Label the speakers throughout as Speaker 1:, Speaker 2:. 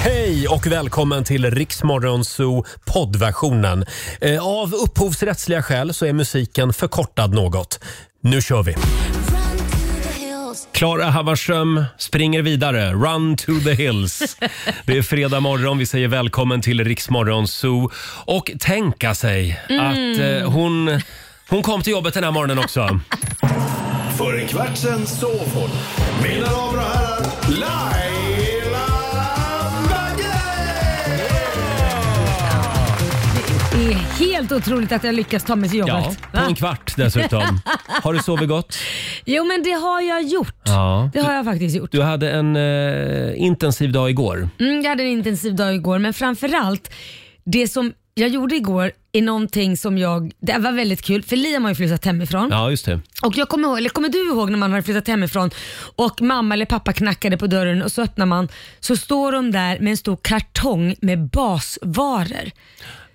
Speaker 1: Hej och välkommen till Riksmorgonzoo poddversionen. Eh, Av upphovsrättsliga skäl så är musiken förkortad något. Nu kör vi! Klara Hammarström springer vidare. Run to the hills. Det är fredag morgon. Vi säger välkommen till Riksmorgonzoo. Och tänka sig att eh, hon, hon kom till jobbet den här morgonen också.
Speaker 2: För en kvart sen sov hon. Mina damer och herrar, Laila Bagge!
Speaker 3: Det är helt otroligt att jag lyckas ta mig till
Speaker 1: Ja,
Speaker 3: jobbet.
Speaker 1: på en kvart dessutom. Har du sovit gott?
Speaker 3: Jo men det har jag gjort.
Speaker 1: Ja.
Speaker 3: Det har jag faktiskt gjort.
Speaker 1: Du hade en eh, intensiv dag igår.
Speaker 3: Mm, jag hade en intensiv dag igår men framförallt det som jag gjorde igår är någonting som jag, det var väldigt kul för Liam har ju flyttat hemifrån.
Speaker 1: Ja, just det.
Speaker 3: Och jag kommer ihåg, eller kommer du ihåg när man hade flyttat hemifrån och mamma eller pappa knackade på dörren och så öppnar man så står de där med en stor kartong med basvaror.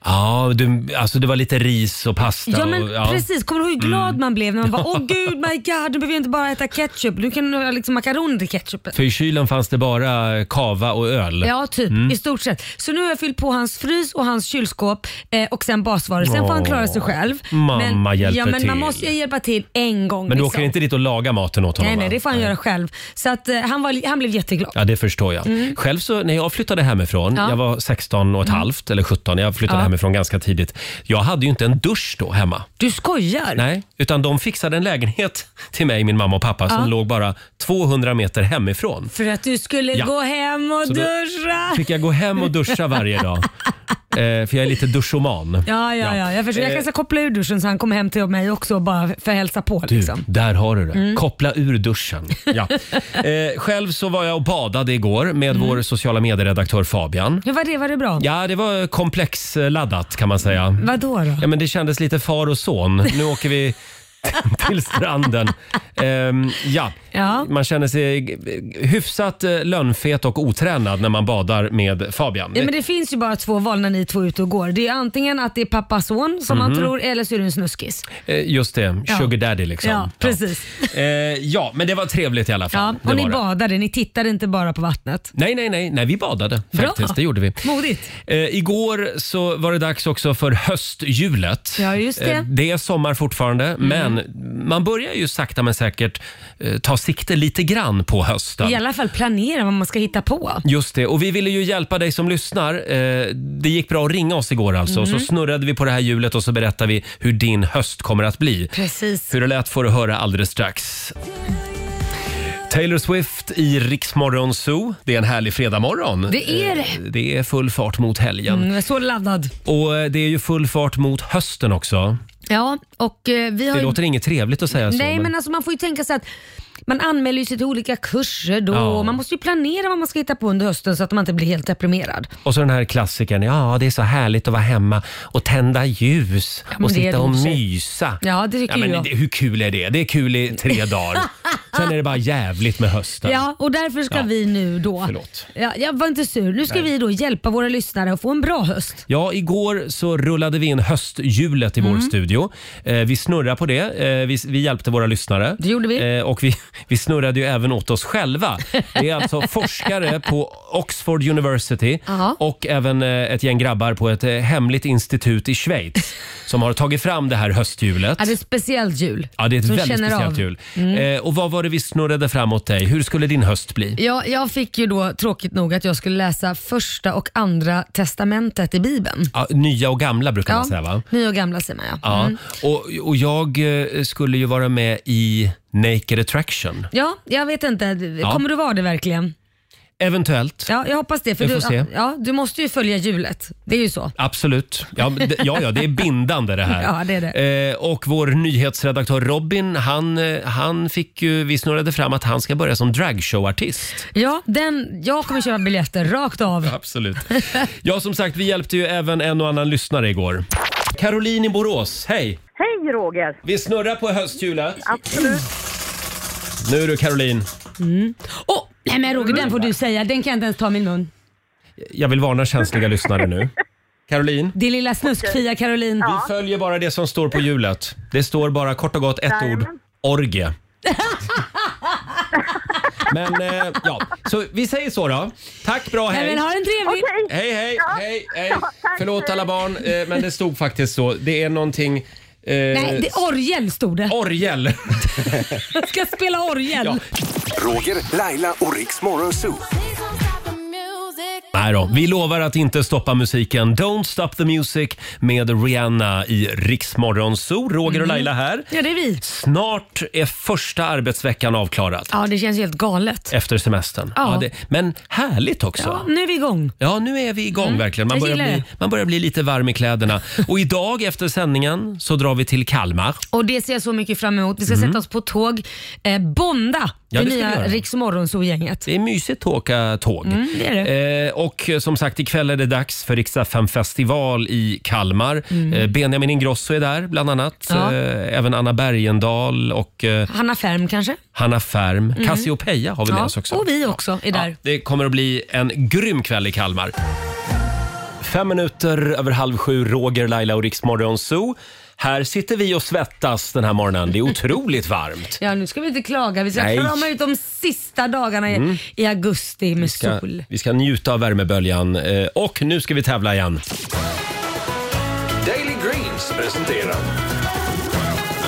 Speaker 1: Ja, du, alltså det var lite ris och pasta.
Speaker 3: Ja men
Speaker 1: och, ja. Mm.
Speaker 3: precis, kommer du ihåg hur glad man blev när man bara åh gud my god, du behöver inte bara äta ketchup, du kan ha liksom makaroner till ketchupen.
Speaker 1: För i kylen fanns det bara kava och öl.
Speaker 3: Ja, typ.
Speaker 1: Mm.
Speaker 3: I stort sett. Så nu har jag fyllt på hans frys och hans kylskåp eh, och sen basvaror. Sen får han klara sig
Speaker 1: Åh,
Speaker 3: själv.
Speaker 1: mamma hjälper
Speaker 3: ja, men
Speaker 1: till.
Speaker 3: Man måste ju hjälpa till en gång.
Speaker 1: Men du
Speaker 3: liksom.
Speaker 1: åker inte dit och lagar maten åt honom?
Speaker 3: Nej, nej,
Speaker 1: va?
Speaker 3: det får han göra själv. Så att, eh, han, var, han blev jätteglad.
Speaker 1: Ja, det förstår jag. Själv så, när jag flyttade hemifrån,
Speaker 3: Mm. Ja. Mm.
Speaker 1: jag var 16 och ett halvt, eller 17, jag flyttade
Speaker 3: Ja.
Speaker 1: hemifrån ganska tidigt. Jag hade ju inte en dusch då hemma.
Speaker 3: Du skojar?
Speaker 1: Nej, utan de fixade en lägenhet till mig, min mamma och pappa, som låg bara 200 meter hemifrån.
Speaker 3: För att du skulle
Speaker 1: Ja.
Speaker 3: gå hem och
Speaker 1: Så då-
Speaker 3: duscha?
Speaker 1: Fick jag gå hem och duscha varje dag. Eh, för jag är lite duschoman.
Speaker 3: Ja, ja, ja. Jag förstår. Jag
Speaker 1: Eh.
Speaker 3: kanske koppla ur duschen så han kommer hem till mig också bara för att hälsa på.
Speaker 1: Du,
Speaker 3: Liksom.
Speaker 1: där har du det. Koppla ur duschen. Ja. Eh, själv så var jag och badade igår med
Speaker 3: Mm.
Speaker 1: vår sociala medieredaktör Fabian.
Speaker 3: Hur var det? Var det bra?
Speaker 1: Ja, det var komplexladdat kan man säga.
Speaker 3: Vadå då?
Speaker 1: Ja, men det kändes lite far och son. Nu åker vi till stranden. Ehm, ja.
Speaker 3: Ja.
Speaker 1: Man känner sig hyfsat eh, lönnfet och otränad när man badar med Fabian.
Speaker 3: Ja, men det finns ju bara två val när ni två är ute och går. Det är antingen att det är pappa son som
Speaker 1: Mhm.
Speaker 3: man tror eller så är det en snuskis.
Speaker 1: Eh, Just det,
Speaker 3: Ja.
Speaker 1: sugar daddy liksom.
Speaker 3: Ja, precis.
Speaker 1: Eh, ja, men det var trevligt i alla
Speaker 3: Ja,
Speaker 1: fall.
Speaker 3: och
Speaker 1: det
Speaker 3: ni
Speaker 1: var det.
Speaker 3: badade, ni tittade inte bara på vattnet.
Speaker 1: Nej, nej, nej, nej, vi badade
Speaker 3: Bra.
Speaker 1: faktiskt. Det gjorde vi.
Speaker 3: Modigt.
Speaker 1: Eh, igår så var det dags också för hösthjulet. Eh,
Speaker 3: Ja, just det. Mm.
Speaker 1: det är sommar fortfarande, men man börjar ju sakta men säkert eh, ta sikte lite grann på hösten.
Speaker 3: I alla fall planera vad man ska hitta på.
Speaker 1: Just det, och vi ville ju hjälpa dig som lyssnar. Eh, det gick bra att ringa oss igår alltså.
Speaker 3: Mm.
Speaker 1: Så snurrade vi på det här hjulet och så berättade vi hur din höst kommer att bli.
Speaker 3: Precis.
Speaker 1: Hur det lät får du höra alldeles strax. Taylor Swift i Riksmorgon Zoo. Det är en härlig fredagmorgon.
Speaker 3: Det är det.
Speaker 1: Eh, Det är full fart mot helgen.
Speaker 3: Mm, jag är så laddad.
Speaker 1: Och eh, det är ju full fart mot hösten också.
Speaker 3: Ja, och eh, vi har
Speaker 1: Det
Speaker 3: ju...
Speaker 1: låter inget trevligt att säga så.
Speaker 3: Nej, men alltså man får ju tänka sig att man anmäler ju sig till olika kurser då.
Speaker 1: Ja.
Speaker 3: och Man måste ju planera vad man ska hitta på under hösten så att man inte blir helt deprimerad.
Speaker 1: Och så den här klassikern. Ja, det är så härligt att vara hemma och tända ljus
Speaker 3: men
Speaker 1: och
Speaker 3: det är
Speaker 1: sitta
Speaker 3: det
Speaker 1: och
Speaker 3: i och för sig.
Speaker 1: mysa.
Speaker 3: Ja, det tycker
Speaker 1: ja, men
Speaker 3: jag.
Speaker 1: det, Hur kul är det? Det är kul i tre dagar. Sen är det bara jävligt med hösten.
Speaker 3: Ja, och därför ska
Speaker 1: Ja.
Speaker 3: vi nu då...
Speaker 1: Förlåt.
Speaker 3: Ja, jag var inte sur. Nu ska vi då hjälpa våra lyssnare att få en bra höst.
Speaker 1: Ja, igår så rullade vi in hösthjulet i vår
Speaker 3: Mm.
Speaker 1: studio. Eh, vi snurrade på det. Eh, vi, vi hjälpte våra lyssnare.
Speaker 3: Det gjorde vi.
Speaker 1: Eh, och vi, vi snurrade ju även åt oss själva. Det är alltså forskare på Oxford University
Speaker 3: Jaha.
Speaker 1: och även eh, ett gäng grabbar på ett eh, hemligt institut i Schweiz som har tagit fram det här hösthjulet.
Speaker 3: Ja, det är ett speciellt jul.
Speaker 1: Ja, det är ett
Speaker 3: som
Speaker 1: väldigt
Speaker 3: känner
Speaker 1: speciellt
Speaker 3: av. Mm.
Speaker 1: jul. Eh, och vad var det vi snurrade fram åt dig? Hur skulle din höst bli?
Speaker 3: Ja, jag fick ju då tråkigt nog att jag skulle läsa första och andra testamentet i Bibeln.
Speaker 1: Ja, nya och gamla brukar man
Speaker 3: Ja,
Speaker 1: säga va?
Speaker 3: nya och gamla säger man ja.
Speaker 1: Ja, och, och jag eh, skulle ju vara med i Naked Attraction.
Speaker 3: Ja, jag vet inte. Kommer du vara det verkligen?
Speaker 1: Eventuellt.
Speaker 3: Ja, jag hoppas det. För
Speaker 1: Vi
Speaker 3: du,
Speaker 1: får se.
Speaker 3: Ja, du måste ju följa hjulet. Det är ju så.
Speaker 1: Absolut. Ja, men det- ja, ja, det är bindande det här.
Speaker 3: Ja, det är
Speaker 1: Eh, och vår nyhetsredaktör Robin, han, eh, han fick ju, vi snurrade fram att han ska börja som dragshowartist.
Speaker 3: Ja, den, jag kommer köpa biljetter rakt av.
Speaker 1: Absolut. Ja, som sagt, vi hjälpte ju även en och annan lyssnare igår. Caroline i Borås, hej!
Speaker 4: Hej Roger!
Speaker 1: Vi snurrar på hösthjulet.
Speaker 4: Absolut.
Speaker 1: Nu du Caroline,
Speaker 3: Åh, nej men Roger, den får du säga. Den kan jag inte ens ta i min mun.
Speaker 1: jag vill varna känsliga lyssnare nu. Caroline,
Speaker 3: Din lilla snuskfia Caroline.
Speaker 1: vi följer bara det som står på hjulet. Det står bara kort och gott ett ord. Orgie. Men eh, ja, så vi säger så då. Tack, bra,
Speaker 3: Nej,
Speaker 1: hej.
Speaker 3: men ha en trevlig...
Speaker 4: Okej.
Speaker 1: Hej, hej,
Speaker 4: Ja.
Speaker 1: hej, hej.
Speaker 4: Ja, tack.
Speaker 1: Förlåt alla barn, eh, men det stod faktiskt så. Det är någonting... Eh,
Speaker 3: Nej, det, orgel stod det.
Speaker 1: Orgel.
Speaker 3: Jag ska spela orgel.
Speaker 1: Ja.
Speaker 5: Roger, Laila och Riks Morgonzoo.
Speaker 1: Nej då, vi lovar att inte stoppa musiken. Don't stop the music med Rihanna i Riksmorgon Zoo.
Speaker 3: Mm.
Speaker 1: Roger och Laila här.
Speaker 3: Ja, det är vi.
Speaker 1: Snart är första arbetsveckan avklarad
Speaker 3: Ja, det känns helt galet.
Speaker 1: efter semestern.
Speaker 3: Ja.
Speaker 1: men härligt också.
Speaker 3: Ja, nu är vi igång.
Speaker 1: Ja, nu är vi igång verkligen. Man
Speaker 3: jag
Speaker 1: börjar,
Speaker 3: gillar
Speaker 1: bli, man börjar bli lite varm i kläderna. Och idag efter sändningen så drar vi till Kalmar.
Speaker 3: Och det ser jag så mycket fram emot. Vi ska sätta oss på tåg. Eh, bonda,
Speaker 1: Mm. Ja,
Speaker 3: det
Speaker 1: det ska vi göra.
Speaker 3: nya Riks gänget
Speaker 1: Det är mysigt att åka tåg.
Speaker 3: Mm, det är
Speaker 1: Eh, och eh, som sagt, ikväll är det dags för Rix FM festival i Kalmar. Eh, Benjamin Ingrosso är där bland annat.
Speaker 3: Mm. Ja.
Speaker 1: Eh, även Anna Bergendahl och eh,
Speaker 3: Hanna Färm kanske?
Speaker 1: Hanna Färm. Cassiopeia har vi med
Speaker 3: Mm. Ja.
Speaker 1: oss också.
Speaker 3: Och vi också är där.
Speaker 1: Ja, det kommer att bli en grym kväll i Kalmar. Fem minuter över halv sju, Roger, Laila och Riksmorgon Zoo. Här sitter vi och svettas den här morgonen. Det är otroligt varmt.
Speaker 3: Ja, nu ska vi inte klaga. Vi ska
Speaker 1: Nej.
Speaker 3: krama ut de sista dagarna i- i augusti med
Speaker 1: ska,
Speaker 3: sol.
Speaker 1: vi ska njuta av värmeböljan. Eh, Och nu ska vi tävla igen.
Speaker 2: Daily Greens presenterar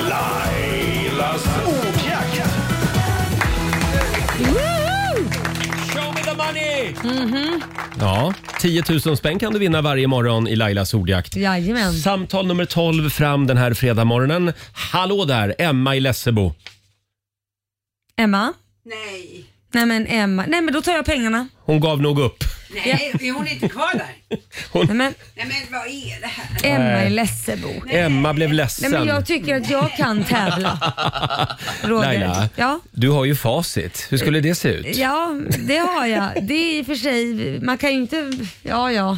Speaker 2: Lailas ordjakt.
Speaker 1: Show me the money!
Speaker 3: Mhm.
Speaker 1: Ja, 10 000 spänn kan du vinna varje morgon i Lailas ordjakt.
Speaker 3: Jajamän.
Speaker 1: Samtal nummer 12 fram den här fredagmorgonen. Hallå där, Emma i Lessebo.
Speaker 3: Emma?
Speaker 6: Nej.
Speaker 3: Nej men Emma. Nej men då tar jag pengarna.
Speaker 1: Hon gav nog upp.
Speaker 6: Nej, är hon inte kvar där?
Speaker 3: Nej, men
Speaker 6: Nej men vad är det här?
Speaker 3: Emma i Lessebo.
Speaker 1: Emma blev
Speaker 3: Nej
Speaker 1: ledsen.
Speaker 3: men jag tycker att jag kan tävla. Roger.
Speaker 1: Laila,
Speaker 3: Ja.
Speaker 1: du har ju facit. Hur skulle det se ut?
Speaker 3: Ja, det har jag. Det är i och för sig, man kan ju inte... Ja, ja.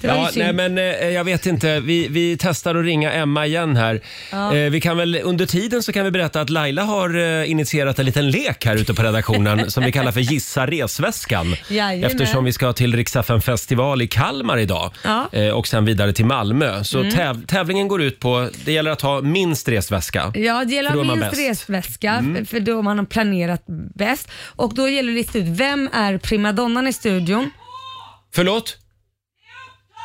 Speaker 3: Det var ju
Speaker 1: Ja,
Speaker 3: synd.
Speaker 1: nej men eh, jag vet inte. Vi, vi testar att ringa Emma igen här. Eh, vi kan väl, under tiden så kan vi berätta att Laila har eh, initierat en liten lek här ute på redaktionen som vi kallar för Gissa resväskan.
Speaker 3: Jajamän.
Speaker 1: Eftersom vi ska till Riksaffen festival i Kalmar idag
Speaker 3: Ja. Mm.
Speaker 1: eh, och sen vidare till Malmö. Så täv- tävlingen går ut på, det gäller att ha minst resväska. För
Speaker 3: Ja, det
Speaker 1: då
Speaker 3: gäller
Speaker 1: är man
Speaker 3: minst
Speaker 1: bäst. Mm.
Speaker 3: resväska för- för då man har planerat bäst. Och då gäller det att lista ut vem är primadonnan i studion.
Speaker 1: Förlåt?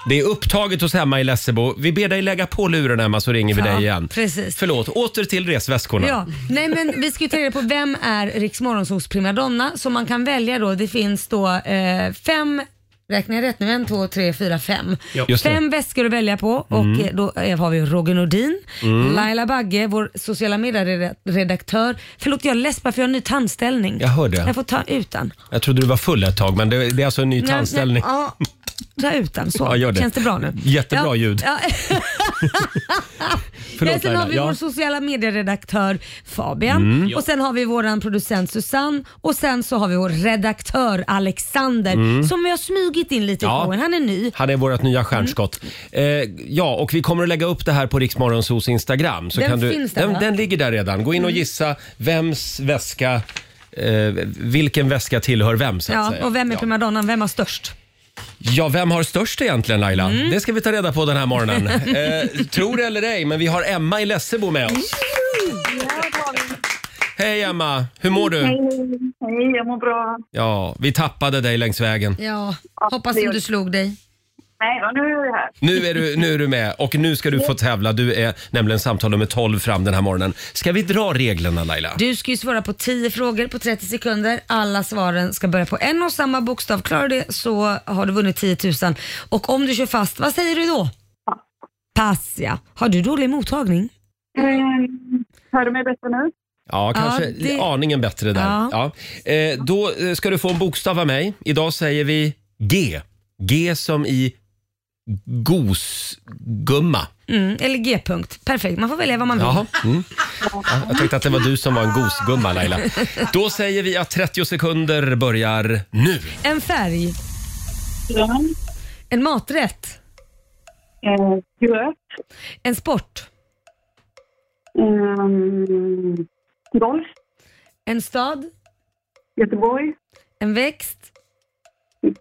Speaker 1: Det är upptaget hos Emma i Lessebo. Vi ber dig lägga på luren Emma så ringer vi dig igen.
Speaker 3: precis.
Speaker 1: Förlåt, åter till resväskorna.
Speaker 3: Ja, nej men vi ska ju ta reda på vem är Riks Morgonzos primadonna som man kan välja då. Det finns då eh, fem Räknar jag rätt nu? En, två, tre, fyra, fem.
Speaker 1: Just det.
Speaker 3: Fem väskor att välja på och
Speaker 1: Mm.
Speaker 3: eh, då eh, har vi Roger Nordin, Laila Bagge, vår sociala medieredaktör. Förlåt, jag läspar för jag har en ny tandställning.
Speaker 1: Jag hör det.
Speaker 3: Jag får ta ut den.
Speaker 1: Jag trodde du var full ett tag, men det, det är alltså en ny
Speaker 3: Nej,
Speaker 1: tandställning.
Speaker 3: nej, Ja, ta ut den så.
Speaker 1: Ja, gör det.
Speaker 3: Känns det bra nu?
Speaker 1: Jättebra
Speaker 3: ja,
Speaker 1: ljud.
Speaker 3: Ja. Men
Speaker 1: Förlåt
Speaker 3: sen har
Speaker 1: Laila.
Speaker 3: vi
Speaker 1: Ja. Mm.
Speaker 3: vår sociala medieredaktör Fabian och sen har vi vår producent Susanne och sen så har vi vår redaktör Alexander som vi har smugit in lite
Speaker 1: Mm. Ja.
Speaker 3: på. Han är ny.
Speaker 1: Han är vårt
Speaker 3: Mm.
Speaker 1: nya stjärnskott. Eh, ja, och vi kommer att lägga upp det här på Riksmorgonsos Instagram. Så
Speaker 3: Den
Speaker 1: kan du,
Speaker 3: finns där,
Speaker 1: den,
Speaker 3: va? Mm.
Speaker 1: den ligger där redan. Gå in och gissa vems väska, eh, vilken väska tillhör vem så att
Speaker 3: Ja,
Speaker 1: säga.
Speaker 3: och vem är
Speaker 1: ja.
Speaker 3: primadonnan? Vem har störst?
Speaker 1: Ja, vem har störst egentligen Laila?
Speaker 3: Mm.
Speaker 1: Det ska vi ta reda på den här morgonen. eh, tror det eller ej, men vi har Emma i Lessebo med oss. Hej Emma, hur mår du?
Speaker 4: Hej, jag mår bra.
Speaker 1: Ja, vi tappade dig längs vägen.
Speaker 3: Ja, hoppas
Speaker 4: hoppas det gör-
Speaker 3: inte du
Speaker 4: du
Speaker 3: slog dig.
Speaker 4: Nej då, nu är vi här.
Speaker 1: Nu är, du, nu är du med och nu ska du få tävla. Du är nämligen samtal nummer 12 fram den här morgonen. Ska vi dra reglerna Laila?
Speaker 3: Du ska ju svara på 10 frågor på 30 sekunder. Alla svaren ska börja på en och samma bokstav. Klarar du det så har du vunnit 10 000. Och om du kör fast, vad säger du då? Pass ja. Har du dålig mottagning?
Speaker 4: Ehm, Hör du mig bättre nu?
Speaker 1: Ja, kanske
Speaker 3: Ja, det-
Speaker 1: aningen bättre där. Ja.
Speaker 3: Ja.
Speaker 1: Eh, då eh, ska du få en bokstav av mig. Idag säger vi G. G som i gosgumma.
Speaker 3: Mm, eller G-punkt. Perfekt, man får välja vad man vill.
Speaker 1: Jaha. Mm. Ja, Jag tänkte att det var du som var en gosgumma Laila. Då säger vi att 30 sekunder börjar nu.
Speaker 3: En färg,
Speaker 4: Grön.
Speaker 3: en maträtt,
Speaker 4: Ehm, Gröt.
Speaker 3: en sport,
Speaker 4: Ehm, Golf.
Speaker 3: en stad,
Speaker 4: Göteborg.
Speaker 3: en växt,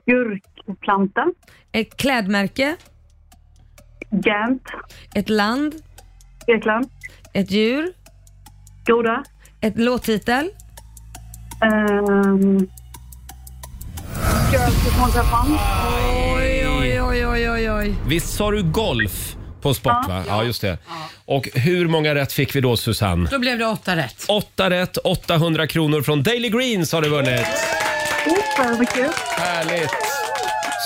Speaker 4: Gurkplanta.
Speaker 3: ett klädmärke,
Speaker 4: Gent.
Speaker 3: ett land,
Speaker 4: Grekland.
Speaker 3: ett djur,
Speaker 4: Groda.
Speaker 3: ett låttitel,
Speaker 4: Ehm... Girls with Morgan Fun.
Speaker 3: Oj, oj, oj, oj, oj, oj.
Speaker 1: Visst sa du golf på sport, va? Ja, just det. Och hur många rätt fick vi då, Susanne?
Speaker 7: Då blev det åtta rätt.
Speaker 1: Åtta rätt, 800 kronor från Daily Greens har du vunnit.
Speaker 4: Super, vad kul.
Speaker 1: Härligt!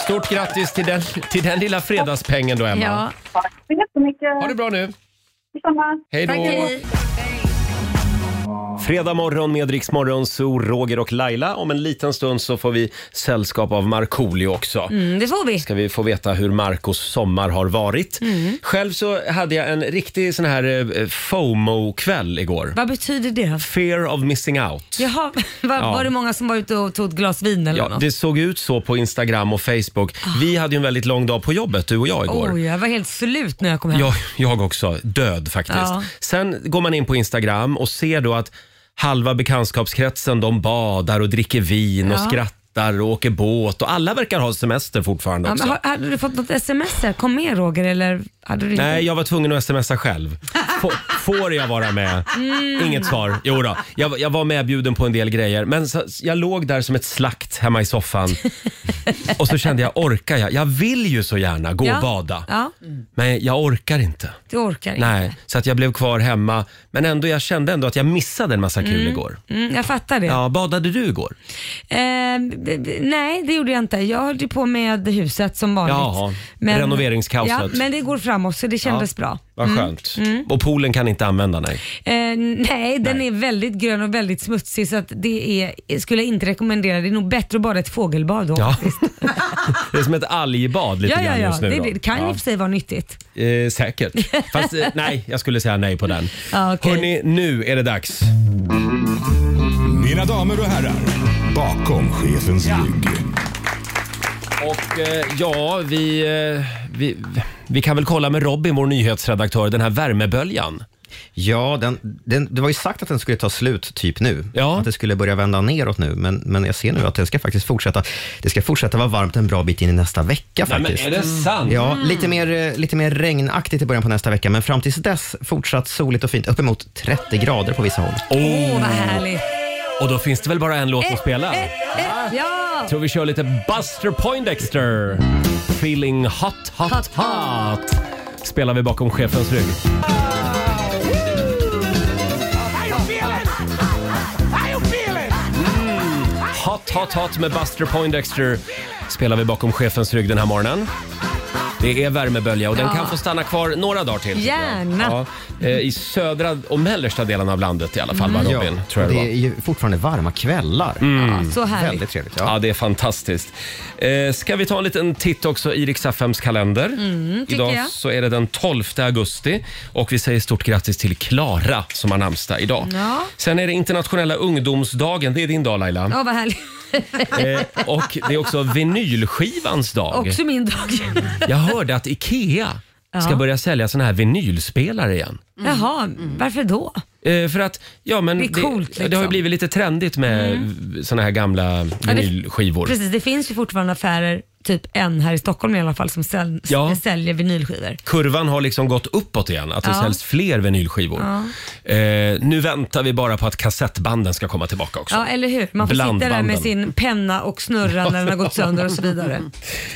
Speaker 1: Stort grattis till den, till den lilla fredagspengen då, Emma.
Speaker 7: Ja.
Speaker 4: Tack så jättemycket.
Speaker 1: Ha det bra nu.
Speaker 4: Detsamma.
Speaker 1: Hej då!
Speaker 3: Hej.
Speaker 1: Fredag morgon med Rix Morgon, så Roger och Laila. Om en liten stund så får vi sällskap av Markoolio också.
Speaker 3: Mm, det får vi.
Speaker 1: ska vi få veta hur Marcos sommar har varit.
Speaker 3: Mm.
Speaker 1: Själv så hade jag en riktig sån här eh, FOMO-kväll igår.
Speaker 3: Vad betyder det?
Speaker 1: Fear of missing out.
Speaker 3: Jaha, var,
Speaker 1: Ja.
Speaker 3: var det många som var ute och tog ett glas vin eller
Speaker 1: Ja,
Speaker 3: något? Ah.
Speaker 1: det såg ut så på Instagram och Facebook. Vi hade ju en väldigt lång dag på jobbet, du och jag igår.
Speaker 3: Oj, jag var helt slut när jag kom hem.
Speaker 1: Jag, jag också. Död faktiskt.
Speaker 3: Ja.
Speaker 1: Sen går man in på Instagram och ser då att halva bekantskapskretsen de badar och dricker vin och
Speaker 3: Ja.
Speaker 1: skrattar och åker båt och alla verkar ha semester fortfarande
Speaker 3: Ja,
Speaker 1: också.
Speaker 3: men har, hade du fått något sms här? Kom med Roger eller hade du inte?
Speaker 1: Nej, jag var tvungen att smsa själv. Få- Får jag vara med?
Speaker 3: Mm.
Speaker 1: Inget svar. Jo då. Jag, jag var medbjuden på en del grejer, men så, jag låg där som ett slakt hemma i soffan. Och så kände jag, orkar jag? Jag vill ju så gärna gå
Speaker 3: Ja.
Speaker 1: och bada,
Speaker 3: Ja,
Speaker 1: men jag orkar inte.
Speaker 3: du orkar inte.
Speaker 1: Nej, så att jag blev kvar hemma. Men ändå, jag kände ändå att jag missade en massa kul igår.
Speaker 3: Mm, jag fattar det.
Speaker 1: Ja, badade du igår?
Speaker 3: Eh, d- d- nej, det gjorde jag inte. Jag höll ju på med huset som vanligt.
Speaker 1: Jaha, renoveringskaoset.
Speaker 3: Ja, men det går framåt så det kändes bra. Mm.
Speaker 1: Vad skönt. Och poolen kan inte använda, nej.
Speaker 3: Eh, nej, den är väldigt grön och väldigt smutsig så att det är, skulle jag inte rekommendera. Det är nog bättre att bada ett fågelbad då.
Speaker 1: Ja. Det är som ett algbad lite
Speaker 3: ja, ja,
Speaker 1: grann
Speaker 3: ja.
Speaker 1: just nu.
Speaker 3: Det,
Speaker 1: då.
Speaker 3: det kan ju i
Speaker 1: Ja.
Speaker 3: och för sig vara nyttigt.
Speaker 1: Eh, säkert. Fast eh, nej, jag skulle säga nej på den.
Speaker 3: Ja, okej.
Speaker 1: Hörni, nu är det dags.
Speaker 2: Mina damer och herrar, bakom chefens rygg.
Speaker 1: Och eh, ja, vi, eh, vi, vi kan väl kolla med Robin, vår nyhetsredaktör, den här värmeböljan.
Speaker 8: Ja, den, den, det var ju sagt att den skulle ta slut typ nu.
Speaker 1: Ja.
Speaker 8: Att det skulle börja vända neråt nu, men, men jag ser nu att den ska faktiskt fortsätta. Det ska fortsätta vara varmt en bra bit in i nästa vecka
Speaker 1: Nej, men
Speaker 8: faktiskt.
Speaker 1: är det sant?
Speaker 8: Ja,
Speaker 7: Mm.
Speaker 8: lite mer, eh, lite mer regnaktigt i början på nästa vecka, men fram tills dess fortsatt soligt och fint, uppemot 30 grader på vissa håll.
Speaker 3: Åh, vad
Speaker 1: Mm.
Speaker 3: härligt.
Speaker 1: Och då finns det väl bara en låt att spela?
Speaker 3: Eh, eh, ja!
Speaker 1: Så vi kör lite Buster Poindexter. Feeling hot, hot, hot. Spelar vi bakom chefens rygg. Mm. Hot, hot, hot med Buster Poindexter spelar vi bakom chefens rygg den här morgonen. Det är värmebölja och den kan få stanna kvar några dagar till. tycker jag.
Speaker 3: Gärna.
Speaker 1: Ja, eh, I södra och mellersta delen av landet i alla fall, va, Robin? Tror
Speaker 8: Mm. det
Speaker 1: jag det var. Mm.
Speaker 8: är ju fortfarande varma kvällar.
Speaker 3: Ja, så härligt.
Speaker 8: Väldigt trevligt.
Speaker 1: Ja,
Speaker 8: Ja.
Speaker 1: det är fantastiskt. Eh, ska vi ta en liten titt också i Rix FMs kalender?
Speaker 3: Mm, tycker
Speaker 1: idag
Speaker 3: jag.
Speaker 1: så är det den 12 augusti och vi säger stort grattis till Klara som har namnsdag idag.
Speaker 3: Ja.
Speaker 1: Sen är det internationella ungdomsdagen, det är din dag Laila.
Speaker 3: Ja, vad härligt.
Speaker 1: Eh, och det är också vinylskivans dag.
Speaker 3: Också min dag.
Speaker 1: Jag hörde att IKEA ska
Speaker 3: Ja.
Speaker 1: börja sälja såna här vinylspelare igen.
Speaker 3: Jaha,
Speaker 1: Mm.
Speaker 3: varför då?
Speaker 1: Eh, för att, ja, men
Speaker 3: Det är coolt, liksom. Mm.
Speaker 1: det har ju blivit lite trendigt med såna här gamla vinylskivor.
Speaker 3: Precis, det finns ju fortfarande affärer, typ en här i Stockholm i alla fall, som säl-
Speaker 1: Ja.
Speaker 3: säljer vinylskivor.
Speaker 1: kurvan har liksom gått uppåt igen, att det
Speaker 3: Ja.
Speaker 1: säljs fler vinylskivor. Eh, nu väntar vi bara på att kassettbanden ska komma tillbaka också.
Speaker 3: Ja, eller hur? Man får sitta där med
Speaker 1: Blandbanden. Mm.
Speaker 3: sin penna och snurra när den har gått sönder och så vidare.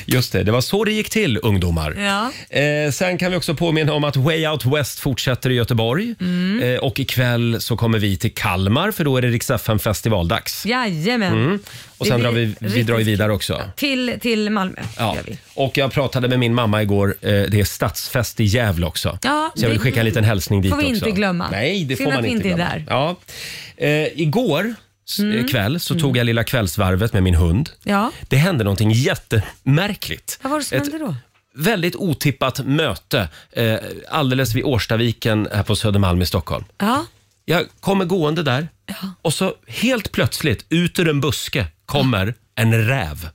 Speaker 1: Just det, det var så det gick till ungdomar.
Speaker 3: Ja.
Speaker 1: Eh, sen kan vi också påminna om att Way Out West fortsätter i Göteborg.
Speaker 3: Mm.
Speaker 1: Eh, och ikväll så kommer vi till Kalmar för då är det Rix FM festivaldags.
Speaker 3: Jajamän.
Speaker 1: Mm. Och
Speaker 3: Det
Speaker 1: sen drar
Speaker 3: blir
Speaker 1: vi, vi
Speaker 3: riktigt
Speaker 1: drar ju vidare också.
Speaker 3: Till, till Malmö.
Speaker 1: Ja.
Speaker 3: Gör vi.
Speaker 1: Och jag pratade med min mamma igår, eh, det är stadsfest i Gävle också.
Speaker 3: Ja,
Speaker 1: så jag vill
Speaker 3: det
Speaker 1: skicka en liten hälsning dit
Speaker 3: får vi
Speaker 1: också.
Speaker 3: inte glömma.
Speaker 1: Nej, det
Speaker 3: Synd
Speaker 1: får
Speaker 3: att
Speaker 1: man
Speaker 3: vi
Speaker 1: inte
Speaker 3: inte är Mm.
Speaker 1: glömma. Ja. Eh, igår s- eh, kväll så tog jag lilla kvällsvarvet med min hund.
Speaker 3: Ja.
Speaker 1: Det hände någonting jättemärkligt.
Speaker 3: Vad var det som
Speaker 1: Ett
Speaker 3: hände då?
Speaker 1: Väldigt otippat möte eh, alldeles vid Årstaviken här på Södermalm i Stockholm.
Speaker 3: Ja.
Speaker 1: Jag kommer gående där och så helt plötsligt ut ur en buske kommer en räv.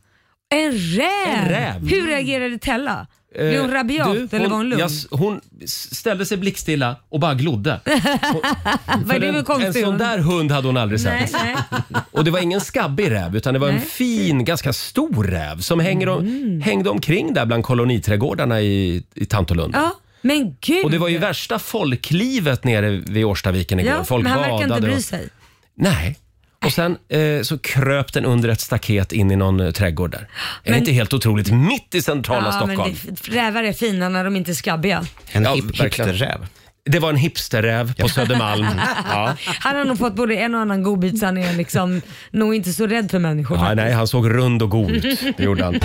Speaker 3: En räv.
Speaker 1: En räv.
Speaker 3: Hur reagerade Tella? Blev hon
Speaker 1: Eh,
Speaker 3: rabiat
Speaker 1: du,
Speaker 3: eller var hon lugn?
Speaker 1: jag s- hon s- ställde sig blickstilla och bara glodde.
Speaker 3: Vad är det för
Speaker 1: en, en
Speaker 3: konstig
Speaker 1: sån
Speaker 3: hund?
Speaker 1: där hund hade hon aldrig
Speaker 3: Nej,
Speaker 1: sett.
Speaker 3: nej.
Speaker 1: Och det var ingen skabbig räv utan det var en
Speaker 3: Nej. Mm.
Speaker 1: fin, ganska stor räv som hänger om, hängde omkring där bland koloniträdgårdarna i, i Tantolund.
Speaker 3: Ja. Men gud.
Speaker 1: Och det var ju värsta folklivet nere vid Årstaviken igår.
Speaker 3: ja,
Speaker 1: Folk
Speaker 3: men han verkar
Speaker 1: badade
Speaker 3: inte bry
Speaker 1: och-
Speaker 3: sig.
Speaker 1: Nej. Och sen eh, så kröp den under ett staket in i någon eh, trädgård där. är det inte helt otroligt? Mitt i centrala Stockholm.
Speaker 3: Men det, rävar är fina när de inte är skabbiga.
Speaker 8: En
Speaker 1: Ja,
Speaker 8: hip,
Speaker 1: verkligen.
Speaker 8: hipsterräv.
Speaker 1: Det, var en hipsterräv på Södermalm. ja.
Speaker 3: Han har nog fått både en och annan godbit så han är liksom nog inte så rädd för människor.
Speaker 1: Ja,
Speaker 3: faktiskt.
Speaker 1: nej, han såg rund och god ut. Det gjorde han.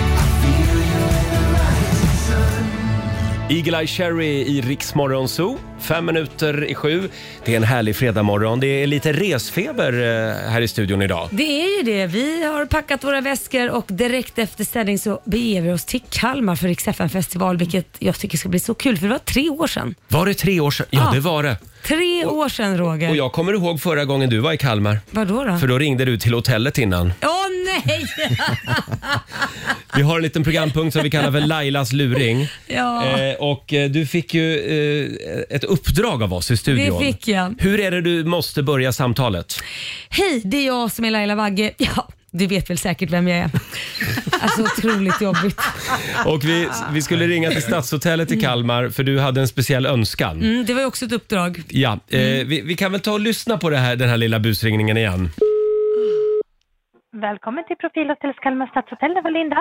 Speaker 1: Eagle-Eye Cherry i Rix Morgon Zoo. Fem minuter i sju. Det är en härlig fredagmorgon. Det är lite resfeber eh, här i studion idag.
Speaker 3: Det är ju det. Vi har packat våra väskor och direkt efter sändning så beger vi oss till Kalmar för Rix FM festival vilket jag tycker ska bli så kul för det var tre år sedan.
Speaker 1: Var det tre år sedan? Ja,
Speaker 8: Ah.
Speaker 3: Ja.
Speaker 1: det var det.
Speaker 3: Tre år sedan Roger.
Speaker 1: Och jag kommer ihåg förra gången du var i Kalmar.
Speaker 3: Vadå då?
Speaker 1: För då ringde du till hotellet innan.
Speaker 3: Åh nej!
Speaker 1: Vi har en liten programpunkt som vi kallar för Lailas luring.
Speaker 3: Ja.
Speaker 1: Eh, och eh, du fick ju eh, ett uppdrag av oss i studion.
Speaker 3: Det fick jag.
Speaker 1: Hur är det du måste börja samtalet?
Speaker 3: Hej, det är jag som är Laila Bagge. Ja, du vet väl säkert vem jag är. Alltså otroligt jobbigt. Ah.
Speaker 1: Och vi, vi skulle ringa till Stadshotellet i Kalmar för du hade en speciell önskan.
Speaker 3: Mm, det var ju också ett uppdrag.
Speaker 1: Ja, eh, vi, vi kan väl ta och lyssna på det här, den här lilla busringningen igen.
Speaker 7: Välkommen till Profilhotellets Kalmar stadshotell, det var Linda.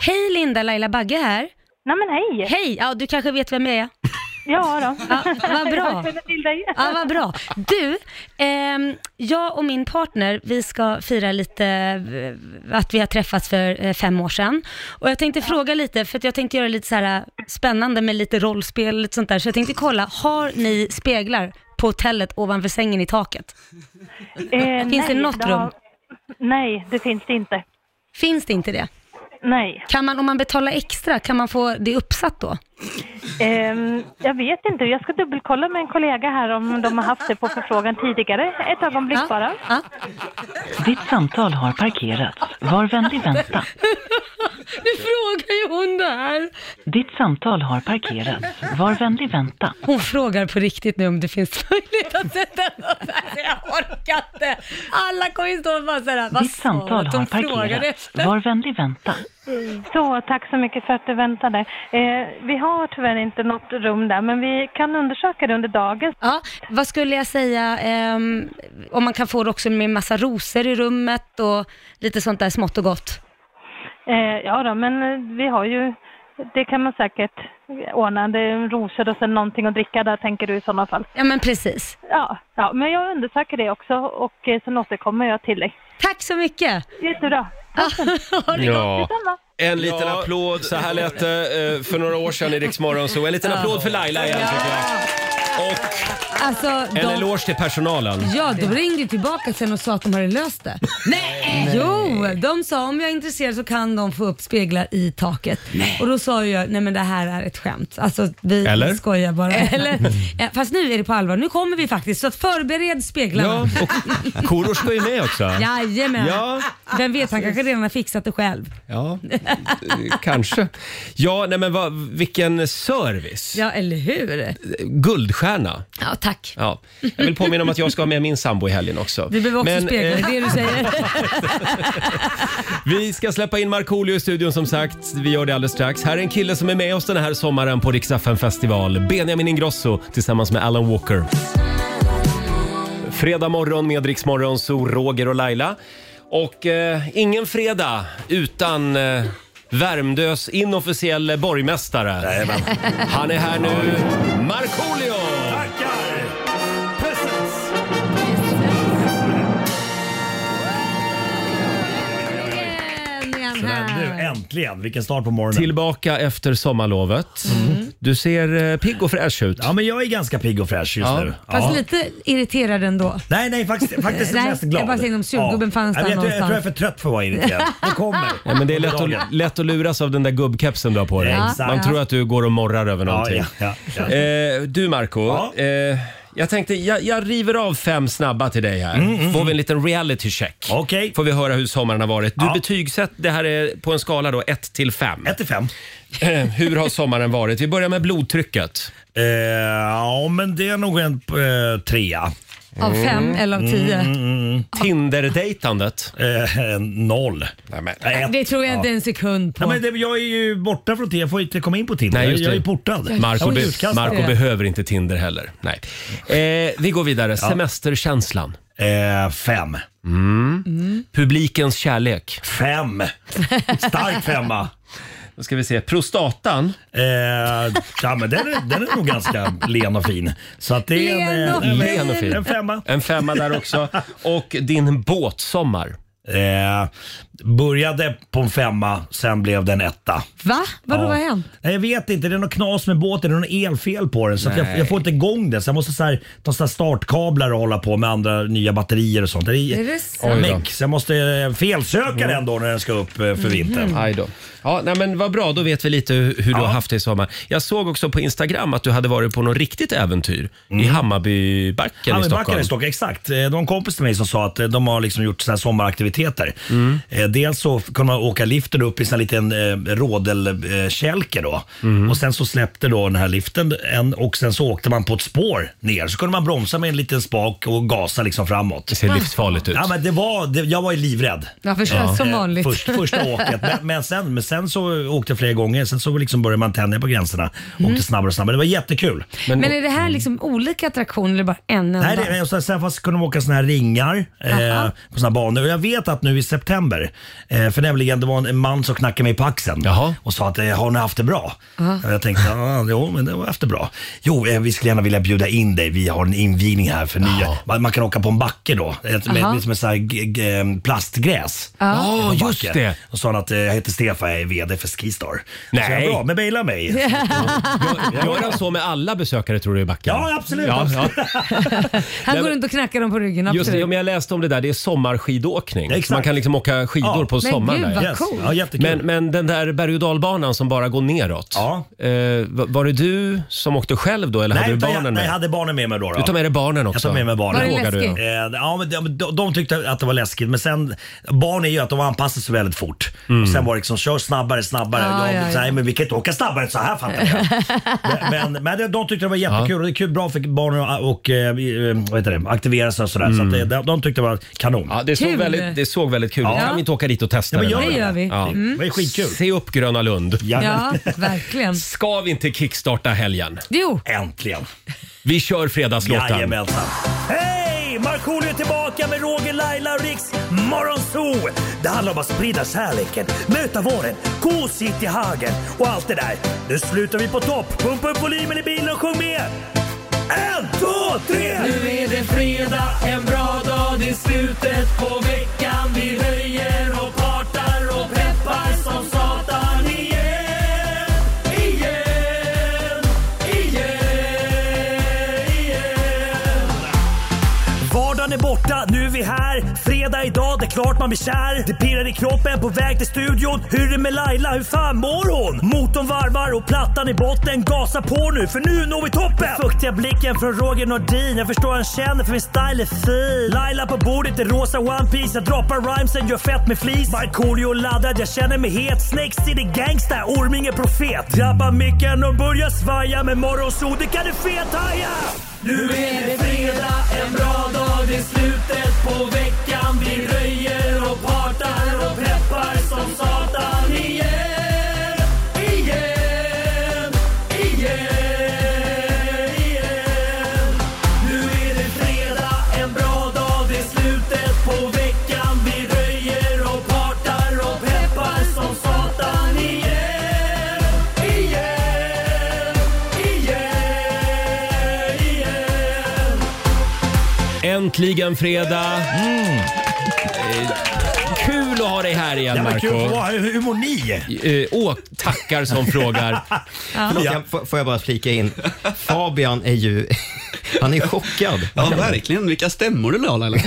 Speaker 3: Hej Linda, Laila Bagge här.
Speaker 7: Nej men hej!
Speaker 3: Hej, ja du kanske vet vem jag är?
Speaker 7: Ja då.
Speaker 3: Ja, vad bra.
Speaker 7: Jag känner till dig.
Speaker 3: Ja, vad bra. Du, ehm, jag och min partner, vi ska fira lite eh, att vi har träffats för eh, fem år sedan. Och jag tänkte fråga lite, för att jag tänkte göra lite så här eh, spännande med lite rollspel och lite sånt där. Så jag tänkte kolla, har ni speglar på hotellet ovanför sängen i taket?
Speaker 7: Eh,
Speaker 3: Finns det något
Speaker 7: har-
Speaker 3: rum?
Speaker 7: Nej, det finns det inte.
Speaker 3: Finns det inte det?
Speaker 7: Nej.
Speaker 3: Kan man, om man betalar extra, kan man få det uppsatt då?
Speaker 7: Ehm, jag vet inte, jag ska dubbelkolla med en kollega här om de har haft det på förfrågan tidigare. Ett ögonblick
Speaker 3: Ja.
Speaker 7: bara.
Speaker 3: Ja.
Speaker 9: Ditt samtal har parkerats. Var vänlig vänta.
Speaker 3: Nu frågar ju hon det här.
Speaker 9: Ditt samtal har parkerats. Var vänlig vänta.
Speaker 3: Hon frågar på riktigt nu om det finns möjlighet att sätta något där. Jag orkar inte. Alla kommer ju stå och bara såhär, vad
Speaker 9: Ditt
Speaker 3: sa hon
Speaker 9: samtal
Speaker 3: att hon
Speaker 9: har
Speaker 3: frågade
Speaker 9: parkerats.
Speaker 3: efter?
Speaker 9: Var vänlig vänta.
Speaker 7: Så, tack så mycket för att du väntade. Eh, vi har tyvärr inte något rum där, men vi kan undersöka det under dagen.
Speaker 3: Ja, vad skulle jag säga, ehm, om man kan få det också med massa rosor i rummet och lite sånt där smått och gott.
Speaker 7: Eh, ja då, men eh, vi har ju, det kan man säkert ordna. Det är rosor och sen någonting att dricka där, tänker du i sådana fall.
Speaker 3: Ja men precis.
Speaker 7: Ja, ja, men jag undersöker det också och eh, sen återkommer jag till dig.
Speaker 3: Tack så mycket.
Speaker 7: Jättebra.
Speaker 1: Ja.
Speaker 7: Detsamma.
Speaker 1: En liten applåd. Så här lät det eh, för några år sedan i Rix Morgon Zoo. En liten applåd för Laila igen tycker jag. Och
Speaker 3: Alltså,
Speaker 1: en eloge till personalen.
Speaker 3: Ja, de ringde tillbaka sen och sa att de hade löst det. Nej! Jo, de sa om jag är intresserad så kan de få upp speglar i taket. Och då sa jag, nej men det här är ett skämt. Alltså vi
Speaker 1: Eller?
Speaker 3: skojar bara. Eller, Ja, fast nu är det på allvar, nu kommer vi faktiskt. Så att förbered
Speaker 1: Ja,
Speaker 3: speglarna.
Speaker 1: och Korosh var ju med också.
Speaker 3: Jajamän.
Speaker 1: Ja.
Speaker 3: Vem vet, han kanske redan har fixat det själv.
Speaker 1: Ja, eh, kanske. Ja, nej men vad, vilken service.
Speaker 3: Ja, eller hur?
Speaker 1: Guldstjärna.
Speaker 3: Ja, tack.
Speaker 1: Ja. Jag vill påminna om att jag ska ha med min sambo i helgen också.
Speaker 3: Du behöver också
Speaker 1: Men,
Speaker 3: speglar,
Speaker 1: eh,
Speaker 3: det är det du säger.
Speaker 1: vi ska släppa in Markoolio i studion som sagt. Vi gör det alldeles strax. Här är en kille som är med oss den här sommaren på Rix FM festival. Benjamin Ingrosso tillsammans med Alan Walker. Fredag morgon med Rix Morgon, så Roger och Laila. Och eh, ingen fredag utan eh, Värmdös inofficielle borgmästare. Han är här nu, Markoolio!
Speaker 2: Tackar! Presents!
Speaker 3: Nu är han
Speaker 2: Sådär, nu
Speaker 3: här.
Speaker 2: äntligen. Vilken start på morgonen.
Speaker 1: Tillbaka efter sommarlovet. Du ser eh, pigg och fräsch ut.
Speaker 2: Ja, men jag är ganska pigg och fräsch just
Speaker 1: Ja.
Speaker 2: nu.
Speaker 3: Fast lite irriterad ändå.
Speaker 2: Nej, nej, faktiskt, faktiskt
Speaker 3: Nej,
Speaker 2: mest glad.
Speaker 3: jag bara säger om surgubben fanns
Speaker 2: jag
Speaker 3: där
Speaker 2: vet, jag, jag tror jag är
Speaker 3: någonstans.
Speaker 2: för trött för att vara irriterad. Det kommer.
Speaker 1: Ja, men det är lätt
Speaker 2: Dagen.
Speaker 1: att, lätt att luras av den där gubbkepsen du har på dig.
Speaker 2: Ja, exakt.
Speaker 1: Man tror att du går och morrar över
Speaker 2: Ja,
Speaker 1: någonting.
Speaker 2: ja, ja, ja.
Speaker 1: Eh, du Marco,
Speaker 2: Ja.
Speaker 1: eh, jag tänkte jag, jag river av fem snabba till dig här. Får vi en liten reality check.
Speaker 2: Mm, Okej.
Speaker 1: Får vi höra hur sommaren har varit. Du
Speaker 2: Ja.
Speaker 1: betygsätt det här är på en skala då 1 till 5.
Speaker 2: 1 till 5.
Speaker 1: hur har sommaren varit? Vi börjar med blodtrycket.
Speaker 2: Eh, ja, men det är nog en eh, trea.
Speaker 3: Av fem eller av tio.
Speaker 1: Tinder-dejtandet.
Speaker 2: Eh, en noll.
Speaker 1: Nej, men-
Speaker 2: Nej, ett.
Speaker 3: Det tror jag inte en sekund på.
Speaker 2: Ja, men det, jag är ju borta från Tinder, jag får inte komma in på Tinder.
Speaker 1: Nej, just
Speaker 2: jag
Speaker 1: det.
Speaker 2: är portad.
Speaker 1: Marco,
Speaker 2: jag var
Speaker 1: be-
Speaker 2: utkastad.
Speaker 1: Marco behöver inte Tinder heller. Nej. Eh, vi går vidare. Semesterkänslan.
Speaker 10: Eh, fem.
Speaker 1: Publikens kärlek.
Speaker 10: Fem! Stark femma.
Speaker 1: Då ska vi se. Prostatan.
Speaker 10: Eh, ja, men den, är, den är nog ganska len och fin. Så att det är en,
Speaker 3: Len och
Speaker 10: eh,
Speaker 1: Len och fin.
Speaker 10: en femma.
Speaker 1: En femma där också. Och din båtsommar.
Speaker 10: Eh, började på en femma, sen blev den etta.
Speaker 3: Va? Vadå,
Speaker 10: Ja.
Speaker 3: vad har hänt?
Speaker 10: Nej, jag vet inte, det är något knas med båten, det är något elfel på den. Så att jag,
Speaker 1: Nej.
Speaker 10: jag får inte igång det. Så jag måste så här, ta så här startkablar och hålla på med andra nya batterier och sånt. Det är,
Speaker 3: Är det sant?
Speaker 10: meck, så jag måste eh, felsöka den då när den ska upp eh, för vintern.
Speaker 1: Aj då. Ja, nej, men vad bra, då vet vi lite hur, hur du har haft det i sommar. Jag såg också på Instagram att du hade varit på något riktigt äventyr i Hammarbybacken i
Speaker 10: Mm. Hammarbybacken
Speaker 1: Stockholm.
Speaker 10: i Stockholm. Exakt. Eh, Det var en kompis till mig som sa att eh, de har liksom gjort såna här sommaraktiviteter.
Speaker 3: Mm.
Speaker 10: Eh, Dels så kunde man åka liften upp i en liten eh, rådelkälke då.
Speaker 3: Mm.
Speaker 10: Och sen så släppte då den här liften en, och sen så åkte man på ett spår ner. Så kunde man bromsa med en liten spak och gasa liksom framåt.
Speaker 1: Det ser livsfarligt ut.
Speaker 10: Ja, men det var, det, jag var ju livrädd.
Speaker 3: Jag förstår, som
Speaker 10: Eh,
Speaker 3: vanligt.
Speaker 10: Först, första åket. Men, men, sen, men sen så åkte jag flera gånger. Sen så liksom började man tänja på gränserna.
Speaker 3: Mm.
Speaker 10: Åkte snabbare och snabbare. Det var jättekul.
Speaker 3: Men, är det här liksom olika attraktioner eller bara en enda?
Speaker 10: Nej, det, och sen, sen fast kunde de åka såna här ringar eh,
Speaker 3: Aha.
Speaker 10: på såna här banor. Och jag vet att nu i september, eh, för nämligen det var en, en man som knackade mig på axeln
Speaker 1: Jaha.
Speaker 10: och sa att eh, har ni haft det bra? Och jag tänkte, ja, jo men det har haft det bra. Jo, eh, vi skulle gärna vilja bjuda in dig. Vi har en invigning här för nya. Man, man kan åka på en backe då, ett, med,
Speaker 3: Aha.
Speaker 10: med, som ett så här g- g- eh, plastgräs.
Speaker 1: Ja,
Speaker 10: På
Speaker 1: just
Speaker 10: backen.
Speaker 1: det.
Speaker 10: Och sa han att eh, jag heter Stefan, jag är VD för Skistar. Så
Speaker 1: Nej.
Speaker 10: jag, bra, men mejla mig.
Speaker 1: Gör han så med alla besökare tror du i backen?
Speaker 10: Ja, absolut, absolut.
Speaker 1: ja.
Speaker 3: Han
Speaker 1: Nej,
Speaker 3: går
Speaker 1: men-
Speaker 3: runt och knackar dem på ryggen. Absolut.
Speaker 1: Just det, ja, men jag läste om det där. Det är sommarskidåkning.
Speaker 10: Exakt.
Speaker 1: Man kan liksom åka skidor
Speaker 10: Ja.
Speaker 1: på
Speaker 3: Men
Speaker 1: sommaren.
Speaker 3: gud,
Speaker 1: där,
Speaker 3: vad
Speaker 1: ja.
Speaker 10: Yes.
Speaker 3: cool.
Speaker 10: Ja, jättekul.
Speaker 1: men, men den där berg och dalbanan som bara går neråt.
Speaker 10: Ja.
Speaker 1: Eh, va- var det du som åkte själv då eller
Speaker 10: nej,
Speaker 1: hade du
Speaker 10: utan
Speaker 1: barnen
Speaker 10: jag,
Speaker 1: med?
Speaker 10: Nej, jag hade barnen med mig då. då.
Speaker 1: Du tar med dig barnen också?
Speaker 10: Jag tar med mig barnen.
Speaker 3: Var det
Speaker 1: Vågar du?
Speaker 3: läskigt?
Speaker 10: Eh, Ja, men de, de, de tyckte att det var läskigt men sen barn är ju att de anpassar sig väldigt fort. Och sen var det liksom kör snabbare, snabbare.
Speaker 3: Ja,
Speaker 10: jag,
Speaker 3: ja,
Speaker 10: så här,
Speaker 3: ja.
Speaker 10: men vi kan inte åka snabbare än så här fattar jag. men, men, men det- de tyckte det var jättekul och det är kul, bra för barnen att och, eh, eh, vad heter det, aktivera sig och sådär. Så att, de, de tyckte det var kanon.
Speaker 1: Ja, det såg
Speaker 3: Kul.
Speaker 1: väldigt, det såg väldigt kul ut.
Speaker 10: Ja.
Speaker 1: Kan vi inte åka dit och testa
Speaker 10: Ja, men
Speaker 1: det?
Speaker 10: gör
Speaker 1: där?
Speaker 3: Det gör vi. Mm.
Speaker 1: Ja.
Speaker 10: Det var ju skitkul.
Speaker 1: Se upp Gröna Lund.
Speaker 10: Ja.
Speaker 3: Ja, verkligen.
Speaker 1: Ska vi inte kickstarta helgen?
Speaker 3: Jo,
Speaker 10: Äntligen.
Speaker 1: Vi kör fredagslåten.
Speaker 10: Jajamensan. Hej! Markoolio är tillbaka med Roger, Laila och Riks Morgonzoo. Det handlar om att sprida kärleken, möta våren, gosigt i hagen och allt det där. Nu slutar vi på topp. Pumpa upp volymen i bilen och sjung med. En, två, tre! Nu är det fredag, en bra dag, det är slutet på veckan. Vi röjer och partar och peppar som satan igen, igen, igen, igen. Vardagen är borta, nu är vi här. Fredag idag, det är klart man blir kär. Det pirrar i kroppen på väg till studion. Hur är det med Laila, hur fan mår hon? Motorn varvar och plattan i botten. Gasa på nu, för nu når vi toppen! Den fuktiga blicken från Roger Nordin. Jag förstår han känner, för min style är fin. Laila på bordet i rosa One Piece Jag droppar rhymesen, gör fett med flis. Markoolio laddad, jag känner mig het. Snake City Gangsta, Orminge profet. Drabbar micken och börjar svaja. Med morgonsol, det kan du fethaja! Nu är det fredag, en bra dag, det är slutet på veckan. Vi röjer och partar och peppar som satan igen. Igen, igen, igen. Nu är det fredag, en bra dag, det är slutet på veckan. Vi röjer och partar och peppar som satan igen. Igen, igen, igen.
Speaker 1: Äntligen fredag!
Speaker 10: Mm.
Speaker 1: Eh, Kul att ha dig här igen Marco.
Speaker 10: hur mår ni?
Speaker 1: Eh, Åh, tackar som frågar.
Speaker 8: Förlåt, jag, får- får jag bara flika in? Fabian är ju... Han är chockad.
Speaker 11: Ja, verkligen. Vilka stämmor du la Laila.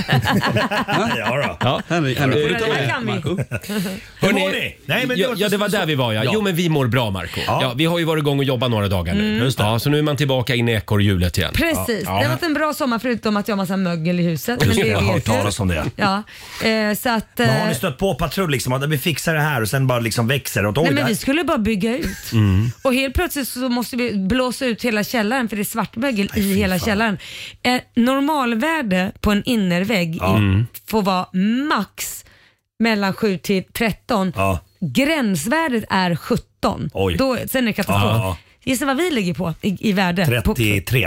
Speaker 10: Ja, då.
Speaker 1: Ja.
Speaker 11: Henne, henne får du ta
Speaker 3: Det här
Speaker 11: med,
Speaker 3: kan vi.
Speaker 11: Marco.
Speaker 10: Hur
Speaker 1: Hörrni,
Speaker 10: mår ni? Nej, men
Speaker 1: ja,
Speaker 10: var-
Speaker 1: ja, det var där vi var ja.
Speaker 10: Ja.
Speaker 1: Jo, men vi mår bra Marco. Ja. vi har ju varit igång och jobbat några dagar nu.
Speaker 10: Mm.
Speaker 1: Ja, så nu är man tillbaka in i ekorrhjulet igen.
Speaker 3: precis. Det har varit en bra sommar förutom att jag har massa mögel i huset. Men det
Speaker 10: Jag har
Speaker 3: vet
Speaker 10: hört
Speaker 3: du.
Speaker 10: talas om det.
Speaker 3: Ja, eh, så att...
Speaker 10: Men
Speaker 3: eh,
Speaker 10: har ni stött på patrull liksom? Att vi fixar det här och sen bara liksom växer det? Oj, Mm.
Speaker 3: Nej,
Speaker 10: det
Speaker 3: men
Speaker 10: här-
Speaker 3: vi skulle bara bygga ut. Och helt plötsligt så måste vi blåsa ut hela källaren för det är svartmögel i hela källaren. Eh, normalvärde på en innervägg
Speaker 10: Mm.
Speaker 3: i, får vara max mellan 7 till 13.
Speaker 10: Ja.
Speaker 3: Gränsvärdet är 17.
Speaker 10: Oj.
Speaker 3: Då, sen är det katastrof.
Speaker 10: Ja.
Speaker 3: Gissa vad vi ligger på i, i värde? På
Speaker 10: 33.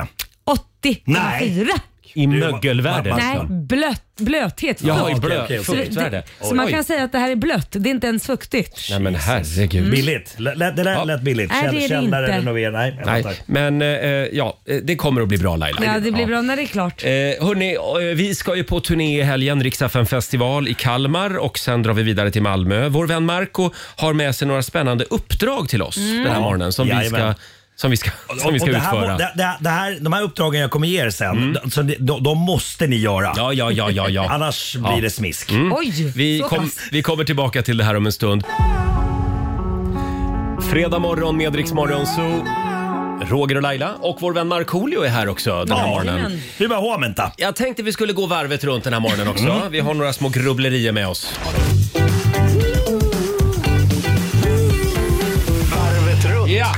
Speaker 3: 80,4.
Speaker 10: Nej.
Speaker 1: I mögelvärde?
Speaker 10: alltså.
Speaker 3: Nej, blöt, blöthet.
Speaker 1: Jaha,
Speaker 3: fukt.
Speaker 1: i blöt-
Speaker 3: Så det-
Speaker 1: fuktvärde.
Speaker 3: Så man
Speaker 1: Oj.
Speaker 3: kan säga att det här är blött, det är inte ens fuktigt.
Speaker 1: Nej men herregud.
Speaker 3: Mm.
Speaker 10: Billigt. Lät, lät, det lät, lät billigt.
Speaker 3: Nej, det är det
Speaker 10: Källare,
Speaker 3: inte.
Speaker 10: renovera. Nej, jag
Speaker 1: Nej,
Speaker 10: fattar.
Speaker 1: men eh, ja, eh, det kommer att bli bra Laila.
Speaker 3: Ja, det blir bra när det är klart.
Speaker 1: Eh, hörni, eh, vi ska ju på turné i helgen, Riksaffen festival i Kalmar och sen drar vi vidare till Malmö. Vår vän Marco har med sig några spännande uppdrag till oss
Speaker 10: Mm.
Speaker 1: den här
Speaker 10: Ja,
Speaker 1: morgonen som vi ska,
Speaker 10: jajamän.
Speaker 1: som vi ska, som vi
Speaker 10: Och
Speaker 1: ska
Speaker 10: det här,
Speaker 1: utföra.
Speaker 10: det, det, det här, de här uppdragen jag kommer ge er sen,
Speaker 3: Mm.
Speaker 10: så de, de, de måste ni göra.
Speaker 1: Ja, ja, ja, ja, ja.
Speaker 10: Annars
Speaker 1: Ja.
Speaker 10: blir det smisk.
Speaker 1: Mm.
Speaker 3: Oj,
Speaker 1: vi,
Speaker 3: så
Speaker 1: kom,
Speaker 3: pass.
Speaker 1: vi kommer tillbaka till det här om en stund. Fredag morgon med Rix Morgon Zoo. Roger och Laila och vår vän Markoolio är här också den här morgonen.
Speaker 10: Vi bara har vänta.
Speaker 1: Jag tänkte vi skulle gå varvet runt den här morgonen också.
Speaker 10: Mm.
Speaker 1: Vi har några små grubblerier med oss. Ja.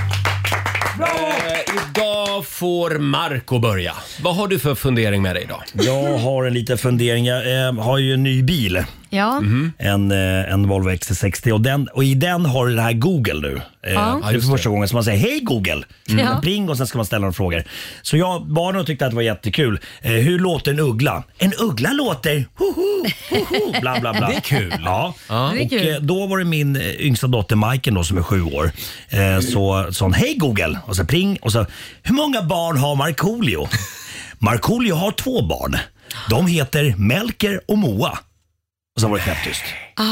Speaker 1: Eh, idag får Marco börja. Vad har du för fundering med dig idag?
Speaker 10: Jag har en liten fundering. Jag eh, har ju en ny bil.
Speaker 3: Ja.
Speaker 1: Mm.
Speaker 10: En, eh, en Volvo XC60 och, den, och i den har det här Google nu. Eh,
Speaker 3: Ja.
Speaker 10: Det är för första gången som man säger hej Google.
Speaker 3: Mm.
Speaker 10: Man Pling och sen ska man ställa några frågor. Så jag barnen och tyckte att det var jättekul. Eh, hur låter en uggla? En uggla låter hoho, hoho, bla bla bla.
Speaker 1: Det är kul.
Speaker 10: Ja.
Speaker 1: Ja.
Speaker 3: Det är
Speaker 10: Och
Speaker 3: kul.
Speaker 10: eh, då var det min eh, yngsta dotter Majken då som är sju år. Eh, så sa hon hej Google och så pling och så hur många barn har Markoolio? Markoolio har två barn. De heter Melker och Moa. Och så var det knäpptyst.
Speaker 3: Ah.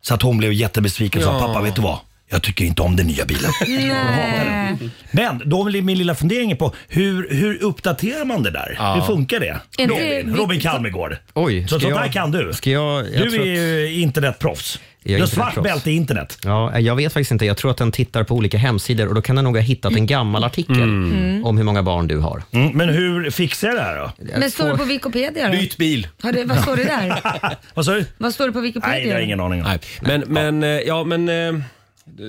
Speaker 10: Så att hon blev jättebesviken och sa
Speaker 1: Ja.
Speaker 10: pappa vet du vad? Jag tycker inte om den nya bilen.
Speaker 3: Nej.
Speaker 10: Men då blir min lilla fundering på hur, hur uppdaterar man det där?
Speaker 8: Ja.
Speaker 10: Hur funkar det?
Speaker 3: Är inte det
Speaker 10: Robin,
Speaker 3: vi-
Speaker 10: Robin Kalmegård.
Speaker 8: Oj,
Speaker 10: Så
Speaker 8: ska
Speaker 10: sånt där
Speaker 8: jag-
Speaker 10: kan du.
Speaker 8: Ska jag, jag
Speaker 10: du
Speaker 8: tror
Speaker 10: är
Speaker 8: att-
Speaker 10: ju internetproffs.
Speaker 8: Jag är
Speaker 10: Du har
Speaker 8: internetproffs.
Speaker 10: svart bälte i internet.
Speaker 8: Ja, jag vet faktiskt inte. Jag tror att den tittar på olika hemsidor och då kan den nog ha hittat en gammal artikel
Speaker 3: Mm.
Speaker 8: om hur många barn du har.
Speaker 10: Mm, men hur fixar jag det här då?
Speaker 3: Men står det på Wikipedia då?
Speaker 1: Byt bil.
Speaker 3: Har det, vad står det där?
Speaker 10: Vad sa du?
Speaker 3: Vad står det på Wikipedia?
Speaker 10: Nej, jag har ingen aning. om.
Speaker 1: Nej. Men, men, eh, ja, men eh,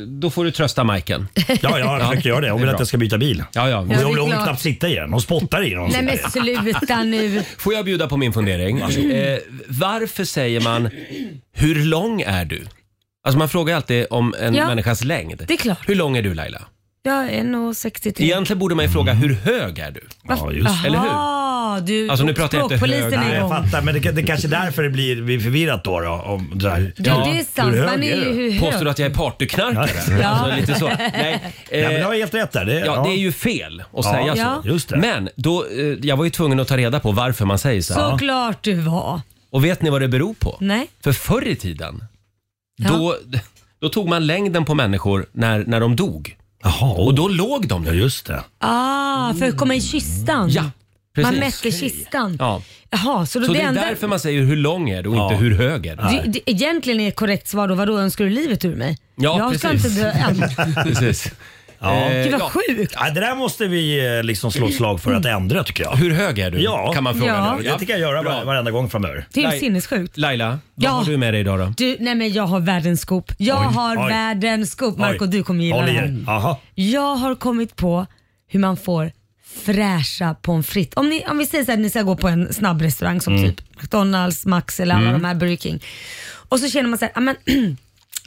Speaker 1: då får du trösta Majken.
Speaker 10: Ja, jag försöker göra det. Hon
Speaker 1: det är
Speaker 10: vill
Speaker 1: bra.
Speaker 10: att jag ska byta bil.
Speaker 1: Ja, ja.
Speaker 3: Ja. det är
Speaker 10: Hon vill hon
Speaker 3: klart.
Speaker 10: knappt sitta i den. Hon spottar i den. Hon
Speaker 3: Nej
Speaker 10: sitter i
Speaker 3: men
Speaker 10: den.
Speaker 3: sluta nu.
Speaker 1: Får jag bjuda på min fundering? Eh, varför säger man “Hur lång är du?” Alltså man frågar alltid om en
Speaker 3: Ja,
Speaker 1: människas längd.
Speaker 3: det är klart.
Speaker 1: Hur lång är du Laila?
Speaker 3: Jag är nog 63.
Speaker 1: Egentligen borde man ju fråga “Hur hög är du?”
Speaker 10: Ja, just det.
Speaker 1: Eller hur?
Speaker 3: Jaha, du
Speaker 1: Alltså, nu pratar jag inte
Speaker 3: språkpolisen
Speaker 1: hög-
Speaker 10: Nej,
Speaker 3: är
Speaker 10: jag
Speaker 3: igång.
Speaker 10: fattar, men det, det kanske är därför det blir, blir förvirrat då. då om det här.
Speaker 3: Du, det är sant.
Speaker 10: Hur hög
Speaker 3: Man är ju hur hög.
Speaker 1: Påstår du att jag är partyknarkare?
Speaker 3: Ja.
Speaker 1: Alltså, lite så. Nej, eh,
Speaker 10: Nej, men du har helt rätt där. Det,
Speaker 1: Ja, det är ju fel att
Speaker 10: Ja,
Speaker 1: säga
Speaker 3: ja.
Speaker 1: så.
Speaker 10: Just det.
Speaker 1: Men då, eh, jag var ju tvungen att ta reda på varför man säger så.
Speaker 3: Såklart du var.
Speaker 1: Och vet ni vad det beror på?
Speaker 3: Nej.
Speaker 1: För förr i tiden,
Speaker 3: Ja.
Speaker 1: då, då tog man längden på människor när, när de dog.
Speaker 10: Jaha,
Speaker 1: Och då låg de
Speaker 10: Ja,
Speaker 1: nu.
Speaker 10: just det.
Speaker 3: Ah, för att komma i kistan.
Speaker 1: Ja, precis.
Speaker 3: Man mätte kistan.
Speaker 1: Ja.
Speaker 3: Jaha, så, då
Speaker 1: Så det är
Speaker 3: enda...
Speaker 1: därför man säger hur lång är du och inte
Speaker 10: Ja.
Speaker 1: hur hög är du.
Speaker 3: Det, det, egentligen är korrekt svar då, vadå önskar du livet ur mig?
Speaker 1: Ja,
Speaker 3: jag ska
Speaker 1: precis.
Speaker 3: inte dö än.
Speaker 1: Precis.
Speaker 10: Ja.
Speaker 1: Eh,
Speaker 3: Gud vad
Speaker 1: ja.
Speaker 3: sjukt.
Speaker 10: Ja, det där måste vi eh, liksom slå ett slag för att ändra tycker jag.
Speaker 1: Hur hög är du?
Speaker 10: Ja.
Speaker 1: Kan man fråga
Speaker 3: Ja.
Speaker 1: nu.
Speaker 10: Det tänker jag göra
Speaker 1: Bra.
Speaker 10: var, varenda gång framöver.
Speaker 3: Det är
Speaker 1: Nej.
Speaker 3: sinnessjukt.
Speaker 1: Laila, vad
Speaker 3: Ja.
Speaker 1: har du med dig idag då?
Speaker 3: Du, nej men jag har världens scoop. Jag
Speaker 10: Oj,
Speaker 3: har
Speaker 10: oj.
Speaker 3: världens scoop. Marco
Speaker 10: Oj.
Speaker 3: du kommer gilla
Speaker 10: Håll
Speaker 3: det
Speaker 10: i
Speaker 3: här.
Speaker 10: er. Jaha.
Speaker 3: Jag har kommit på hur man får fräscha pommes frites. Om, ni, om vi säger så här, ni ska gå på en snabbrestaurang som typ McDonalds, Max eller alla de här Burger King. Och så känner man så här, "Ah, men,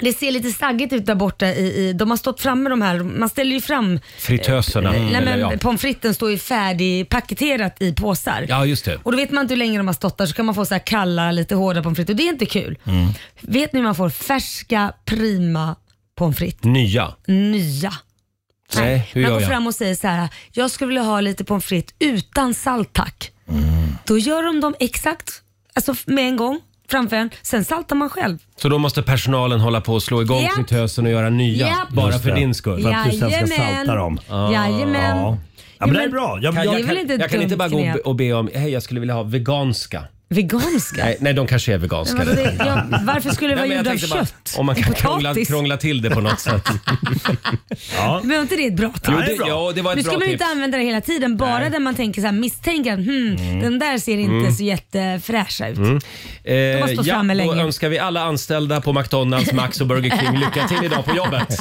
Speaker 3: det ser lite staggigt ut där borta. I, i, de har stått framme de här, man ställer ju fram eh,
Speaker 1: Fritöserna.
Speaker 3: Mm. Nej,
Speaker 1: eller
Speaker 3: men
Speaker 1: ja.
Speaker 3: pommes fritesen står ju färdigpaketerat i påsar.
Speaker 1: ja, just det.
Speaker 3: Och då vet man inte hur länge de har stått där så kan man få så här kalla, lite hårda pommes frites och det är inte kul.
Speaker 1: Mm.
Speaker 3: Vet ni hur man får färska, prima pommes frites?
Speaker 1: Nya.
Speaker 3: Nya.
Speaker 1: Nej, hur
Speaker 3: man
Speaker 1: gör
Speaker 3: går
Speaker 1: jag?
Speaker 3: fram och säger så här, jag skulle vilja ha lite pommes frites utan salt tack.
Speaker 1: Mm.
Speaker 3: Då gör de dem exakt, alltså med en gång framför en, sen saltar man själv.
Speaker 1: Så då måste personalen hålla på och slå igång
Speaker 3: Japp.
Speaker 1: fritösen och göra nya
Speaker 3: Japp.
Speaker 1: bara
Speaker 10: Just
Speaker 1: för
Speaker 10: det.
Speaker 1: din skull.
Speaker 10: För att du sen ska salta dem.
Speaker 3: Ah. Jajamän.
Speaker 10: Ja. Ja, men det är bra. Jag,
Speaker 3: Mm. Kan
Speaker 10: jag,
Speaker 3: det är väl inte ett
Speaker 1: jag kan inte
Speaker 3: dumt
Speaker 1: bara gå och be,
Speaker 3: knep.
Speaker 1: och be om, hej jag skulle vilja ha veganska.
Speaker 3: Veganska?
Speaker 1: Nej, nej de kanske är
Speaker 3: Men
Speaker 1: veganska.
Speaker 3: vadå, det, ja, varför skulle det
Speaker 1: Nej,
Speaker 3: vara
Speaker 1: men jag
Speaker 3: gjord av
Speaker 1: tänkte bara,
Speaker 3: kött?
Speaker 1: Om man kan
Speaker 3: Potatis?
Speaker 1: krångla, krångla till det på något sätt.
Speaker 10: ja.
Speaker 3: Men var inte det ett bra tips?
Speaker 1: Jo,
Speaker 10: det är bra.
Speaker 1: ja, det var ett
Speaker 3: Nu
Speaker 1: bra
Speaker 3: ska man ju
Speaker 1: tips.
Speaker 3: inte använda det hela tiden, bara där man tänker så här, misstänker att hmm,
Speaker 1: Mm.
Speaker 3: den där ser inte så jättefräscha ut.
Speaker 1: Eh,
Speaker 3: måste stå
Speaker 1: ja,
Speaker 3: framme
Speaker 1: då
Speaker 3: länge.
Speaker 1: önskar vi alla anställda på McDonalds, Max och Burger King lycka till idag på jobbet.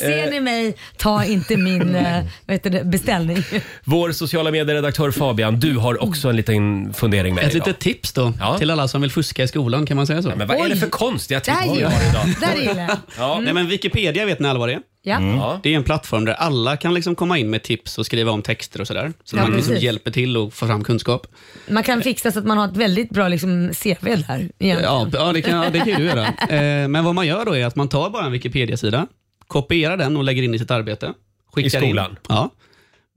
Speaker 3: Ser ni mig, ta inte min eh, vad heter det, beställning.
Speaker 1: Vår sociala medieredaktör Fabian, du har också en liten fundering med
Speaker 11: Ett
Speaker 1: dig idag.
Speaker 11: litet tips då
Speaker 1: Ja.
Speaker 11: till alla som vill fuska i skolan, kan man säga så?
Speaker 1: Men vad är det
Speaker 3: Oj.
Speaker 1: för konstiga tips
Speaker 3: Där
Speaker 1: vi
Speaker 3: gillar
Speaker 1: har idag?
Speaker 3: jag. Där gillar jag.
Speaker 11: Nej men Wikipedia vet ni alla vad det är?
Speaker 3: Ja. Mm.
Speaker 11: Det är en plattform där alla kan liksom komma in med tips och skriva om texter och sådär. Så
Speaker 3: Ja,
Speaker 11: man liksom
Speaker 3: precis.
Speaker 11: hjälper till och får fram kunskap.
Speaker 3: Man kan fixa så att man har ett väldigt bra liksom, CV där. egentligen.
Speaker 11: Ja, ja, det kan, ja, det kan ju du göra. Eh, Men vad man gör då är att man tar bara en Wikipedia-sida, kopierar den och lägger in i sitt arbete. Skickar
Speaker 1: I skolan?
Speaker 11: In. Ja.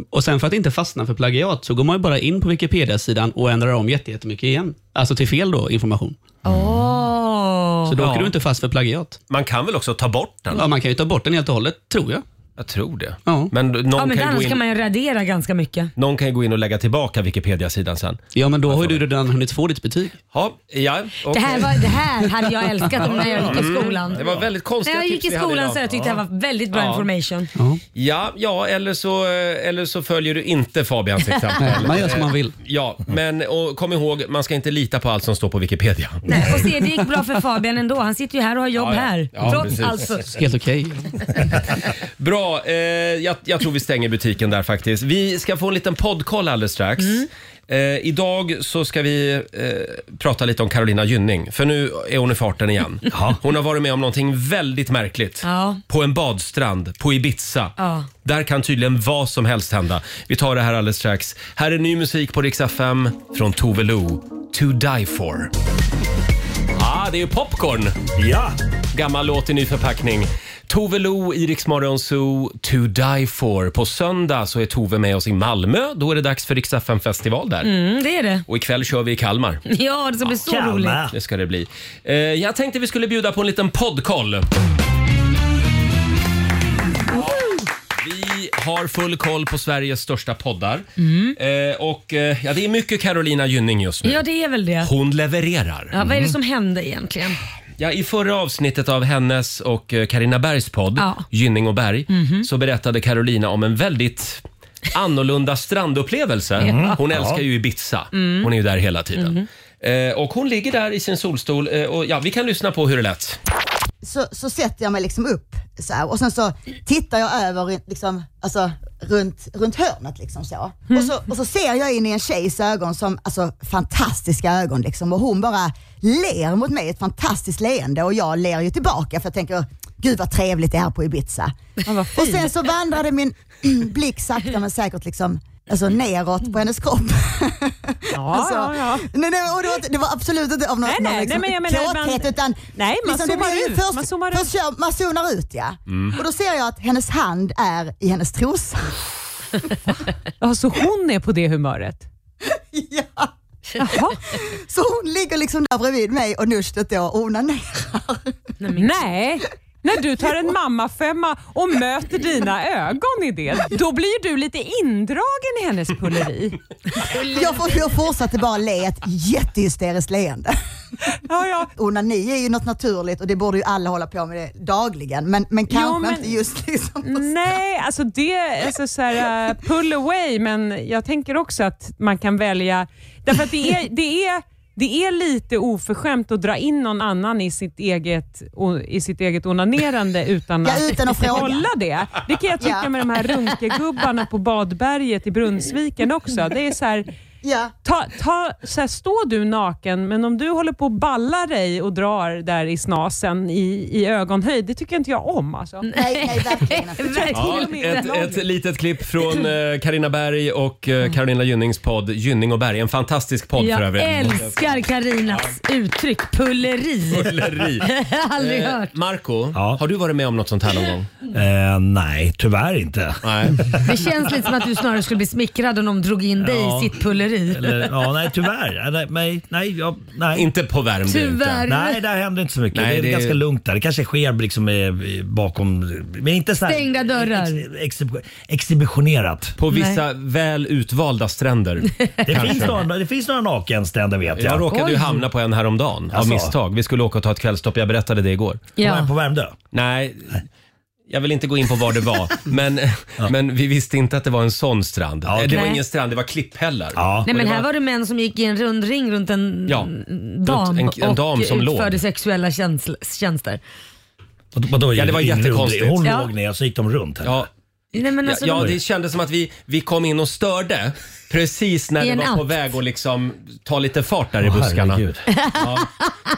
Speaker 11: Och sen för att inte fastna för plagiat så går man ju bara in på Wikipedia-sidan och ändrar om jätte- jättemycket igen. Alltså till fel då information.
Speaker 3: Åh.
Speaker 11: Så då åker
Speaker 1: Ja.
Speaker 11: du inte fast för plagiat.
Speaker 1: Man kan väl också ta bort den?
Speaker 11: Ja, man kan ju ta bort den helt och hållet, tror jag.
Speaker 1: Jag tror det.
Speaker 11: Ja,
Speaker 1: Men någon,
Speaker 3: Ja, men
Speaker 1: kan ju gå
Speaker 3: annars
Speaker 1: in,
Speaker 3: kan man ju radera ganska mycket.
Speaker 1: någon kan ju gå in och lägga tillbaka Wikipedia-sidan sen.
Speaker 11: ja men då har ju du redan hunnit få ditt betyg.
Speaker 1: Ja, ja
Speaker 3: Det,
Speaker 1: okej.
Speaker 3: här var, det här hade jag älskat om när jag gick i skolan.
Speaker 1: Mm, det var väldigt
Speaker 3: när
Speaker 1: konstiga
Speaker 3: jag gick i
Speaker 1: tips vi hade
Speaker 3: skolan
Speaker 1: idag.
Speaker 3: så jag tyckte
Speaker 1: ja.
Speaker 3: det här var väldigt bra
Speaker 1: Ja.
Speaker 3: information.
Speaker 1: Ja, ja eller, så, eh, eller så följer du inte Fabians exempel.
Speaker 11: Man gör som man vill.
Speaker 1: Ja, men och kom ihåg, man ska inte lita på allt som står på Wikipedia.
Speaker 3: Nej, och se, det gick bra för Fabian ändå. Han sitter ju här och har jobb
Speaker 1: Ja, ja.
Speaker 3: här.
Speaker 1: Ja,
Speaker 3: Trots
Speaker 1: precis.
Speaker 3: allt fusk.
Speaker 11: Helt okej.
Speaker 1: Bra, eh, jag, jag tror vi stänger butiken där faktiskt. Vi ska få en liten poddkoll alldeles strax.
Speaker 3: Mm.
Speaker 1: Eh, idag så ska vi eh, prata lite om Carolina Gynning, för nu är hon i farten igen. Hon har varit med om någonting väldigt märkligt.
Speaker 3: Ja.
Speaker 1: På en badstrand på Ibiza.
Speaker 3: Ja.
Speaker 1: Där kan tydligen vad som helst hända. Vi tar det här alldeles strax. Här är ny musik på Rix FM från Tove Lo. To die for. Ah, det är ju popcorn!
Speaker 2: Ja,
Speaker 1: Gammal låt i ny förpackning. Tove Lo, Iriks Zoo, To Die For. På söndag så är Tove med oss i Malmö. Då är det dags för Rix FM festival där.
Speaker 3: Mm, det är det.
Speaker 1: Och ikväll kör vi i Kalmar.
Speaker 3: Ja, det ska bli så roligt.
Speaker 2: Kalmar.
Speaker 1: Det ska det bli. Eh, jag tänkte vi skulle bjuda på en liten poddkoll. Vi har full koll på Sveriges största poddar. Eh, och eh, ja, det är mycket Carolina Gynning just nu.
Speaker 3: Mm. Ja, det är väl det.
Speaker 1: Hon levererar.
Speaker 3: Ja, vad är det som hände egentligen?
Speaker 1: Ja, I förra avsnittet av hennes och eh, Carina Bergs podd,
Speaker 3: Ja.
Speaker 1: Gynning och Berg, så berättade Carolina om en väldigt annorlunda strandupplevelse. Mm. Hon älskar ju Ibiza. Hon är ju där hela tiden. Eh, och hon ligger där i sin solstol eh, och ja, vi kan lyssna på hur det lät.
Speaker 12: så, så sätter jag mig liksom upp så här, och sen så tittar jag över liksom, alltså, runt, runt hörnet liksom så. Och, så. och så ser jag in i en tjejs ögon som, alltså fantastiska ögon liksom och hon bara ler mot mig ett fantastiskt leende och jag ler ju tillbaka för jag tänker gud vad trevligt det är på Ibiza. och sen så vandrade min mm, blick sakta men säkert liksom Alltså neråt på hennes kropp. Ja, alltså,
Speaker 13: ja, ja.
Speaker 12: Nej, nej, och det, var, det var absolut inte av någon,
Speaker 13: Nej, nej,
Speaker 12: någon liksom,
Speaker 13: nej, men jag menar, man-
Speaker 12: kåthet utan liksom
Speaker 13: Nej, man
Speaker 12: det
Speaker 13: zoomar
Speaker 12: blir ju
Speaker 13: ut, Mm.
Speaker 12: Först,
Speaker 13: man zoomar
Speaker 12: först Kör, man zonar ut ja. Och då ser jag att hennes hand är i hennes trosa.
Speaker 13: Ja, så hon är på det humöret?
Speaker 12: ja.
Speaker 13: Jaha.
Speaker 12: Så hon ligger liksom där bredvid mig och nuschet då och onanerar.
Speaker 13: Nej. När du tar en mammafemma och möter dina ögon i det, då blir du lite indragen i hennes pulleri.
Speaker 12: Jag, får, jag fortsatte bara le ett jättehysteriskt leende.
Speaker 13: Ja, ja.
Speaker 12: Onani är ju något naturligt och det borde ju alla hålla på med det dagligen men, men kanske
Speaker 13: men-
Speaker 12: inte just liksom.
Speaker 13: Nej, alltså det alltså så här, uh, pull away, men jag tänker också att man kan välja... Därför att det är, det är, det är lite oförskämt att dra in någon annan i sitt eget, o- i sitt eget onanerande utan
Speaker 12: Ja, utan att fråga.
Speaker 13: kolla det. Det kan jag tycka
Speaker 12: Ja.
Speaker 13: med de här runkegubbarna på Badberget i Brunnsviken också. Det är så här,
Speaker 12: Ja.
Speaker 13: Ta, ta, så här, står du naken, men om du håller på och ballar dig och drar där i snasen i, i ögonhöjd, det tycker inte jag om. Alltså.
Speaker 12: Nej, nej verkligen inte.
Speaker 1: Ja,
Speaker 13: Till och med den
Speaker 1: ett, ett litet klipp från eh, Carina Berg och eh, Carolina Gynnings podd Gynning och Berg. En fantastisk podd för
Speaker 3: Jag
Speaker 1: övrigt.
Speaker 3: älskar Karinas uttryck pulleri.
Speaker 1: Pulleri.
Speaker 3: Jag har aldrig hört.
Speaker 1: Eh, Marco,
Speaker 2: Ja.
Speaker 1: har du varit med om något sånt här någon gång?
Speaker 2: eh, nej tyvärr inte.
Speaker 1: Nej.
Speaker 3: Det känns lite som att du snarare skulle bli smickrad om de drog in dig
Speaker 2: Ja.
Speaker 3: i sitt pulleri.
Speaker 2: Eller, ja, nej tyvärr. Ja, Nej, nej, nej, jag, nej.
Speaker 1: Inte på Värmdö inte.
Speaker 3: Tyvärr.
Speaker 2: Nej, där händer inte så mycket.
Speaker 1: Nej,
Speaker 2: det är
Speaker 1: det är-
Speaker 2: ganska lugnt där. Det kanske sker liksom eh, bakom... Men inte så här,
Speaker 3: Stängda dörrar.
Speaker 2: Ex, ex, exhibitionerat.
Speaker 1: På vissa väl utvalda stränder.
Speaker 2: Det
Speaker 1: Kanske.
Speaker 2: finns, några, det finns några nakenständer vet jag.
Speaker 1: Jag råkade ju
Speaker 3: Oj.
Speaker 1: hamna på en häromdagen av
Speaker 2: Alltså.
Speaker 1: misstag. Vi skulle åka och ta ett kvällstopp, jag berättade det igår.
Speaker 2: På-
Speaker 3: Ja.
Speaker 2: På Värmdö?
Speaker 1: Nej, jag vill inte gå in på var det var. men, men vi visste inte att det var en sån strand.
Speaker 2: okej.
Speaker 1: Det var
Speaker 3: Nej.
Speaker 1: ingen strand, det var klipphällar.
Speaker 2: Ja.
Speaker 3: Nej men
Speaker 1: det
Speaker 3: här
Speaker 1: var-
Speaker 3: var det män som gick i en rund ring runt en
Speaker 1: Ja,
Speaker 3: dam
Speaker 1: runt en- en dam
Speaker 3: och
Speaker 1: som låg.
Speaker 3: utförde sexuella tjänst- tjänster.
Speaker 2: Vad- vadå,
Speaker 1: Ja, det var
Speaker 2: ingen rund-
Speaker 1: jättekonstigt.
Speaker 2: Hon
Speaker 3: Ja.
Speaker 2: låg ner och så gick de runt. Här.
Speaker 1: Ja,
Speaker 3: Nej, men
Speaker 1: ja,
Speaker 3: alltså,
Speaker 1: ja,
Speaker 3: de-
Speaker 1: det kändes som att vi, vi kom in och störde. precis när
Speaker 3: I
Speaker 1: det
Speaker 3: en
Speaker 1: var på
Speaker 3: out.
Speaker 1: väg att liksom ta lite fart där i
Speaker 10: Åh,
Speaker 1: buskarna.
Speaker 10: herregud.
Speaker 1: Ja,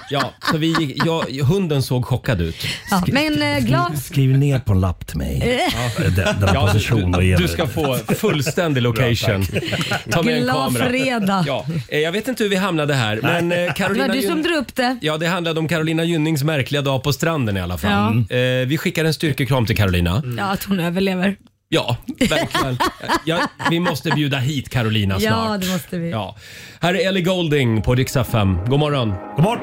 Speaker 1: ja, så vi gick, jag, hunden såg chockad ut.
Speaker 3: Ja, men eh, glad...
Speaker 10: Skriv ner på en lapp till mig.
Speaker 1: Ja.
Speaker 10: Den, den här
Speaker 1: Ja,
Speaker 10: positionen och
Speaker 1: du,
Speaker 10: ge
Speaker 1: du
Speaker 10: mig.
Speaker 1: ska få fullständig location.
Speaker 10: Bra, tack.
Speaker 1: Ta med en
Speaker 3: Glad
Speaker 1: kamera.
Speaker 3: fredag.
Speaker 1: Ja, eh, jag vet inte hur vi hamnade här, men eh,
Speaker 3: Det
Speaker 1: Carolina
Speaker 3: var du
Speaker 1: Gyn-
Speaker 3: som drog upp det.
Speaker 1: Ja, det handlade om Carolina Gynnings märkliga dag på stranden i alla fall.
Speaker 10: Mm.
Speaker 1: Eh, vi skickar en styrkekram till Carolina.
Speaker 3: Ja, att hon överlever.
Speaker 1: Ja, verkligen. ja, vi måste bjuda hit Carolina snart.
Speaker 3: Ja, det måste vi.
Speaker 1: Ja. Här är Ellie Golding på riksdag 5. God morgon. God morgon.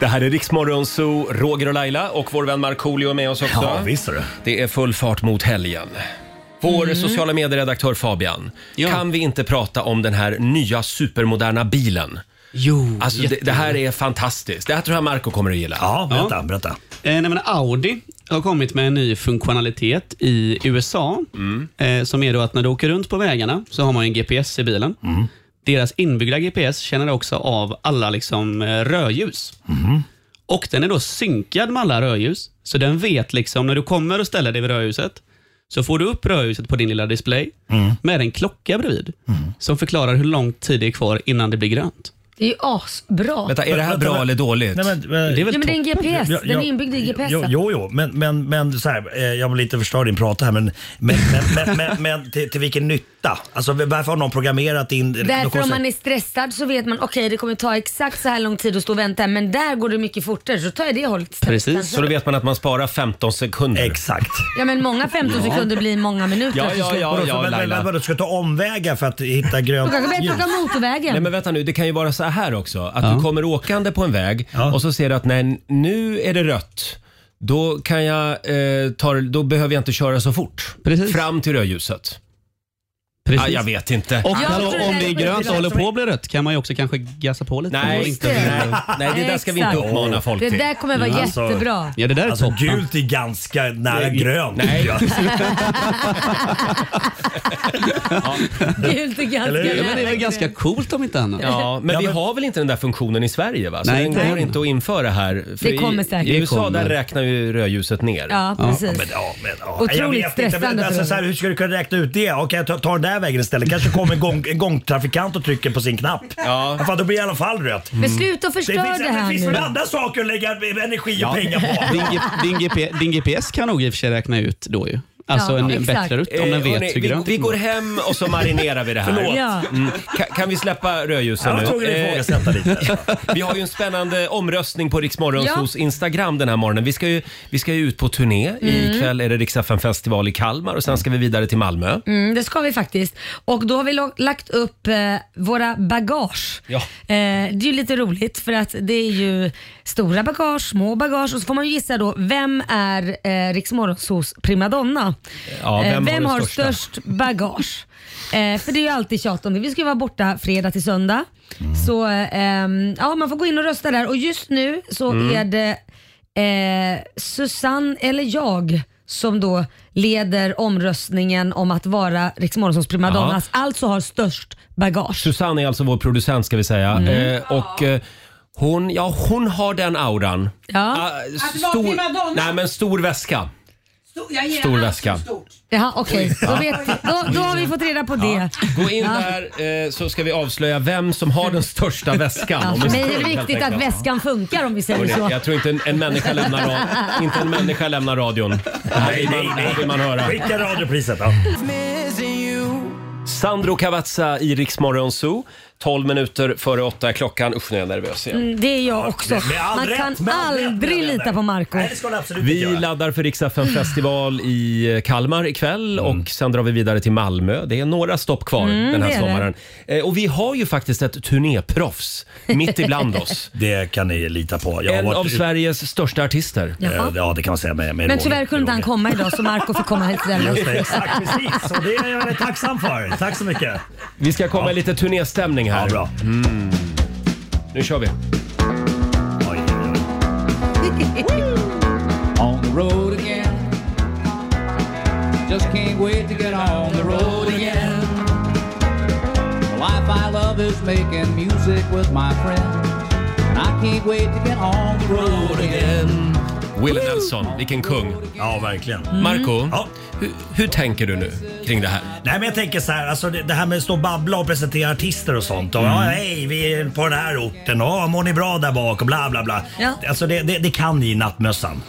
Speaker 1: Det här är Riksmorgon Zoo, Roger och Laila och vår vän Markoolio är med oss också.
Speaker 10: Ja, visst
Speaker 1: är det. Det är full fart mot helgen. Vår sociala medieredaktör Fabian, kan vi inte prata om den här nya supermoderna bilen?
Speaker 11: Jo,
Speaker 1: Alltså det, det här är fantastiskt. Det här tror jag Marco kommer att gilla. Ja,
Speaker 11: berätta,
Speaker 1: berätta.
Speaker 11: Eh, nej, men Audi har kommit med en ny funktionalitet i USA
Speaker 1: Mm.
Speaker 11: eh, som är då att när du åker runt på vägarna så har man ju en GPS i bilen.
Speaker 1: Mm.
Speaker 11: Deras inbyggda GPS känner också av alla liksom, eh, rödljus.
Speaker 1: Mm.
Speaker 11: Och den är då synkad med alla rödljus. Så den vet liksom när du kommer och ställer dig vid rödljuset så får du upp rödljuset på din lilla display
Speaker 1: Mm.
Speaker 11: med en klocka bredvid som förklarar hur lång tid det är kvar innan det blir grönt.
Speaker 3: Det är ju asbra.
Speaker 11: dåligt?
Speaker 10: Nej, men, men,
Speaker 1: eh,
Speaker 11: Det är
Speaker 3: Ja, men det är en GPS.
Speaker 10: Ja,
Speaker 3: Den är
Speaker 10: ja,
Speaker 3: inbyggd i GPS.
Speaker 10: Jo, jo, jo. Men, men, men så här, eh, jag vill inte förstöra din prata här, men, men, men, men, men, men till, till vilken nytta? Alltså, varför har någon programmerat in...
Speaker 3: Därför om man är stressad så vet man okej det kommer ta exakt så här lång tid att stå och vänta men där går det mycket fortare så tar jag det hållet istället.
Speaker 1: Så då vet man att man sparar 15 sekunder. Exakt.
Speaker 3: Ja men många 15
Speaker 1: Ja.
Speaker 3: sekunder blir många minuter.
Speaker 1: Ja, ja, ja,
Speaker 10: Vadå,
Speaker 1: ja,
Speaker 10: men- men-
Speaker 1: Laila.
Speaker 10: men vadå, ska du ta omvägar för att hitta
Speaker 3: Du
Speaker 10: grönt
Speaker 3: kanske börjar plocka
Speaker 1: Nej
Speaker 3: motorvägen.
Speaker 1: men vänta nu, det kan ju vara så här också. Att du kommer åkande på en väg och så ser du att nej, nu är det rött. Då, kan jag, eh, ta, då behöver jag inte köra så fort. Fram till rödljuset.
Speaker 11: Precis.
Speaker 1: Ah, jag vet inte.
Speaker 11: Och hallå, om det är grönt och håller på att bli rött kan man ju också kanske gassa på lite.
Speaker 1: Nej,
Speaker 11: Om man inte
Speaker 1: just det.
Speaker 11: vill-
Speaker 1: Nej, nej, det där ska vi inte
Speaker 11: Exakt.
Speaker 1: uppmana folk
Speaker 3: Det
Speaker 1: till.
Speaker 3: där kommer vara
Speaker 11: Mm.
Speaker 3: jättebra.
Speaker 11: Ja, det där är
Speaker 10: Alltså,
Speaker 11: toppen.
Speaker 10: gult är ganska nära
Speaker 11: Nej.
Speaker 10: grönt.
Speaker 11: Nej.
Speaker 10: Ja.
Speaker 3: Gult är ganska
Speaker 11: Eller hur? Ja, men det är
Speaker 3: nära
Speaker 11: väl ganska
Speaker 3: grönt.
Speaker 11: coolt om inte annat.
Speaker 1: Ja, men vi har väl inte den där funktionen i Sverige? Va? Så
Speaker 11: Nej,
Speaker 1: den
Speaker 11: inte
Speaker 1: går
Speaker 11: än.
Speaker 1: inte att införa här. För
Speaker 3: Det kommer säkert.
Speaker 1: I, i USA
Speaker 11: Det kommer.
Speaker 1: där räknar ju rödljuset ner.
Speaker 3: Ja, precis.
Speaker 10: Ja, men, ja, men, ja.
Speaker 3: Otroligt
Speaker 10: Jag vet inte, men
Speaker 3: stressande för
Speaker 10: Alltså, så här,
Speaker 3: dem.
Speaker 10: hur ska du kunna räkna ut det? Okej, ta, ta den där vägen istället. kanske kommer en, gång, en gångtrafikant och trycker på sin knapp. Ja. Fan, då blir det i alla fall rött.
Speaker 3: Men sluta och förstör det,
Speaker 10: finns,
Speaker 3: här
Speaker 10: Det finns
Speaker 3: nu.
Speaker 10: väl andra saker att lägga energi och
Speaker 11: Ja.
Speaker 10: pengar på?
Speaker 11: Din, G- din, GP, din GPS kan nog i och för sig räkna ut då ju. Alltså
Speaker 1: Ja,
Speaker 11: en
Speaker 1: exakt.
Speaker 11: bättre rutt om den
Speaker 1: Eh,
Speaker 11: vet
Speaker 1: hörni,
Speaker 11: hur
Speaker 1: vi-
Speaker 11: grönt
Speaker 1: vi går hem och så marinerar vi det här.
Speaker 11: Förlåt.
Speaker 3: Ja.
Speaker 1: Mm. Ka, kan vi släppa rödljusen
Speaker 10: Jag var
Speaker 1: nu?
Speaker 10: tvungen att
Speaker 1: Eh,
Speaker 10: ifrågasätta lite.
Speaker 1: vi har ju en spännande omröstning på Riksmorgons
Speaker 3: Ja.
Speaker 1: hos Instagram den här morgonen. Vi ska ju, vi ska ju ut på turné.
Speaker 3: Mm.
Speaker 1: Ikväll är det Riksdagen festival i Kalmar och sen ska vi vidare till Malmö.
Speaker 3: Mm, det ska vi faktiskt. Och då har vi lo- lagt upp eh, våra bagage.
Speaker 1: Ja.
Speaker 3: Eh, det är ju lite roligt för att det är ju stora bagage, små bagage och så får man ju gissa då vem är eh, Riksmorgonsos primadonna? Eh,
Speaker 1: Ja, vem har
Speaker 3: vem
Speaker 1: det
Speaker 3: har
Speaker 1: största?
Speaker 3: störst bagage? Eh, för det är ju alltid tjat om det. Vi ska ju vara borta fredag till söndag.
Speaker 1: Mm.
Speaker 3: Så eh, ehm, ja, man får gå in och rösta där och just nu så
Speaker 14: Mm.
Speaker 3: är det eh, Susanne eller jag som då leder omröstningen om att vara Rix Morgonzons primadonnas, alltså har störst bagage.
Speaker 1: Susanne är alltså vår producent ska vi säga.
Speaker 3: Mm.
Speaker 1: Eh, och eh, hon, ja, hon har den auran. Ah,
Speaker 3: Ja.
Speaker 6: Att vara primadonna?
Speaker 1: nej, men stor väska.
Speaker 6: Stor, jag gillar
Speaker 1: Stor
Speaker 6: allt
Speaker 1: väska.
Speaker 6: som stort.
Speaker 3: Jaha, okej.
Speaker 1: Ja.
Speaker 3: Då, vet- då, då har vi fått reda på det.
Speaker 1: Gå in
Speaker 3: Ja.
Speaker 1: där eh, så ska vi avslöja vem som har den största väskan.
Speaker 3: Ja,
Speaker 1: om
Speaker 3: för
Speaker 1: en
Speaker 3: mig är
Speaker 1: stund,
Speaker 3: det
Speaker 1: helt
Speaker 3: viktigt att
Speaker 1: enkelt.
Speaker 3: väskan funkar om vi säger
Speaker 1: Hörrni,
Speaker 3: så.
Speaker 1: jag tror inte en, en människa lämnar ra- inte en människa lämnar radion. Det här vill man, det här vill man höra.
Speaker 10: Skicka radiopriset då.
Speaker 1: Sandro Cavazza i Rix Morgon Zoo. 12 minuter före åtta är klockan. Usch, nu är jag nervös igen.
Speaker 3: Mm, det är jag också.
Speaker 1: med all
Speaker 3: Man
Speaker 1: rätt,
Speaker 3: kan
Speaker 1: med all rätt,
Speaker 3: aldrig lita på Marco
Speaker 1: Vi laddar för Rix FM festival i Kalmar ikväll och sen drar vi vidare till Malmö. Det är några stopp kvar
Speaker 3: Mm,
Speaker 1: den här
Speaker 3: det är det.
Speaker 1: sommaren. Eh, Och vi har ju faktiskt ett turnéproffs mitt ibland oss.
Speaker 10: Det kan ni lita på. Jag har
Speaker 1: en
Speaker 10: varit
Speaker 1: av
Speaker 10: ut-
Speaker 1: Sveriges största artister.
Speaker 3: Jaha. Eh,
Speaker 10: Ja, det kan man säga med, med
Speaker 3: Men
Speaker 10: Roger.
Speaker 3: tyvärr kunde inte han komma idag så Marco får komma hit
Speaker 10: Just det,
Speaker 3: istället.
Speaker 10: exakt precis. Och det är jag väldigt tacksam för. Tack så mycket.
Speaker 1: Vi ska komma i lite turnéstämning här. bra. Mm. Nu kör vi.
Speaker 15: on the road again. Just can't wait to get on the road again. The life I love is making music with my friends. And I can't wait to get on the road again.
Speaker 1: Will Nelson, vilken kung.
Speaker 10: Ja, verkligen.
Speaker 1: Mm. Marco, hur, hur tänker du nu kring det här?
Speaker 10: Nej men jag tänker så här, alltså det, det här med att stå och babbla och presentera artister och sånt. Och,
Speaker 1: Mm.
Speaker 10: ja, hej, vi är på den här orten. Ja, mår ni bra där bak? Och bla bla bla.
Speaker 3: Ja.
Speaker 10: Alltså det, det, det kan i nattmössan.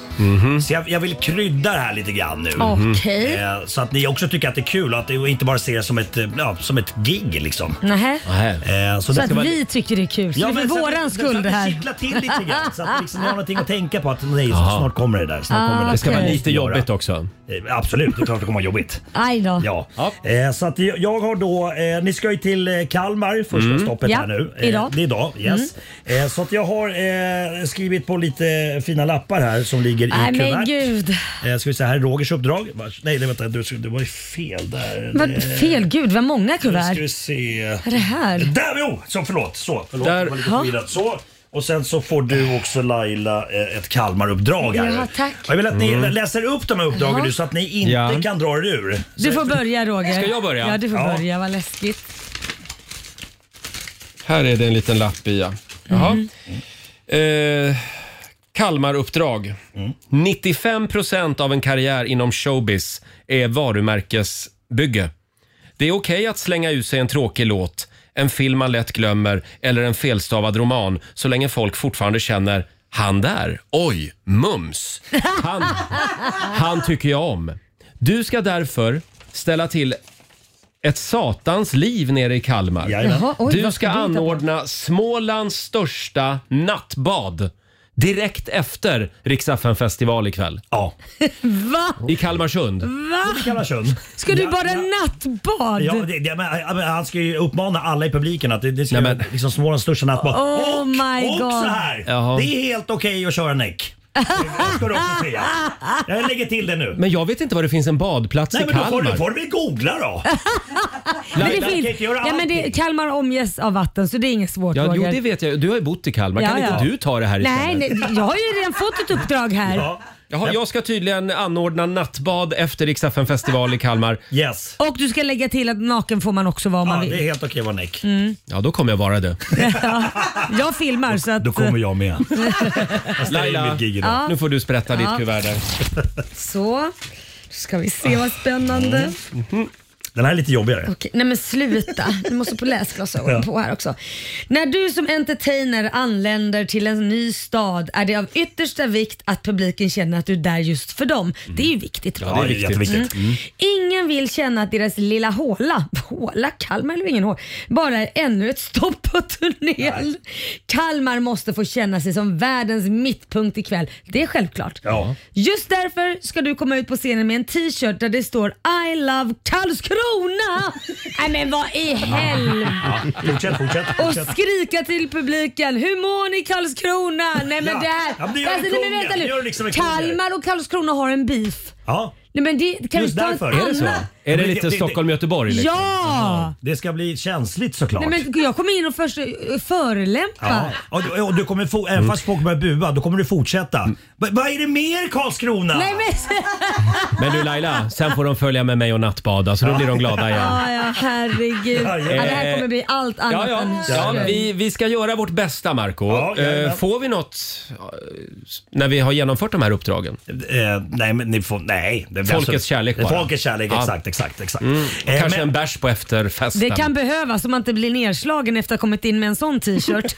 Speaker 10: Så jag, jag vill krydda det här lite grann nu.
Speaker 3: Okej.
Speaker 10: Eh, så att ni också tycker att det är kul och, att, det- och inte bara ser det som ett, eh, ja, som ett gig liksom.
Speaker 3: Nähä.
Speaker 10: Eh,
Speaker 3: Mm. Så,
Speaker 10: det
Speaker 3: att
Speaker 10: ska vara-
Speaker 3: vi tycker det är kul. Så
Speaker 10: Ja,
Speaker 3: det är
Speaker 10: men
Speaker 3: för
Speaker 10: så att-
Speaker 3: våran skull det här.
Speaker 10: Så att det kittlar till lite grann. Så att liksom, ni har någonting att tänka på. Att nej, snart kommer det där. Snart
Speaker 3: Ah,
Speaker 10: kommer det.
Speaker 3: Det ska vara okej.
Speaker 1: lite jobbigt
Speaker 10: också. Absolut, det är klart det kommer vara jobbigt.
Speaker 3: Aj då.
Speaker 10: Ja. Eh, så att jag jag har då, eh, ni ska ju till eh, Kalmar första
Speaker 1: Mm.
Speaker 10: stoppet
Speaker 3: Ja,
Speaker 10: här nu. Eh,
Speaker 3: idag. Mm.
Speaker 10: Det är idag, yes. Eh, så att jag har eh, skrivit på lite fina lappar här som ligger i
Speaker 3: Nej
Speaker 10: kuvert.
Speaker 3: men gud.
Speaker 10: Eh, ska vi säga, här är Rogers uppdrag. Vars- Nej, nej vänta, du, det var ju fel där. Eh,
Speaker 3: Vad fel gud, vad många
Speaker 10: Nu
Speaker 3: kuvert.
Speaker 10: ska vi se. Eh,
Speaker 3: Vad är det här?
Speaker 10: Där, jo! Så förlåt. Så, förlåt.
Speaker 3: Där.
Speaker 10: Jag var lite
Speaker 3: Ja.
Speaker 10: förvirrad. Så. Och sen så får du också Laila eh, ett Kalmaruppdrag här.
Speaker 3: Ja, tack.
Speaker 10: Jag vill att ni
Speaker 1: Mm.
Speaker 10: läser upp de här uppdragen
Speaker 3: Ja.
Speaker 10: nu så att ni inte
Speaker 1: Ja.
Speaker 10: kan dra er ur.
Speaker 3: Du får börja Roger.
Speaker 1: Ska jag börja?
Speaker 3: Ja du får
Speaker 1: Ja.
Speaker 3: börja, vad läskigt.
Speaker 1: Här är det en liten lapp i, ja. Jaha. Eh, Kalmaruppdrag. 95 procent av en karriär inom showbiz är varumärkesbygge. Det är okej att slänga ut sig en tråkig låt, en film man lätt glömmer eller en felstavad roman så länge folk fortfarande känner “han där, oj, mums”. Han, han tycker jag om. Du ska därför ställa till ett satans liv nere i Kalmar.
Speaker 15: Jaha, oj,
Speaker 1: du
Speaker 15: vad
Speaker 1: ska
Speaker 15: ska vi hitta på?
Speaker 1: anordna Smålands största nattbad direkt efter Rix festival ikväll.
Speaker 10: Ja.
Speaker 3: Va?
Speaker 1: I Kalmarsund.
Speaker 3: Va?
Speaker 10: Kalmarsund.
Speaker 3: Ska du
Speaker 10: Ja,
Speaker 3: bara
Speaker 10: ja.
Speaker 3: nattbad?
Speaker 10: Ja, det, det, men, ja, men han ska ju uppmana alla i publiken att det, det ska vara liksom Smålands största nattbad.
Speaker 3: Oh
Speaker 10: och,
Speaker 3: my
Speaker 10: och
Speaker 3: God.
Speaker 10: så här.
Speaker 1: Jaha.
Speaker 10: Det är helt okej att köra näck. Det ska du också säga. Jag lägger till det nu.
Speaker 1: Men jag vet inte var det finns en badplats
Speaker 10: Nej
Speaker 1: i
Speaker 10: men då får
Speaker 1: Kalmar.
Speaker 10: du, får du väl googla då.
Speaker 3: Men
Speaker 1: Laila
Speaker 3: det
Speaker 1: kan
Speaker 3: finns,
Speaker 1: inte göra
Speaker 3: ja, men det, Kalmar omges av vatten så det är inget svårt
Speaker 1: Ja,
Speaker 3: Roger.
Speaker 1: jo, det vet jag. Du har ju bott i Kalmar. Kan
Speaker 3: Ja,
Speaker 1: inte
Speaker 3: ja.
Speaker 1: du ta det här
Speaker 3: nej,
Speaker 1: istället?
Speaker 3: nej, jag har ju redan fått ett uppdrag här.
Speaker 1: Jaha, jag ska tydligen anordna nattbad efter Rix festival i Kalmar.
Speaker 10: Yes.
Speaker 3: Och du ska lägga till att naken får man också vara om man vill.
Speaker 10: helt okej att vara E näck.
Speaker 3: Mm.
Speaker 1: Ja, då kommer jag vara det.
Speaker 3: Jag filmar så att...
Speaker 1: då kommer jag
Speaker 10: med.
Speaker 1: Laila,
Speaker 10: mitt gig idag.
Speaker 3: Ja.
Speaker 1: nu får du sprätta
Speaker 3: Ja.
Speaker 1: ditt kuvert där.
Speaker 3: Så. Ska vi se vad spännande.
Speaker 10: Den här är lite jobbigare.
Speaker 3: Okej, nej men sluta. Du måste på läsglasögonen
Speaker 10: Ja.
Speaker 3: på här också. När du som entertainer anländer till en ny stad är det av yttersta vikt att publiken känner att du är där just för dem. Det är ju viktigt.
Speaker 15: Ja,
Speaker 3: Roger.
Speaker 15: det är jätteviktigt.
Speaker 3: Mm. Ingen vill känna att deras lilla håla, håla Kalmar eller ingen håla, bara är ännu ett stopp på turnén. Kalmar måste få känna sig som världens mittpunkt ikväll. Det är självklart.
Speaker 15: Ja.
Speaker 3: Just därför ska du komma ut på scenen med en t-shirt där det står I love Karlskrona. Nej men vad i helvete.
Speaker 10: Fortsätt, fortsätt.
Speaker 3: Och
Speaker 10: fortsätt.
Speaker 3: skrika till publiken, hur mår ni Karlskrona? Nej men
Speaker 10: Ja.
Speaker 3: det här.
Speaker 10: Ja, men det gör
Speaker 3: Alltså,
Speaker 10: det
Speaker 3: nej,
Speaker 10: kungen.
Speaker 3: men vänta
Speaker 10: Det
Speaker 3: nu.
Speaker 10: gör det liksom i kungen.
Speaker 3: Kalmar och Karlskrona har en beef.
Speaker 10: Ja.
Speaker 3: Nej men det kan
Speaker 10: Just
Speaker 3: du ta
Speaker 10: därför.
Speaker 3: ett
Speaker 10: Är det så?
Speaker 3: annat.
Speaker 1: Är det lite Stockholm-Göteborg? liksom?
Speaker 3: Ja!
Speaker 10: Det ska bli känsligt såklart.
Speaker 3: Nej, men jag kommer in och först eh,
Speaker 10: Ja.
Speaker 3: förelämpa.
Speaker 10: Och, du- och du kommer få, även fast folk börjar bua, då kommer du fortsätta. Va- Vad är det mer Karlskrona?
Speaker 3: Mm. Nej men...
Speaker 1: Men du Laila, sen får de följa med mig och nattbada så då blir de glada igen.
Speaker 3: Ja, ja, herregud. Ja,
Speaker 1: Ja, ja.
Speaker 3: det här kommer bli allt annat
Speaker 1: Ja, ja.
Speaker 3: än
Speaker 1: ja
Speaker 3: skoj.
Speaker 1: vi, vi ska göra vårt bästa Marco.
Speaker 10: Ja, jajamän.
Speaker 1: Eh, Får vi något eh, när vi har genomfört de här uppdragen?
Speaker 10: Eh, nej, men ni får... Nej. Det
Speaker 1: Folkets kärlek bara.
Speaker 10: Folkets kärlek,
Speaker 1: Ja.
Speaker 10: exakt, exakt, exakt.
Speaker 1: Mm.
Speaker 10: Eh,
Speaker 1: Kanske
Speaker 10: men-
Speaker 1: en bärs på efterfesten.
Speaker 3: Det kan behövas om man inte blir nedslagen efter att ha kommit in med en sån t-shirt.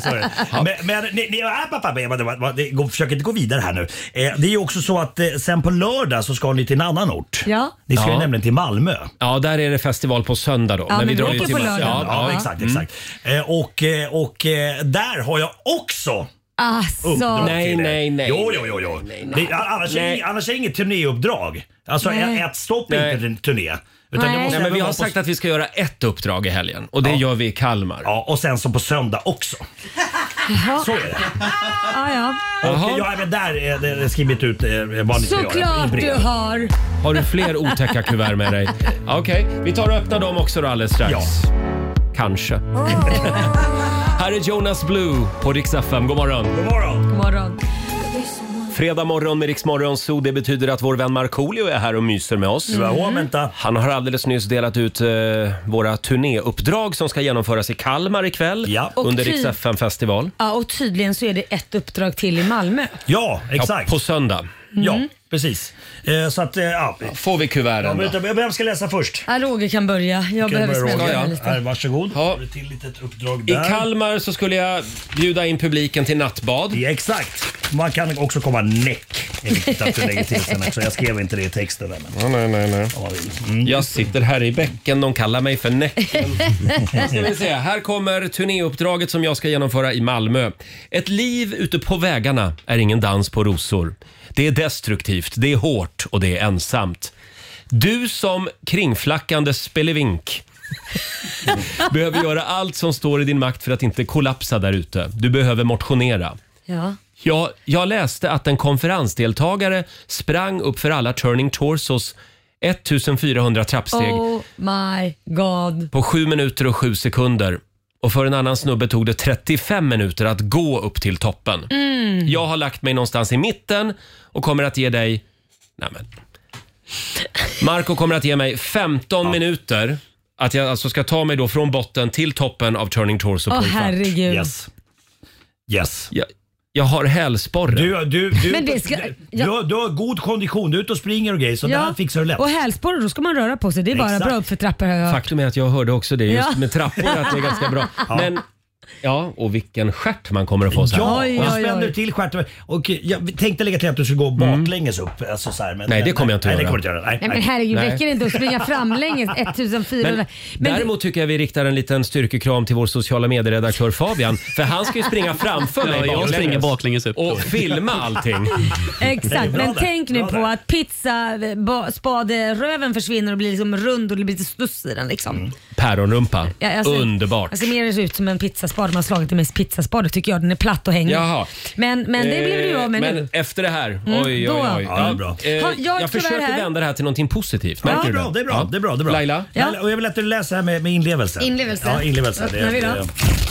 Speaker 10: sorry. Men, men ni, äh, ni, app, app, app, vad- vad- vad- det går- försök inte gå vidare här nu. Eh, det är ju också så att eh, sen på lördag så ska ni till en annan ort.
Speaker 3: Ja.
Speaker 10: Ni ska ju
Speaker 1: Ja.
Speaker 10: nämligen till Malmö.
Speaker 1: Ja, där är det festival på söndag då.
Speaker 10: Ja, men vi
Speaker 1: drar
Speaker 10: åker
Speaker 1: ju till
Speaker 10: på
Speaker 1: Malmö.
Speaker 10: lördag. Ja, exakt,
Speaker 1: Mm.
Speaker 10: exakt. Eh, och eh, och eh, där har jag också
Speaker 3: Alltså.
Speaker 10: uppdrag
Speaker 1: Nej,
Speaker 10: till er.
Speaker 1: nej, nej.
Speaker 10: Jo, jo, jo. jo.
Speaker 1: nej.
Speaker 10: Det, annars,
Speaker 1: Nej.
Speaker 10: Är, ing- annars är det inget turnéuppdrag. Alltså
Speaker 1: Nej.
Speaker 10: ett stopp är inte en turné. Utan det
Speaker 1: Nej.
Speaker 10: måste
Speaker 1: Nej, men vi
Speaker 10: även
Speaker 1: har
Speaker 10: vara på-
Speaker 1: sagt att vi ska göra ett uppdrag i helgen och det gör vi i Kalmar.
Speaker 10: Ja, och sen så på söndag också. Så är det.
Speaker 3: Ja, ja.
Speaker 10: Och jag har även där eh, det- det skrivit ut eh, vad ni ska göra i
Speaker 3: Såklart
Speaker 10: brev.
Speaker 3: du har.
Speaker 1: Har du fler otäcka kuvert med dig? Okej, vi tar och öppnar dem också då alldeles strax. Kanske. Här är Jonas Blue på Rix FM. God morgon.
Speaker 3: Mm.
Speaker 10: God morgon.
Speaker 3: God morgon.
Speaker 1: Fredag morgon med Riksmorgon Zoo. Det betyder att vår vän Markoolio är här och myser med oss.
Speaker 10: Mm. Ja, vänta.
Speaker 1: Han har alldeles nyss delat ut eh, våra turnéuppdrag som ska genomföras i Kalmar ikväll
Speaker 3: Och
Speaker 1: under
Speaker 3: ty-
Speaker 1: Rix FM festival.
Speaker 3: Ja, och tydligen så är det ett uppdrag till i Malmö.
Speaker 10: Ja,
Speaker 1: exakt. på söndag.
Speaker 10: Ja,
Speaker 3: Mm.
Speaker 10: precis. Eh, Så att, eh, ja.
Speaker 1: Får vi kuverten
Speaker 10: då? Vem ska läsa först?
Speaker 3: Ja, Roger kan börja. Jag
Speaker 10: Ska jag
Speaker 3: behöver
Speaker 10: börja,
Speaker 3: smälla
Speaker 10: Roger?
Speaker 3: mig
Speaker 10: Här,
Speaker 3: lite.
Speaker 10: varsågod. Har du till litet uppdrag
Speaker 1: I
Speaker 10: där.
Speaker 1: Kalmar så skulle jag bjuda in publiken till nattbad.
Speaker 10: Ja, exakt. Man kan också komma näck. Det är viktigt att du lägger till sen också. Jag skrev inte det i texten. där, Men.
Speaker 1: nej, nej, nej. Jag sitter här i bäcken, de kallar mig för Näcken. Nu ska vi se. Här kommer turnéuppdraget som jag ska genomföra i Malmö. Ett liv ute på vägarna är ingen dans på rosor. Det är destruktivt, det är hårt och det är ensamt. Du som kringflackande spelevink behöver göra allt som står i din makt för att inte kollapsa där ute. Du behöver motionera.
Speaker 3: Ja.
Speaker 1: Jag, jag läste att en konferensdeltagare sprang upp för alla turning torsos 1400 trappsteg
Speaker 3: Oh my god.
Speaker 1: på 7 minuter och 7 sekunder. Och för en annan snubbe tog det 35 minuter att gå upp till toppen.
Speaker 3: Mm.
Speaker 1: Jag har lagt mig någonstans i mitten och kommer att ge dig... Nej men. Marco kommer att ge mig 15 minuter att jag alltså ska ta mig då från botten till toppen av turning torso på
Speaker 3: Åh
Speaker 1: en kvart.
Speaker 3: herregud.
Speaker 10: Yes.
Speaker 1: Jag, jag har hälsporre.
Speaker 10: Du, du, du,
Speaker 3: Men det ska-
Speaker 10: du, har, du har god kondition, du är ute och springer och grejer så det här fixar du lätt.
Speaker 3: Och hälsporre, då ska man röra på sig. Det är bara
Speaker 10: Exakt.
Speaker 3: bra upp för trappor har jag hört.
Speaker 1: Faktum är att jag hörde också det just
Speaker 3: Ja.
Speaker 1: med trappor att det är ganska bra. Men, ja, och vilken stjärt man kommer att få sen.
Speaker 10: Ja,
Speaker 1: Ja.
Speaker 10: jag spänner till stjärten. Och jag tänkte lägga till att du skulle gå baklänges upp. Alltså så här, men,
Speaker 1: Mm. Nej, det kommer jag inte
Speaker 10: nej,
Speaker 1: göra.
Speaker 10: Det kommer du inte göra. Nej,
Speaker 3: Nej men herregud,
Speaker 1: Nej.
Speaker 3: räcker det inte att springa framlänges 1400?
Speaker 1: Men,
Speaker 3: Men, det-
Speaker 1: däremot tycker jag vi riktar en liten styrkekram till vår sociala medieredaktör Fabian. För han ska ju springa framför
Speaker 11: Ja,
Speaker 1: mig
Speaker 11: jag springer baklänges upp.
Speaker 1: Och filma allting.
Speaker 3: Exakt, men tänk nu på att pizza, ba, spade, röven försvinner och blir liksom rund och det blir lite stuss i den. Liksom.
Speaker 1: Päronrumpa.
Speaker 3: Ja, jag ser-
Speaker 1: Mm.
Speaker 3: Alltså,
Speaker 1: Underbart.
Speaker 3: Jag ser mer ut som en pizzaspade. Man har slagit det med pizzaspade tycker jag. Den är platt och hänger.
Speaker 1: Jaha.
Speaker 3: Men, men det blev du
Speaker 1: Eh,
Speaker 3: av med
Speaker 1: Men
Speaker 3: nu.
Speaker 1: efter det här.
Speaker 3: Mm,
Speaker 1: Oj, oj,
Speaker 3: då.
Speaker 1: oj.
Speaker 3: Ja, det är bra.
Speaker 1: Eh,
Speaker 3: Ha, jag är
Speaker 1: jag
Speaker 3: tyvärr
Speaker 1: försöker
Speaker 3: här.
Speaker 1: vända det här till någonting positivt.
Speaker 10: Ja,
Speaker 1: Märker
Speaker 10: det är
Speaker 1: du
Speaker 10: bra, det är bra,
Speaker 1: Ja.
Speaker 10: det är bra, det är bra.
Speaker 1: Laila?
Speaker 10: Laila, Och jag vill att du läser här med, med inlevelse.
Speaker 3: Inlevelse.
Speaker 10: Ja, inlevelse.
Speaker 3: Öppnar vi då?
Speaker 10: det,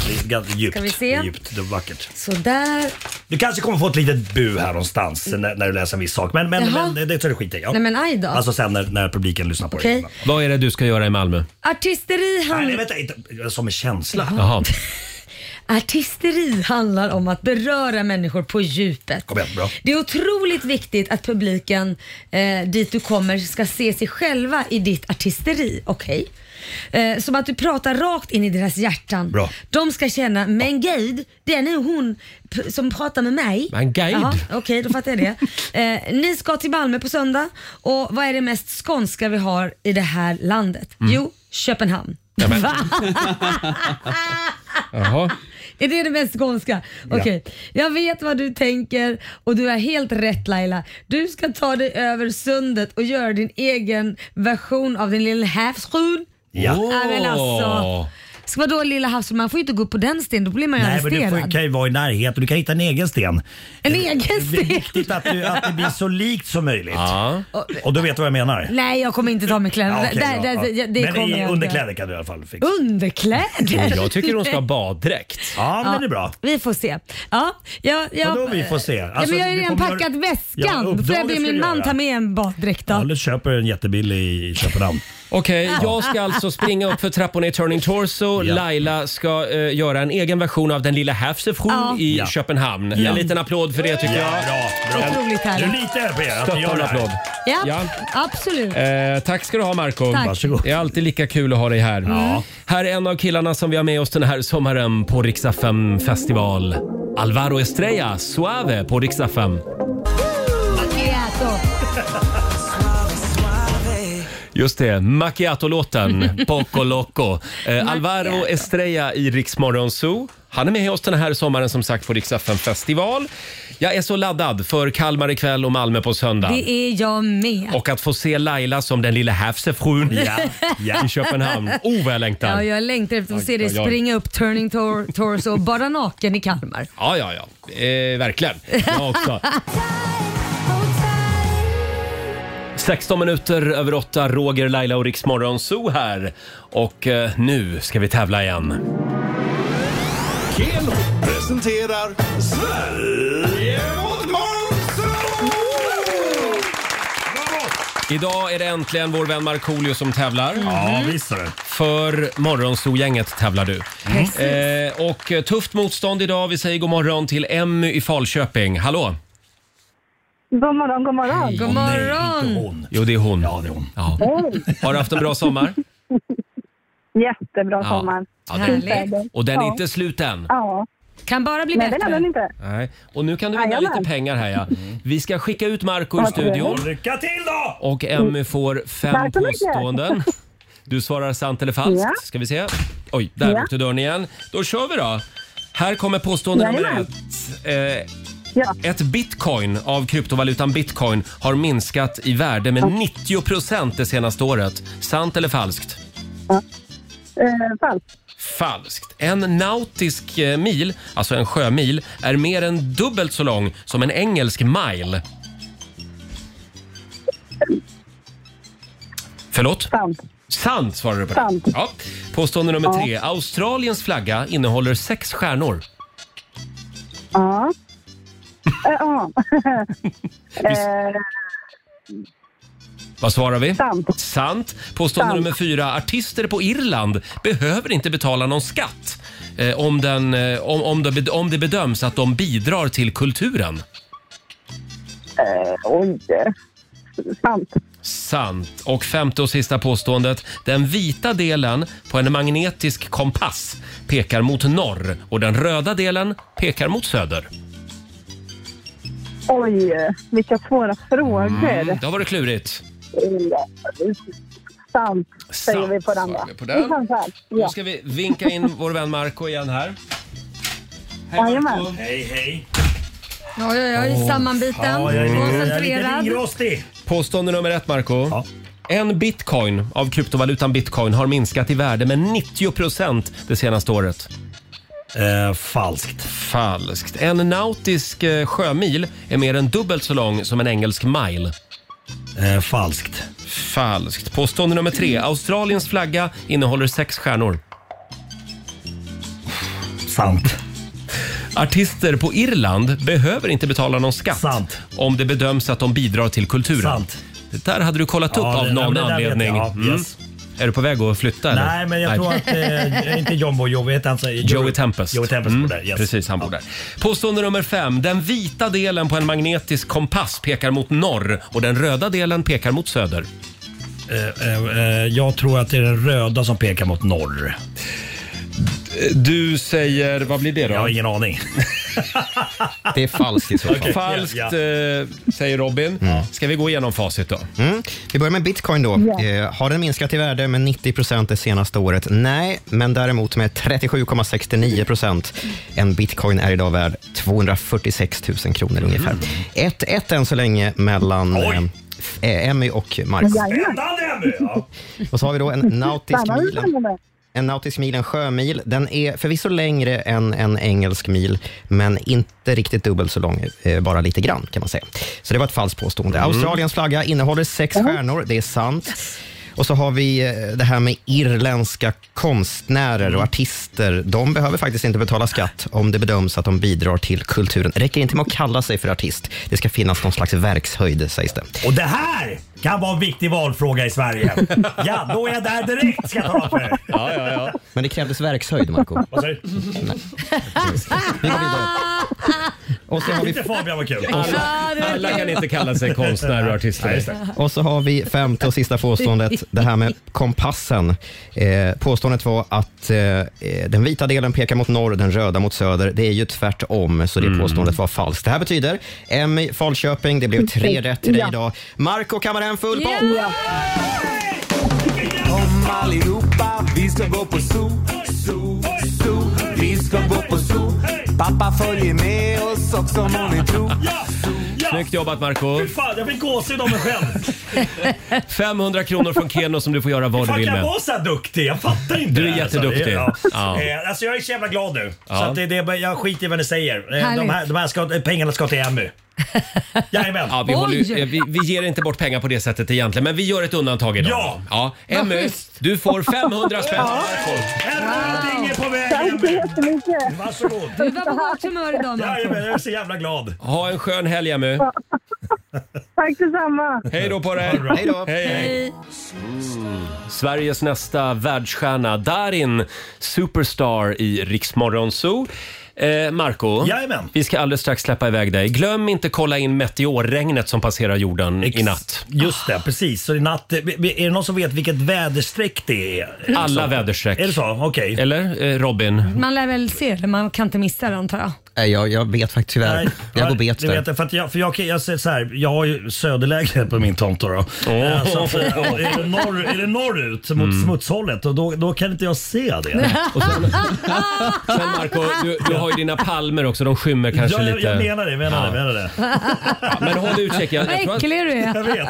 Speaker 10: det är ganska djupt.
Speaker 3: Ska vi se?
Speaker 10: Det är djupt, det är vackert.
Speaker 3: Sådär.
Speaker 10: Du kanske kommer få ett litet bu här någonstans när, när du läser en viss sak. Men, men,
Speaker 3: Jaha.
Speaker 10: men det, det tror jag skiter jag i.
Speaker 3: Nej men aj då.
Speaker 10: Alltså sen när, när publiken lyssnar på
Speaker 3: Okej.
Speaker 10: det.
Speaker 1: Vad är det du ska göra i Malmö?
Speaker 3: Artisteri,
Speaker 10: Nej, nej,
Speaker 3: handl-
Speaker 10: vänta. Inte, som en känsla.
Speaker 1: Jaha.
Speaker 3: Artisteri handlar om att beröra människor på djupet.
Speaker 10: Kom igen, bra.
Speaker 3: Det är otroligt viktigt att publiken eh, dit du kommer ska se sig själva i ditt artisteri. Okej? Eh, som att du pratar rakt in i deras hjärtan.
Speaker 1: Bra.
Speaker 3: De ska känna, men Gud, det är nog hon p- som pratar med mig.
Speaker 1: Men Gud.
Speaker 3: Jaha, Okej, då fattar jag det. Eh, ni ska till Malmö på söndag och vad är det mest skånska vi har i det här landet?
Speaker 1: Mm.
Speaker 3: Jo, Köpenhamn.
Speaker 1: Ja, men-
Speaker 3: Va?
Speaker 1: Jaha.
Speaker 3: Är det det mest skånska?
Speaker 1: Ja.
Speaker 3: Okej, jag vet vad du tänker och du är helt rätt Laila. Du ska ta dig över sundet och göra din egen version av din lilla havsrun.
Speaker 10: Ja.
Speaker 3: men alltså. Så vadå lilla havsrun? Man får ju inte gå upp på den stenen, då blir man ju
Speaker 10: Nej, men du
Speaker 3: arresterad.
Speaker 10: får, kan ju vara i närhet och du kan hitta en egen sten.
Speaker 3: En egen sten.
Speaker 10: Viktigt att, du, att det blir så likt som möjligt. Och du vet vad jag menar?
Speaker 3: Nej, jag kommer inte ta med kläderna.
Speaker 10: Ja, okej,
Speaker 3: där,
Speaker 10: ja,
Speaker 3: där,
Speaker 10: ja.
Speaker 3: det- Det
Speaker 10: men
Speaker 3: kommer
Speaker 10: i
Speaker 3: jag
Speaker 10: underkläder Mm, kan du i alla fall fixa.
Speaker 3: inte. Underkläder?
Speaker 1: Jag tycker hon ska ha baddräkt.
Speaker 10: Ja, men det är bra.
Speaker 3: Vi får se. Ja, jag, jag,
Speaker 10: Vadå vi får se?
Speaker 3: ja,
Speaker 10: Alltså,
Speaker 3: men jag har
Speaker 10: du
Speaker 3: ju redan
Speaker 10: kommer
Speaker 3: packat
Speaker 10: göra- Ja,
Speaker 3: väskan. Då får jag
Speaker 10: uppdraget
Speaker 3: be
Speaker 10: ska
Speaker 3: min
Speaker 10: du
Speaker 3: man
Speaker 10: göra.
Speaker 3: ta med en baddräkt då.
Speaker 10: Eller köper en jättebillig i Köpenhamn.
Speaker 1: Okej,
Speaker 3: Ja.
Speaker 1: jag ska alltså springa upp för trapporna i Turning Torso. Laila ska eh, göra en egen version av Den lilla Häfsefrun
Speaker 3: Ja.
Speaker 1: i
Speaker 10: Ja.
Speaker 1: Köpenhamn.
Speaker 10: Ja.
Speaker 1: En liten applåd för det tycker jag.
Speaker 10: bra.
Speaker 3: Otroligt härligt.
Speaker 10: Du litar på er att vi gör
Speaker 1: Stockholm
Speaker 10: det här.
Speaker 1: applåd.
Speaker 3: Ja,
Speaker 1: Ja.
Speaker 3: absolut.
Speaker 1: Eh, tack ska du ha Marco.
Speaker 3: Tack. Varsågod.
Speaker 1: Det är alltid lika kul att ha dig här. Här är en av killarna som vi har med oss den här sommaren på Riksdag 5 festival. Alvaro Estrella, Suave på Riksdag 5.
Speaker 3: Macchiato.
Speaker 1: Just det, Macchiato-låten Poco Loco. Eh, Alvaro
Speaker 14: Macchiato.
Speaker 1: Estrella i Rix Morgon Zoo. Han är med oss den här sommaren som sagt på Rix FM festival. Jag är så laddad för Kalmar ikväll och Malmö på söndag.
Speaker 3: Det är jag med.
Speaker 1: Och att få se Laila som den lilla häfsefrun
Speaker 3: Ja, ja.
Speaker 1: i Köpenhamn. Oh, vad jag längtar.
Speaker 3: Ja, jag längtar efter att se
Speaker 1: Oj,
Speaker 3: dig
Speaker 1: oj, oj.
Speaker 3: springa upp Turning tor- Torso och bara naken i Kalmar.
Speaker 1: Ja, ja, ja. Eh, verkligen. Jag också. 16 minuter över 8, Roger, Laila och Rix Morgon Zoo här. Och eh, nu ska vi tävla igen.
Speaker 15: Keno presenterar Sverige mot Monster!
Speaker 1: Idag är det äntligen vår vän Markoolio som tävlar.
Speaker 10: Ja,
Speaker 3: Mm.
Speaker 10: visst är det.
Speaker 1: För Morgonzoo-gänget tävlar du.
Speaker 10: Precis.
Speaker 1: Eh, och eh, tufft motstånd idag. Vi säger god morgon till Emmy i Falköping. Hallå!
Speaker 14: God morgon, god morgon.
Speaker 3: God
Speaker 1: Åh, nej,
Speaker 3: morgon.
Speaker 1: Jo, det är hon. Ja,
Speaker 10: det är hon.
Speaker 1: Mm.
Speaker 14: Hej.
Speaker 1: Har du haft en bra sommar?
Speaker 14: Jättebra
Speaker 1: Ja.
Speaker 14: sommar.
Speaker 1: Ja, den- Och den är inte slut än.
Speaker 14: Ja.
Speaker 3: Kan bara bli
Speaker 14: Nej,
Speaker 3: bättre.
Speaker 14: Nej, den är den inte.
Speaker 1: Nej. Och nu kan du vinna
Speaker 14: Jajamän.
Speaker 1: lite pengar här ja. Vi ska skicka ut Marco ur
Speaker 14: Mm. Vad
Speaker 1: studion.
Speaker 14: trevligt.
Speaker 10: Lycka till då!
Speaker 1: Och Emmy får fem
Speaker 14: Tack så mycket.
Speaker 1: påståenden. Du svarar sant eller falskt.
Speaker 14: Ja.
Speaker 1: Ska vi se. Oj, där
Speaker 14: Ja.
Speaker 1: åkte dörren igen. Då kör vi då. Här kommer påstående nummer
Speaker 14: Jajamän.
Speaker 1: ett. Eh, Ett bitcoin av kryptovalutan bitcoin har minskat i värde med 90 procent det senaste året. Sant eller falskt?
Speaker 14: Eh, falskt.
Speaker 1: Falskt. En nautisk eh, mil, alltså en sjömil, är mer än dubbelt så lång som en engelsk mile. Förlåt?
Speaker 14: Sant.
Speaker 1: Sant svarar du på det.
Speaker 14: Sant.
Speaker 1: Ja. Påstående nummer
Speaker 14: Ja.
Speaker 1: tre. Australiens flagga innehåller sex stjärnor.
Speaker 14: Ja. Eh, Ja. Eh,
Speaker 1: Vad svarar vi? Sant. Sant. Påstående nummer fyra. Artister på Irland behöver inte betala någon skatt eh, om, den, eh, om, om, det, bed- om det bedöms att de bidrar till kulturen.
Speaker 14: eh, Oj. Sant.
Speaker 1: Sant. Och femte och sista påståendet. Den vita delen på en magnetisk kompass pekar mot norr och den röda delen pekar mot söder.
Speaker 14: Oj, eh, vilka svåra frågor.
Speaker 1: Mm, det har varit klurigt.
Speaker 14: Eh, Sant, säger
Speaker 1: Sant,
Speaker 14: vi på den då.
Speaker 1: vi på den.
Speaker 14: Sant, sant.
Speaker 1: Nu
Speaker 14: Ja.
Speaker 1: ska vi vinka in vår vän Marco igen här.
Speaker 14: Jajamän.
Speaker 10: Hej, hej.
Speaker 3: Oj, oj, oj. Sammanbiten. Koncentrerad.
Speaker 1: Påstående nummer ett, Marco. En bitcoin av kryptovalutan bitcoin har minskat i värde med 90 procent det senaste året.
Speaker 10: Eh, falskt.
Speaker 1: Falskt. En nautisk eh, sjömil är mer än dubbelt så lång som en engelsk mile.
Speaker 10: Eh, falskt.
Speaker 1: Falskt. Påstående nummer tre. Australiens flagga innehåller sex stjärnor.
Speaker 10: Sant.
Speaker 1: Artister på Irland behöver inte betala någon skatt om det bedöms att de bidrar till kulturen.
Speaker 10: Sant.
Speaker 1: Det där hade du kollat upp
Speaker 10: Ja,
Speaker 1: av
Speaker 10: det-
Speaker 1: någon
Speaker 10: det där vet jag.
Speaker 1: anledning.
Speaker 10: Ja,
Speaker 1: Mm.
Speaker 10: yes.
Speaker 1: Är du på väg att flytta? Eller?
Speaker 10: Nej, men jag tror att... Eh, inte John Boy Jovi, heter han så?
Speaker 1: Joey Tempest.
Speaker 10: Joey Tempest
Speaker 1: Mm,
Speaker 10: bor där, yes.
Speaker 1: Precis, han bor där. Påstående nummer fem. Den vita delen på en magnetisk kompass pekar mot norr och den röda delen pekar mot söder.
Speaker 10: Eh, eh, eh, jag tror att det är den röda som pekar mot norr.
Speaker 1: Du säger, vad blir det då? Jag har
Speaker 10: ingen aning.
Speaker 1: Det är falskt i
Speaker 8: så fall.
Speaker 1: Falskt eh, säger Robin. Ska vi gå igenom facit då?
Speaker 8: Mm. Vi börjar med bitcoin. då.
Speaker 1: Ja.
Speaker 8: Eh, har den minskat i värde med 90 procent det senaste året? Nej, men däremot med 37,69 procent. En bitcoin är idag värd 246 000 kronor
Speaker 1: Mm.
Speaker 8: ungefär. 1-1 än så länge mellan eh, F- eh, Emmy och Marco. Och så har vi då en nautisk
Speaker 14: Stannar du
Speaker 8: mil.
Speaker 14: stannar du?
Speaker 8: En nautisk mil, en sjömil, den är förvisso längre än en engelsk mil, men inte riktigt dubbelt så lång, eh, bara lite grann kan man säga. Så det var ett falskt påstående.
Speaker 16: Mm.
Speaker 8: Australiens flagga innehåller sex stjärnor, det är sant. Och så har vi eh, det här med irländska konstnärer och artister. De behöver faktiskt inte betala skatt om det bedöms att de bidrar till kulturen. Det räcker inte med att kalla sig för artist. Det ska finnas någon slags verkshöjd, sägs det.
Speaker 10: Och det här kan vara en viktig valfråga i Sverige. ja, då är jag där direkt ska jag tala om för er.
Speaker 1: Ja, ja, ja.
Speaker 8: Men det krävdes verkshöjd, Marco.
Speaker 10: Vad sa du?
Speaker 8: Och så har vi-
Speaker 10: Inte Fabian vad kul.
Speaker 1: Alla, alla kan inte kalla sig konstnär och artist.
Speaker 8: Nej, just det. Och så har vi femte och sista påståendet, det här med kompassen. Eh, påståendet var att eh, den vita delen pekar mot norr, den röda mot söder. Det är ju tvärtom, så det
Speaker 10: Mm.
Speaker 8: påståendet var falskt. Det här betyder Emmy Falköping, det blev tre rätt till dig
Speaker 15: Ja.
Speaker 8: idag. Marco kammar hem full pott!
Speaker 15: Kom allihopa, vi ska gå på zoo, zoo, zoo. Vi ska gå på zoo. Pappa följer med oss också må ni tro.
Speaker 1: Snyggt jobbat Marco
Speaker 10: Fy fan, jag fick gåshud av mig själv.
Speaker 1: 500 kronor från Keno som du får göra vad du
Speaker 10: Fan,
Speaker 1: vill
Speaker 10: kan jag
Speaker 1: med.
Speaker 10: vara så här duktig? Jag fattar inte.
Speaker 1: Du är
Speaker 10: det här, alltså.
Speaker 1: jätteduktig.
Speaker 10: Ja.
Speaker 1: Ja.
Speaker 10: Eh, Alltså, jag är så jävla glad nu.
Speaker 1: Ja.
Speaker 10: Så att det, det, jag skiter i vad ni säger. Eh,
Speaker 1: Härligt.
Speaker 10: De här, de här ska, pengarna ska till Emmy.
Speaker 1: Ja, vi,
Speaker 10: Oj.
Speaker 1: håller, ju- eh, vi, vi ger inte bort pengar på det sättet egentligen, men vi gör ett undantag idag.
Speaker 10: Ja.
Speaker 1: ja. Emmy, du får 500 spänn.
Speaker 10: Ja.
Speaker 3: Wow.
Speaker 10: På vägen,
Speaker 14: Tack så
Speaker 10: Emmy.
Speaker 14: jättemycket.
Speaker 10: Varsågod.
Speaker 3: Du var på gott humör idag Marco.
Speaker 10: Jajamän, jag är så jävla glad.
Speaker 1: Ha en skön helg Emmy.
Speaker 14: Tack detsamma.
Speaker 1: Hej då på dig!
Speaker 14: Hej då.
Speaker 1: Hej, hej. Mm. Sveriges nästa världsstjärna Darin, superstar i Riksmorgon Zoo. Eh, Marco,
Speaker 10: Jajamän.
Speaker 1: vi ska alldeles strax släppa iväg dig. Glöm inte kolla in meteorregnet som passerar jorden i natt.
Speaker 10: Just det, precis. Så i natt, eh, vi- vi- är det någon som vet vilket väderstreck det är?
Speaker 1: Alla
Speaker 10: Så.
Speaker 1: väderstreck.
Speaker 10: Är det så? Okej.
Speaker 1: Eller eh, Robin?
Speaker 3: Man lär väl se det, man kan inte missa det antar jag.
Speaker 8: Nej, jag, jag vet faktiskt tyvärr. jag går bet
Speaker 10: Det vet
Speaker 8: där.
Speaker 10: jag, för att jag, för jag, jag, säger så här, jag har ju söderläge på min tomt. Då, då. Eh, Så att, eh, är, det norr, är det norrut mot smutshållet och då, då kan inte jag se det.
Speaker 1: Och sen, sen Marco, du, du har ju dina palmer också. De skymmer kanske
Speaker 10: Ja, jag-
Speaker 1: lite.
Speaker 10: jag menar det, menar det, menar det.
Speaker 1: Ja, men håll utkik. Jag,
Speaker 3: Vad
Speaker 1: jag, tror att,
Speaker 3: äcklig du är. Jag
Speaker 10: vet.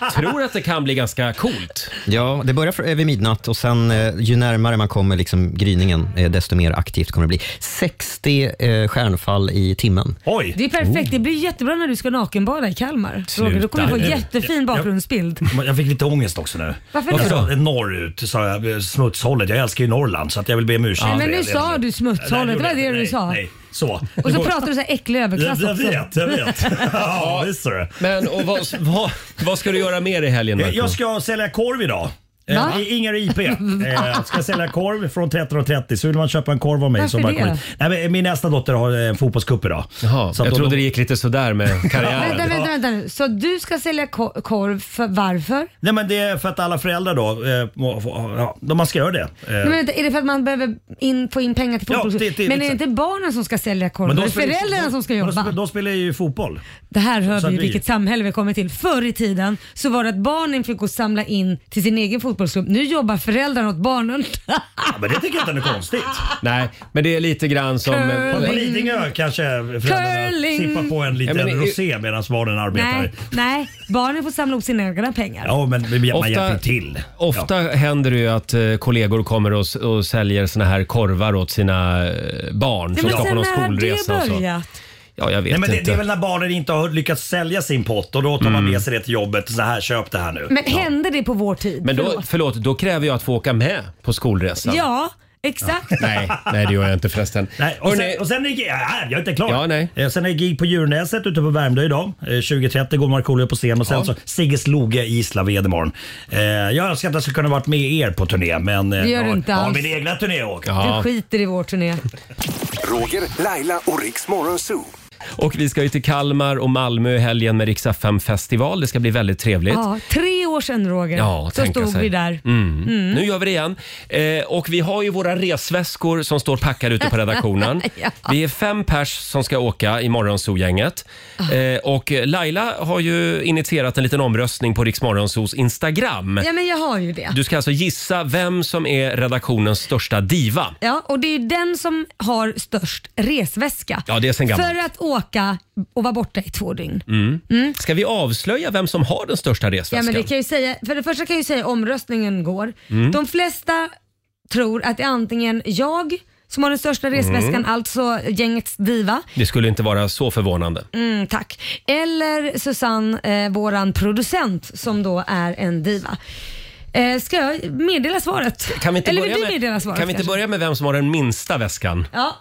Speaker 1: jag tror att det kan bli ganska coolt.
Speaker 8: Ja, det börjar för- eh, vid midnatt och sen eh, ju närmare man kommer liksom gryningen, eh, desto mer aktivt kommer det bli. 60 eh, stjärnfall i timmen.
Speaker 10: Oj!
Speaker 3: Det är perfekt, det blir jättebra när du ska nakenbada i Kalmar. Roger,
Speaker 8: Sluta
Speaker 3: då kommer du få
Speaker 10: nu.
Speaker 3: jättefin bakgrundsbild.
Speaker 10: Men Jag fick lite ångest också nu.
Speaker 3: Varför då?
Speaker 10: Jag sa, norrut sa jag, smutshållet. Jag älskar ju Norrland så att jag vill be om ursäkt.
Speaker 3: Nej, men
Speaker 10: för
Speaker 3: nu
Speaker 10: det.
Speaker 3: sa du
Speaker 10: Nej,
Speaker 3: smutshållet, det var
Speaker 10: gjorde
Speaker 3: det
Speaker 10: jag
Speaker 3: du
Speaker 10: inte.
Speaker 3: sa.
Speaker 10: Nej, nej. Så.
Speaker 3: Och så pratar du så här äcklig överklass
Speaker 10: Jag, jag
Speaker 3: också.
Speaker 10: vet, jag vet. ja, visst är det.
Speaker 1: Men och vad, vad, vad ska du göra mer i helgen Marco?
Speaker 10: Jag ska sälja korv idag.
Speaker 1: Va?
Speaker 10: Eh, I- Ingar IP. Eh, ska sälja korv från 13.30 så vill man köpa en korv av mig.
Speaker 1: Varför
Speaker 10: så bara kom
Speaker 1: det?
Speaker 10: hit. Nej, men min nästa dotter har en fotbollscup idag.
Speaker 1: Jaha,
Speaker 10: Så att
Speaker 1: jag
Speaker 10: då-
Speaker 1: trodde det gick lite sådär med karriären.
Speaker 3: Vänta, vänta, vänta nu. Så du ska sälja ko- korv, för varför?
Speaker 10: Nej men det är för att alla föräldrar då, eh, må- få- ja, de- man ska göra det. Eh,
Speaker 3: Nej, men vänta, är det för att man behöver in, få in pengar till
Speaker 10: Ja,
Speaker 3: fotbolls...
Speaker 10: det- det-
Speaker 3: men är det
Speaker 10: exakt.
Speaker 3: inte barnen som ska sälja korv?
Speaker 10: Men
Speaker 3: Men
Speaker 10: då
Speaker 3: är det
Speaker 10: spelar-
Speaker 3: föräldrarna som ska
Speaker 10: men då
Speaker 3: jobba?
Speaker 10: sp- Då spelar jag ju fotboll.
Speaker 3: Det här hör
Speaker 10: Så
Speaker 3: vi ju
Speaker 10: att vi-
Speaker 3: vilket samhälle vi kommer till. Förr i tiden så var det att barnen fick gå och samla in till sin egen fotbollsklubb. Nu jobbar föräldrarna åt barnen.
Speaker 1: Ah.
Speaker 10: Ja, men det tycker jag inte är konstigt.
Speaker 1: Nej, men det är lite grann som...
Speaker 3: Curling.
Speaker 10: På Lidingö kanske föräldrarna
Speaker 3: Curling.
Speaker 10: sippar på en liten
Speaker 1: Ja, men det-
Speaker 10: rosé medan barnen arbetar.
Speaker 3: nej, nej, barnen får samla ihop sina egna pengar.
Speaker 10: Ja, men man
Speaker 1: Ofta-
Speaker 10: hjälper till.
Speaker 1: Ofta händer det ju att eh, kollegor kommer och, s- och säljer såna här korvar åt sina eh, barn
Speaker 10: Nej,
Speaker 1: som
Speaker 10: men
Speaker 1: ska på
Speaker 10: sen
Speaker 1: någon
Speaker 10: när har det
Speaker 1: skolresa och så.
Speaker 10: börjat?
Speaker 1: Ja, jag vet
Speaker 10: Nej, men
Speaker 1: inte.
Speaker 10: det,
Speaker 1: Mm.
Speaker 10: det är väl när barnen inte har lyckats sälja sin pott och då tar man med sig det till jobbet. Så här, köp det här nu.
Speaker 3: Men hände det på vår tid?
Speaker 1: Men då,
Speaker 3: Förlåt.
Speaker 1: förlåt, då kräver jag att få åka med på skolresan.
Speaker 3: Ja, exakt.
Speaker 1: Nej, nej, det gör jag inte förresten.
Speaker 10: Nej, och, sen, och sen är det, ja, jag är inte klar.
Speaker 1: Ja, nej.
Speaker 10: Eh, Sen är det gig på Djurnäset ute på Värmdö idag. Eh, 20.30 går Markoolio på scen och sen
Speaker 1: Ja.
Speaker 10: så Sigges Loge i Gislaved imorgon. Eh, Jag önskar att jag skulle kunna varit med er på turné men... eh,
Speaker 3: Det gör du
Speaker 10: ja,
Speaker 3: inte
Speaker 10: ja,
Speaker 3: alls.
Speaker 10: min egna turné jag åker.
Speaker 1: Ja.
Speaker 3: Du skiter i vår turné.
Speaker 5: Roger, Laila och Riks Morgonzoo.
Speaker 1: Och vi ska ju till Kalmar och Malmö i helgen med Rix FM festival. Det ska bli väldigt trevligt.
Speaker 3: Ja, tre år sedan Roger,
Speaker 1: Ja,
Speaker 3: så
Speaker 1: tänka
Speaker 3: stod
Speaker 1: sig.
Speaker 3: vi där.
Speaker 1: Mm.
Speaker 3: Mm.
Speaker 1: Nu gör vi det igen. Eh, och vi har ju våra resväskor som står packade ute på redaktionen.
Speaker 3: Ja.
Speaker 1: Vi är fem pers som ska åka i morgonzoo-gänget.
Speaker 3: Ah.
Speaker 1: Eh, och Laila har ju initierat en liten omröstning på Rix Morgonzoos Instagram.
Speaker 3: Ja, men jag har ju det.
Speaker 1: Du ska alltså gissa vem som är redaktionens största diva.
Speaker 3: Ja, och det är ju den som har störst resväska.
Speaker 1: Ja, det är sen gammalt.
Speaker 3: För att åka och vara borta i två dygn.
Speaker 1: Mm. Ska vi avslöja vem som har den största
Speaker 3: Ja,
Speaker 1: resväskan?
Speaker 3: men det kan jag ju säga, för det första kan jag ju säga omröstningen går.
Speaker 1: Mm.
Speaker 3: De flesta tror att det är antingen jag som har den största resväskan,
Speaker 1: Mm.
Speaker 3: alltså gängets diva.
Speaker 1: Det skulle inte vara så förvånande.
Speaker 3: Mm, tack. Eller Susanne, eh, våran producent som då är en diva. Eh, ska jag meddela svaret?
Speaker 1: Kan vi inte,
Speaker 3: Eller vill
Speaker 1: börja,
Speaker 3: du meddela
Speaker 1: med,
Speaker 3: svaret?
Speaker 1: kan vi inte
Speaker 3: kanske?
Speaker 1: börja med vem som har den minsta väskan?
Speaker 3: Ja,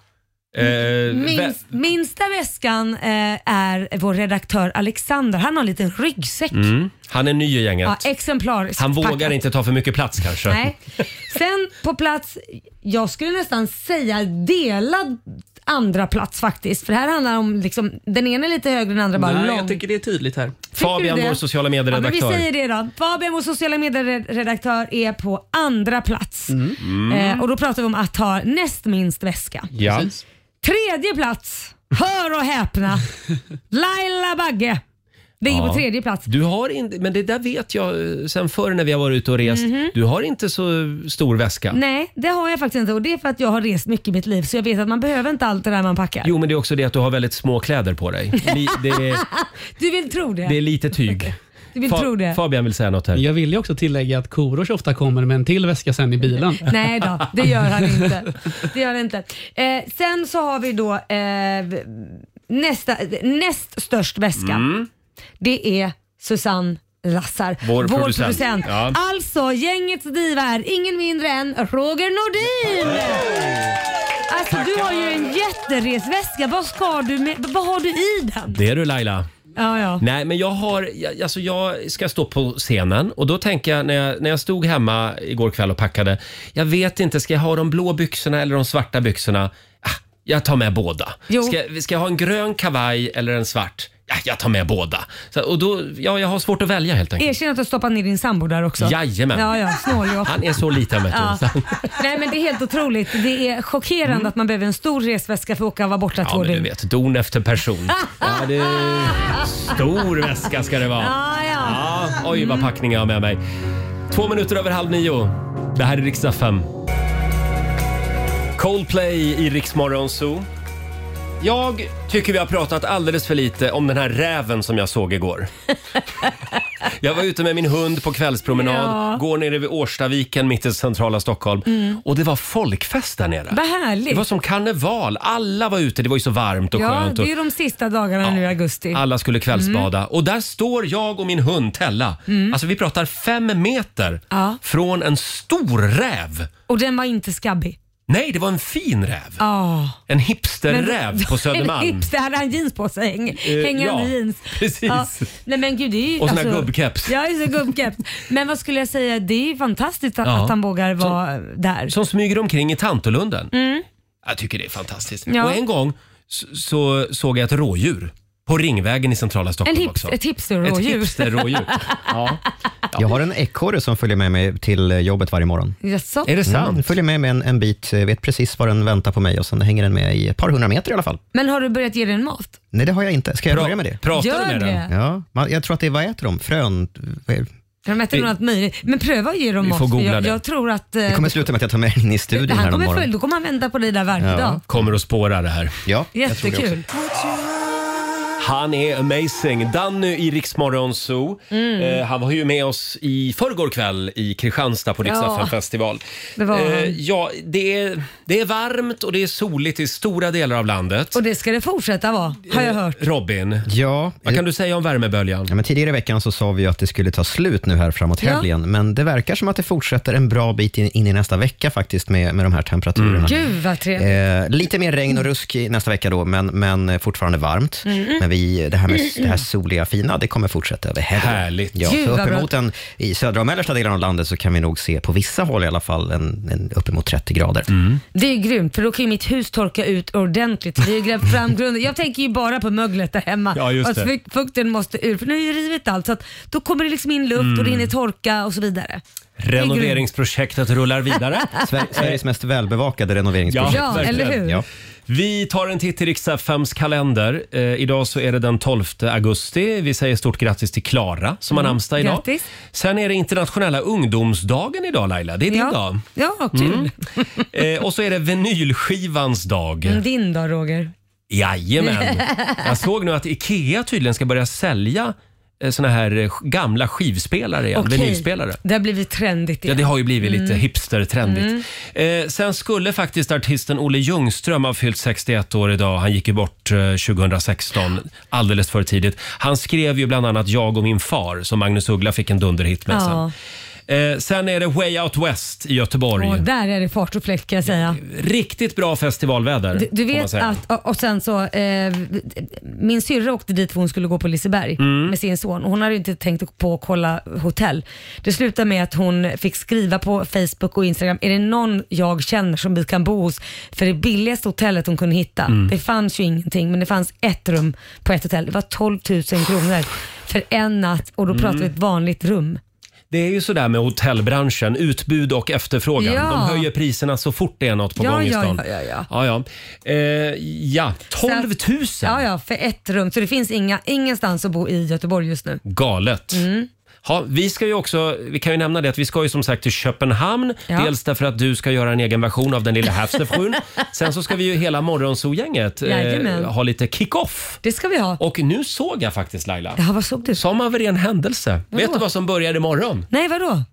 Speaker 1: Eh, vä-
Speaker 3: Mm. minst, minsta väskan eh, är vår redaktör Alexander. Han har en liten ryggsäck.
Speaker 1: Mm. Han är ny i gänget.
Speaker 3: Ja, exemplariskt
Speaker 1: Han
Speaker 3: packat.
Speaker 1: vågar inte ta för mycket plats kanske.
Speaker 3: Nej. Sen på plats, jag skulle nästan säga delad andra plats faktiskt. För här handlar det om, liksom, den ena är lite högre, den andra bara
Speaker 11: Nej,
Speaker 3: lång.
Speaker 11: jag tycker det är tydligt här.
Speaker 1: Fabian,
Speaker 3: du det?
Speaker 1: vår sociala
Speaker 3: Ja, men vi
Speaker 1: medieredaktör.
Speaker 3: säger det då. Fabian, vår sociala medieredaktör, är på andra plats.
Speaker 1: Mm.
Speaker 3: Eh, och då pratar vi om att ha näst minst väska.
Speaker 1: Ja.
Speaker 3: Tredje plats, hör och häpna, Laila Bagge. Ligger
Speaker 1: Ja.
Speaker 3: på tredje plats.
Speaker 1: Du har inte, men det där vet jag eh, sen förr när vi har varit ute och rest.
Speaker 3: Mhm.
Speaker 1: Du har inte så stor väska.
Speaker 3: Nej, det har jag faktiskt inte och det är för att jag har rest mycket i mitt liv så jag vet att man behöver inte allt det där man packar.
Speaker 1: Jo, men det är också det att du har väldigt små kläder på dig. Li, det, är,
Speaker 3: Du vill tro det?
Speaker 1: det är lite tyg.
Speaker 3: Du vill tro det?
Speaker 1: Fabian vill säga något här.
Speaker 11: Jag vill ju också tillägga att Korosh ofta kommer med en till väska sen i bilen.
Speaker 3: Nej då, det gör han inte. Det gör han inte. Eh, sen så har vi då eh, nästa, näst störst väska.
Speaker 1: Mm.
Speaker 3: Det är Susanne Lassar,
Speaker 1: Vår producent. Ja.
Speaker 3: Alltså gängets diva är ingen mindre än Roger Nordin. Alltså du har ju en jätteresväska. Vad ska du med? Vad har du i den?
Speaker 1: Det är du Laila.
Speaker 3: Ja, ja.
Speaker 1: Nej, men jag har, jag, alltså jag ska stå på scenen och då tänker jag när, jag när jag stod hemma igår kväll och packade. Jag vet inte, ska jag ha de blå byxorna eller de svarta byxorna? Ah, jag tar med båda.
Speaker 3: Jo.
Speaker 1: Ska, ska jag ha en grön kavaj eller en svart? Ja, jag tar med båda. Så, och då, ja, jag har svårt att välja helt enkelt.
Speaker 3: Erkänn att du stoppar ner din sambo där också.
Speaker 1: Jajamän.
Speaker 3: Ja, ja, snåljåp.
Speaker 1: Han är så liten vet du.
Speaker 3: Ja. Nej men det är helt otroligt. Det är chockerande att man behöver en stor resväska för att åka och vara borta
Speaker 1: Mm. Ja,
Speaker 3: två
Speaker 1: men du
Speaker 3: dygn.
Speaker 1: vet, don efter person. Ja, det är... Stor väska ska det vara.
Speaker 3: Ja, ja.
Speaker 1: Ah, oj, vad packning jag har med mig. Två minuter över halv nio. Det här är riksdag 5. Coldplay i Riksmorgon Zoo. Jag tycker vi har pratat alldeles för lite om den här räven som jag såg igår. jag var ute med min hund på kvällspromenad,
Speaker 3: Ja.
Speaker 1: går nere vid Årstaviken mitt i centrala Stockholm
Speaker 3: Mm.
Speaker 1: och det var folkfest där nere.
Speaker 3: Vad härligt.
Speaker 1: Det var som karneval. Alla var ute. Det var ju så varmt och
Speaker 3: Ja,
Speaker 1: skönt.
Speaker 3: det
Speaker 1: Och
Speaker 3: är ju de sista dagarna nu i augusti.
Speaker 1: alla skulle kvällsbada. Och där står jag och min hund Tella.
Speaker 3: Mm.
Speaker 1: Alltså vi pratar fem meter
Speaker 3: Ja.
Speaker 1: från en stor räv.
Speaker 3: Och den var inte skabbig.
Speaker 1: Nej, det var en fin räv.
Speaker 3: Ja.
Speaker 1: En hipsterräv
Speaker 3: Men-
Speaker 1: på Södermalm.
Speaker 3: En hipster, hade han jeans på sig? Häng,
Speaker 1: Eh,
Speaker 3: hängande
Speaker 1: ja,
Speaker 3: jeans.
Speaker 1: precis.
Speaker 3: Nej men gud, det är ju, alltså-
Speaker 1: Och sån här gubbkeps.
Speaker 3: Ja, just det, gubbkeps. Men vad skulle jag säga, det är ju fantastiskt att,
Speaker 1: Ja.
Speaker 3: att han vågar vara där.
Speaker 1: Som smyger omkring i Tantolunden.
Speaker 3: Mm.
Speaker 1: Jag tycker det är fantastiskt.
Speaker 3: Ja.
Speaker 1: Och en gång s- så såg jag ett rådjur på Ringvägen i centrala
Speaker 3: En
Speaker 1: Stockholm
Speaker 3: hips,
Speaker 1: också.
Speaker 3: ett hipsterrådjur.
Speaker 1: Ett hipsterrådjur. ja.
Speaker 8: Jag har en ekorre som följer med mig till eh, jobbet varje morgon.
Speaker 3: Jaså?
Speaker 8: Mm, den följer med mig en, en bit, eh, vet precis var den väntar på mig och sen hänger den med i ett par hundra meter i alla fall.
Speaker 3: Men har du börjat ge den mat?
Speaker 8: Nej, det har jag inte. Ska jag börja med det?
Speaker 3: pratar du Gör med det. den?
Speaker 8: Ja, man, jag tror att det är, vad äter de? Frön? vad är-
Speaker 3: De äter nog allt möjligt. Men pröva att ge dem
Speaker 8: Vi
Speaker 3: mat.
Speaker 8: får googla
Speaker 3: jag,
Speaker 8: det.
Speaker 3: jag tror att... eh,
Speaker 8: Det kommer sluta med att jag tar med den in i studion
Speaker 3: han
Speaker 8: här om
Speaker 3: kommer
Speaker 8: morgonen.
Speaker 3: följa, då kommer han vända på dig där varje dag.
Speaker 1: Kommer att spåra det här.
Speaker 8: Ja, jag tror det också.
Speaker 3: Jättekul.
Speaker 1: Han är amazing. Danny i Riksmorgon Zoo.
Speaker 3: Mm.
Speaker 1: Eh, han var ju med oss i förrgår kväll i Kristianstad på Riksdagen
Speaker 3: Ja.
Speaker 1: festival. Eh,
Speaker 3: Det var han.
Speaker 1: ja, det är, det är varmt och det är soligt i stora delar av landet.
Speaker 3: Och det ska det fortsätta vara, har
Speaker 8: Eh,
Speaker 3: jag hört.
Speaker 1: Robin,
Speaker 8: Ja. eh,
Speaker 1: vad kan du säga om värmeböljan?
Speaker 8: Ja, men tidigare i veckan så sa vi ju att det skulle ta slut nu här framåt
Speaker 3: Ja.
Speaker 8: helgen, men det verkar som att det fortsätter en bra bit in, in i nästa vecka faktiskt med, med de här temperaturerna.
Speaker 3: Gud vad trevligt.
Speaker 8: Eh,
Speaker 1: Mm.
Speaker 8: lite mer regn och rusk i nästa vecka då, men, men eh, fortfarande varmt.
Speaker 3: Mm.
Speaker 8: Men vi, det, här med, det här
Speaker 3: Mm.
Speaker 8: soliga fina, det kommer fortsätta över helgen.
Speaker 1: Härligt.
Speaker 8: Ja,
Speaker 3: Gud,
Speaker 8: så
Speaker 3: vad bra.
Speaker 8: uppemot en, i södra och mellersta delen av landet så kan vi nog se, på vissa håll i alla fall, en, en uppemot 30 grader.
Speaker 1: Mm.
Speaker 3: Det är ju grymt för då kan ju mitt hus torka ut ordentligt. Vi har ju grävt fram grunden. Jag tänker ju bara på möglet där hemma.
Speaker 1: Ja, just
Speaker 3: att
Speaker 1: det.
Speaker 3: fuk- fukten måste ur. För nu är ju rivet allt så att då kommer det liksom in luft och det
Speaker 1: Mm.
Speaker 3: hinner torka och så vidare.
Speaker 1: Renoveringsprojektet rullar vidare.
Speaker 8: Sver- Sveriges mest välbevakade renoveringsprojekt.
Speaker 1: Ja, Ja, eller verkligen. hur?
Speaker 8: Ja.
Speaker 1: Vi tar en titt i Riks-FMs kalender. Eh, idag så är det den 12 augusti. Vi säger stort grattis till Klara som har
Speaker 3: Mm,
Speaker 1: namnsdag idag.
Speaker 3: grattis.
Speaker 1: Sen är det internationella ungdomsdagen idag Laila. Det är din
Speaker 3: ja.
Speaker 1: dag.
Speaker 3: Ja, kul.
Speaker 1: Mm. Eh, och så är det vinylskivans dag.
Speaker 3: Mm. Din dag Roger.
Speaker 1: Jajamän. Jag såg nu att IKEA tydligen ska börja sälja eh, såna här eh, sk- gamla skivspelare igen,
Speaker 3: Okej.
Speaker 1: vinylspelare.
Speaker 3: Det har blivit trendigt
Speaker 1: Ja,
Speaker 3: igen.
Speaker 1: det har ju blivit lite
Speaker 3: Mm.
Speaker 1: hipster-trendigt. Eh, sen skulle faktiskt artisten Olle Ljungström ha fyllt 61 år idag. Han gick ju bort eh, 2016, alldeles för tidigt. Han skrev ju bland annat Jag och min far, som Magnus Uggla fick en dunderhit med
Speaker 3: Ja.
Speaker 1: sen. Eh, sen är det Way Out West i Göteborg.
Speaker 3: Och där är det fart och fläkt kan jag säga.
Speaker 1: Riktigt bra festivalväder.
Speaker 3: Du, du
Speaker 1: får man
Speaker 3: vet
Speaker 1: säga.
Speaker 3: att, och- och sen så, eh, min syrra åkte dit för hon skulle gå på Liseberg
Speaker 1: Mm.
Speaker 3: med sin son. Hon hade ju inte tänkt på att kolla hotell. Det slutade med att hon fick skriva på Facebook och Instagram, är det någon jag känner som vi kan bo hos? För det billigaste hotellet hon kunde hitta,
Speaker 16: Mm.
Speaker 3: det fanns ju ingenting, men det fanns ett rum på ett hotell. Det var 12 000 kronor för en natt och då pratade vi
Speaker 1: Mm.
Speaker 3: ett vanligt rum.
Speaker 1: Det är ju sådär med hotellbranschen, utbud och efterfrågan.
Speaker 3: Ja.
Speaker 1: De höjer priserna så fort det är något på
Speaker 3: Ja,
Speaker 1: gång i
Speaker 3: ja,
Speaker 1: stan.
Speaker 3: ja, ja,
Speaker 1: ja. Eh, ja, 12 000!
Speaker 3: Ja, ja, för ett rum. Så det finns inga, ingenstans att bo i Göteborg just nu.
Speaker 1: Galet.
Speaker 3: Mm.
Speaker 1: Ja, vi ska ju också, vi kan ju nämna det att vi ska ju som sagt till Köpenhamn.
Speaker 3: Ja.
Speaker 1: Dels därför att du ska göra en egen version av Den lilla havsefrun. Sen så ska vi ju hela morgonzoo-gänget
Speaker 3: Jajamän.
Speaker 1: ha lite kick-off.
Speaker 3: Det ska vi ha.
Speaker 1: Och nu såg jag faktiskt Laila,
Speaker 3: Ja, vad såg du?
Speaker 1: som av en ren händelse.
Speaker 3: Vadå?
Speaker 1: Vet du vad som börjar imorgon?
Speaker 3: Nej, vadå?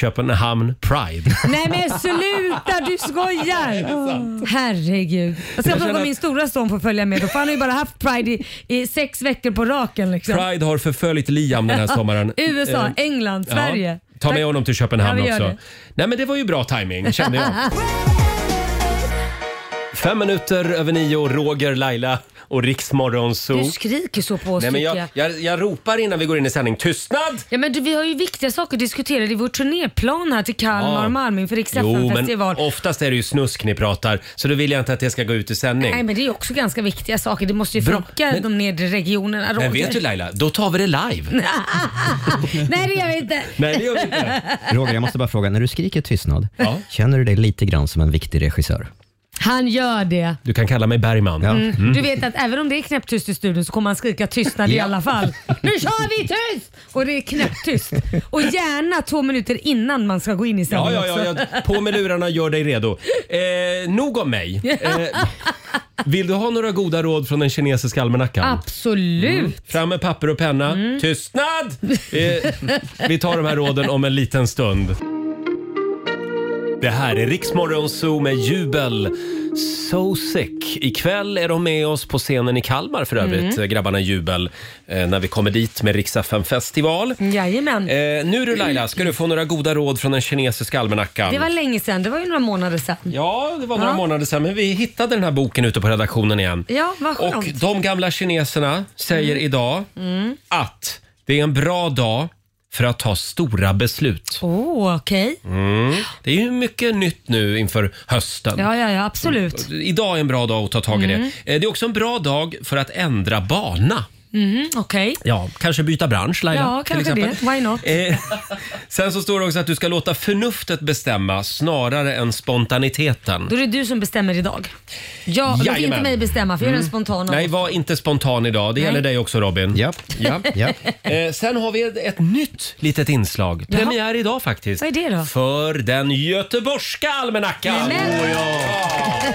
Speaker 1: Köpenhamn Pride.
Speaker 3: Nej men sluta, du skojar! Herregud. Jag ska
Speaker 1: Jag
Speaker 3: fråga
Speaker 1: känner
Speaker 3: om min
Speaker 1: att-
Speaker 3: stora son får följa med då, för han har ju bara haft Pride i, i sex veckor på raken. Liksom. Ah,
Speaker 1: Pride har förföljt Liam den här sommaren.
Speaker 3: USA,
Speaker 1: Eh,
Speaker 3: England,
Speaker 1: ja.
Speaker 3: Sverige.
Speaker 1: Ta med honom till Köpenhamn
Speaker 3: Ja, vi gör
Speaker 1: också.
Speaker 3: det.
Speaker 1: Nej men det var ju bra timing kände jag. Fem minuter över nio, Roger, Laila och Riksmorgon
Speaker 3: Du
Speaker 1: Zoo.
Speaker 3: skriker så på oss
Speaker 1: Nej, men
Speaker 3: tycker
Speaker 1: jag,
Speaker 3: jag.
Speaker 1: jag, jag ropar innan vi går in i sändning. Tystnad!
Speaker 3: Ja, men du, vi har ju viktiga saker att diskutera. Det är vår turnéplan här till Kalmar
Speaker 1: Ja.
Speaker 3: och Malmö inför Rix
Speaker 1: Jo,
Speaker 3: festival
Speaker 1: men oftast är det ju snusk ni pratar, så då vill jag inte att det ska gå ut i sändning.
Speaker 3: Nej, men det är också ganska viktiga saker. Det måste ju
Speaker 1: Bra,
Speaker 3: flocka
Speaker 1: men-
Speaker 3: de nedre regionerna. Roger.
Speaker 1: men vet du Laila, då tar vi det live.
Speaker 3: Nej, det gör vi inte.
Speaker 1: Nej, det gör vi inte.
Speaker 8: Roger, jag måste bara fråga, när du skriker tystnad,
Speaker 1: Ja.
Speaker 8: känner du dig lite grann som en viktig regissör?
Speaker 3: Han gör det.
Speaker 1: Du kan kalla mig Bergman.
Speaker 3: Mm. Du vet att även om det är knäpptyst i studion så kommer han skrika tystnad i
Speaker 1: Ja.
Speaker 3: alla fall. Nu kör vi tyst! Och det är knäpptyst. Och gärna två minuter innan man ska gå in i
Speaker 1: Ja,
Speaker 3: sändning
Speaker 1: ja, ja,
Speaker 3: också.
Speaker 1: ja. På med lurarna, gör dig redo. Eh, nog om mig. Eh, vill du ha några goda råd från den kinesiska almanackan?
Speaker 3: Absolut.
Speaker 1: Mm. Fram med papper och penna.
Speaker 3: Mm.
Speaker 1: Tystnad! Eh, vi tar de här råden om en liten stund. Det här är Riksmorgon Zoo med jubel. So sick. Ikväll är de med oss på scenen i Kalmar för övrigt,
Speaker 3: Mm.
Speaker 1: grabbarna Jubel, eh, när vi kommer dit med Rix FM festival.
Speaker 3: Mm. Jajamän.
Speaker 1: Eh, nu du Laila, ska du få några goda råd från den kinesiska almanackan.
Speaker 3: Det var länge sedan. Det var ju några månader sedan.
Speaker 1: Ja, det var några
Speaker 3: Ja.
Speaker 1: månader sedan, men vi hittade den här boken ute på redaktionen igen.
Speaker 3: Ja, vad skönt.
Speaker 1: Och de gamla kineserna säger idag
Speaker 3: Mm.
Speaker 1: att det är en bra dag för att ta stora beslut.
Speaker 3: Oh, okej.
Speaker 1: Mm. Det är ju mycket nytt nu inför hösten.
Speaker 3: Ja, ja, ja, absolut.
Speaker 1: Idag är en bra dag att ta tag i
Speaker 3: Mm.
Speaker 1: det. Eh, Det är också en bra dag för att ändra bana.
Speaker 3: Mhm, okej.
Speaker 1: Ja, kanske byta bransch Laila.
Speaker 3: Ja,
Speaker 1: till
Speaker 3: kanske
Speaker 1: exempel.
Speaker 3: det. Why not?
Speaker 1: Eh, sen så står det också att du ska låta förnuftet bestämma snarare än spontaniteten.
Speaker 3: Då är det du som bestämmer idag. Ja, låt
Speaker 1: Jajamän.
Speaker 3: inte mig bestämma för jag är den
Speaker 1: Mm.
Speaker 3: spontana.
Speaker 1: Nej, var inte spontan idag. Det
Speaker 3: Nej.
Speaker 1: gäller dig också Robin. Ja.
Speaker 3: Ja.
Speaker 1: Eh, sen har vi ett, ett nytt litet inslag.
Speaker 3: Jaha.
Speaker 1: Premiär idag faktiskt.
Speaker 3: Vad är det då?
Speaker 1: För den göteborgska almanackan.
Speaker 3: Åh,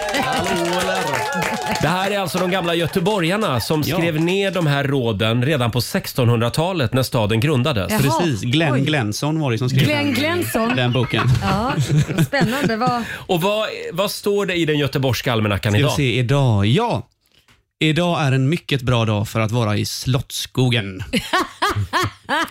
Speaker 1: Det här är alltså de gamla göteborgarna som skrev ner de här råden redan på 1600-talet när staden grundades.
Speaker 3: Jaha. Precis. Glenn Oj.
Speaker 1: Glensson var det som
Speaker 3: Glenn Glensson.
Speaker 1: boken.
Speaker 3: Ja, spännande. Vad...
Speaker 1: Och vad, vad står det i den göteborgska almanackan
Speaker 11: Ska vi
Speaker 1: idag?
Speaker 11: se idag? Ja. Idag är en mycket bra dag för att vara i Slottsskogen.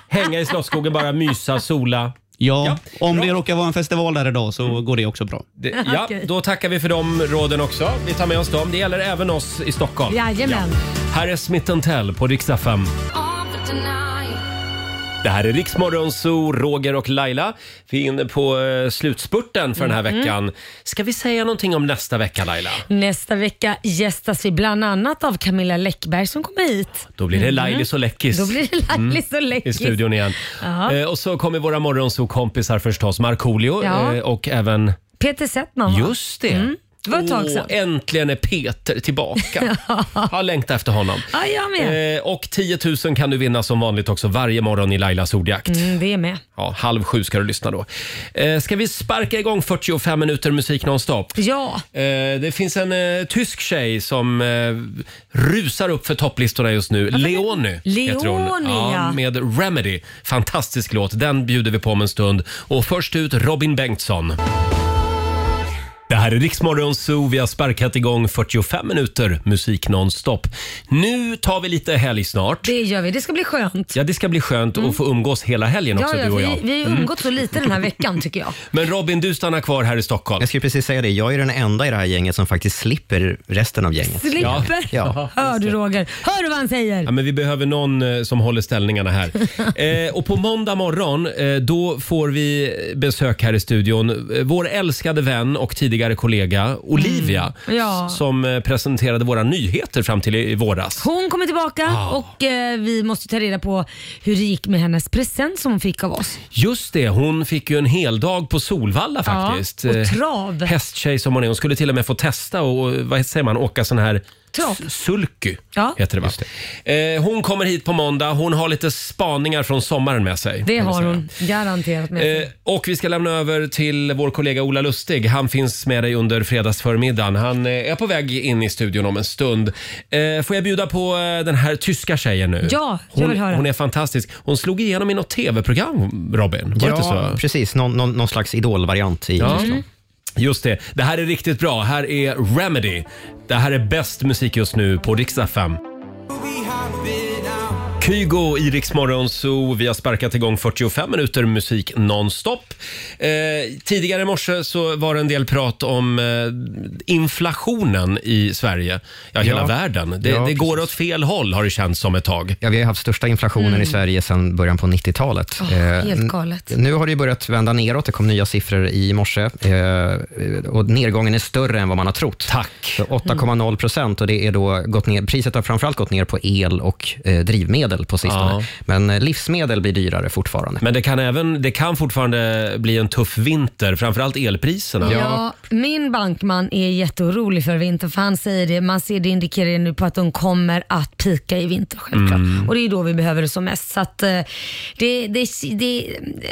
Speaker 1: Hänga i Slottsskogen, bara mysa, sola.
Speaker 11: Ja, om det råkar vara en festival där idag så går det också bra.
Speaker 1: Det, ja, då tackar vi för de råden också. Vi tar med oss dem. Det gäller även oss i Stockholm.
Speaker 3: Jajamän.
Speaker 1: Här är Smith Tell på riksdag 5. Det här är Riksmorgon Zoo, Roger och Laila. Vi är inne på eh, slutspurten för den här
Speaker 3: Mhm.
Speaker 1: veckan. Ska vi säga någonting om nästa vecka Laila?
Speaker 3: Nästa vecka gästas vi bland annat av Camilla Läckberg som kommer hit.
Speaker 1: Då blir det
Speaker 3: Mhm.
Speaker 1: Lailis och Läckis.
Speaker 3: Då blir det Lailis och
Speaker 1: Mm. I
Speaker 3: Läckis.
Speaker 1: studion igen.
Speaker 3: Ja.
Speaker 1: Eh, och så kommer våra morgonsokompisar förstås, Markoolio
Speaker 3: Ja.
Speaker 1: eh, och även...
Speaker 3: Peter Settman va?
Speaker 1: Just det.
Speaker 3: Mm. Det var ett tag
Speaker 1: Åh,
Speaker 3: sedan.
Speaker 1: äntligen är Peter tillbaka. Har längtat efter honom.
Speaker 3: Ja, jag med.
Speaker 1: Eh, och 10 000 kan du vinna som vanligt också varje morgon i Lailas ordjakt.
Speaker 3: Mm, det är med.
Speaker 1: Ja, halv sju ska du lyssna då. Eh, ska vi sparka igång 45 minuter musik nonstop?
Speaker 3: Ja.
Speaker 1: Eh, det finns en eh, tysk tjej som eh, rusar upp för topplistorna just nu. Leonie heter hon.
Speaker 3: Leonie, ja.
Speaker 1: Med Remedy. Fantastisk låt. Den bjuder vi på om en stund. Och först ut Robin Bengtsson. Det här är Riksmorgon Zoo. Vi har sparkat igång 45 minuter musik nonstop. Nu tar vi lite helg snart.
Speaker 3: Det gör vi. Det ska bli skönt.
Speaker 1: Ja, det ska bli skönt
Speaker 3: Mm.
Speaker 1: att få umgås hela helgen också,
Speaker 3: ja,
Speaker 1: du och jag.
Speaker 3: vi, vi har
Speaker 1: Mm.
Speaker 3: umgått så lite den här veckan tycker jag.
Speaker 1: Men Robin, du stannar kvar här i Stockholm.
Speaker 8: Jag skulle precis säga det, jag är den enda i det här gänget som faktiskt slipper resten av gänget.
Speaker 3: Slipper.
Speaker 8: Ja.
Speaker 3: Hör du Roger? Hör du vad han säger?
Speaker 1: Ja, men vi behöver någon eh, som håller ställningarna här. Eh, och på måndag morgon, eh, då får vi besök här i studion. Eh, Vår älskade vän och tidigare kollega Olivia,
Speaker 3: Mm. Ja.
Speaker 1: s- som eh, presenterade våra nyheter fram till i i våras.
Speaker 3: Hon kommer tillbaka
Speaker 1: Ah.
Speaker 3: och eh, vi måste ta reda på hur det gick med hennes present som hon fick av oss.
Speaker 1: Just det, hon fick ju en hel dag på Solvalla
Speaker 3: Ja,
Speaker 1: faktiskt.
Speaker 3: och
Speaker 1: Eh,
Speaker 3: trav.
Speaker 1: Hästtjej som hon är. Hon skulle till och med få testa och, och vad säger man, åka sån här
Speaker 3: Trav.
Speaker 1: s- sulky.
Speaker 3: Ja.
Speaker 1: Heter det, va? Eh, hon kommer hit på måndag. Hon har lite spaningar från sommaren med sig.
Speaker 3: Det
Speaker 1: kan vi
Speaker 3: har
Speaker 1: säga.
Speaker 3: hon garanterat med sig.
Speaker 1: Eh, och vi ska lämna över till vår kollega Ola Lustig. Han finns med dig under fredagsförmiddagen. Han eh, är på väg in i studion om en stund. Eh, får jag bjuda på eh, den här tyska tjejen nu?
Speaker 3: Ja, jag
Speaker 1: hon,
Speaker 3: vill höra.
Speaker 1: Hon är fantastisk. Hon slog igenom i något tv-program, Robin. Var det inte så?
Speaker 8: Ja, precis. Någon, någon, någon slags idolvariant i
Speaker 1: Ja.
Speaker 8: Tyskland.
Speaker 1: Mm. Just det. Det här är riktigt bra. Här är Remedy. Det här är bäst musik just nu på Rix FM. Kygo i Rix Morgon Zoo. Vi har sparkat igång 45 minuter musik nonstop. Eh, tidigare i morse så var det en del prat om eh, inflationen i Sverige. Ja, hela
Speaker 8: Ja.
Speaker 1: världen. Det,
Speaker 8: Ja,
Speaker 1: det
Speaker 8: precis.
Speaker 1: går åt fel håll har det känts som ett tag.
Speaker 8: Ja, vi har haft största inflationen
Speaker 1: Mm.
Speaker 8: i Sverige sedan början på 90-talet.
Speaker 3: Åh, helt
Speaker 8: n-
Speaker 3: galet.
Speaker 8: Nu har det ju börjat vända neråt. Det kom nya siffror i morse eh, och nedgången är större än vad man har trott.
Speaker 1: Tack.
Speaker 8: Så 8,0 procent och det är då gått ner, priset har framförallt gått ner på el och eh, drivmedel på sistone.
Speaker 1: Ja.
Speaker 8: Men eh, livsmedel blir dyrare fortfarande.
Speaker 1: Men det kan, även, det kan fortfarande bli en tuff vinter, framförallt elpriserna.
Speaker 3: Ja. min bankman är jätteorolig för vintern för han säger det, man ser det indikerar nu på att de kommer att pika i vinter självklart.
Speaker 16: Mm.
Speaker 3: Och det är då vi behöver det som mest. Så att, eh, det, det, det,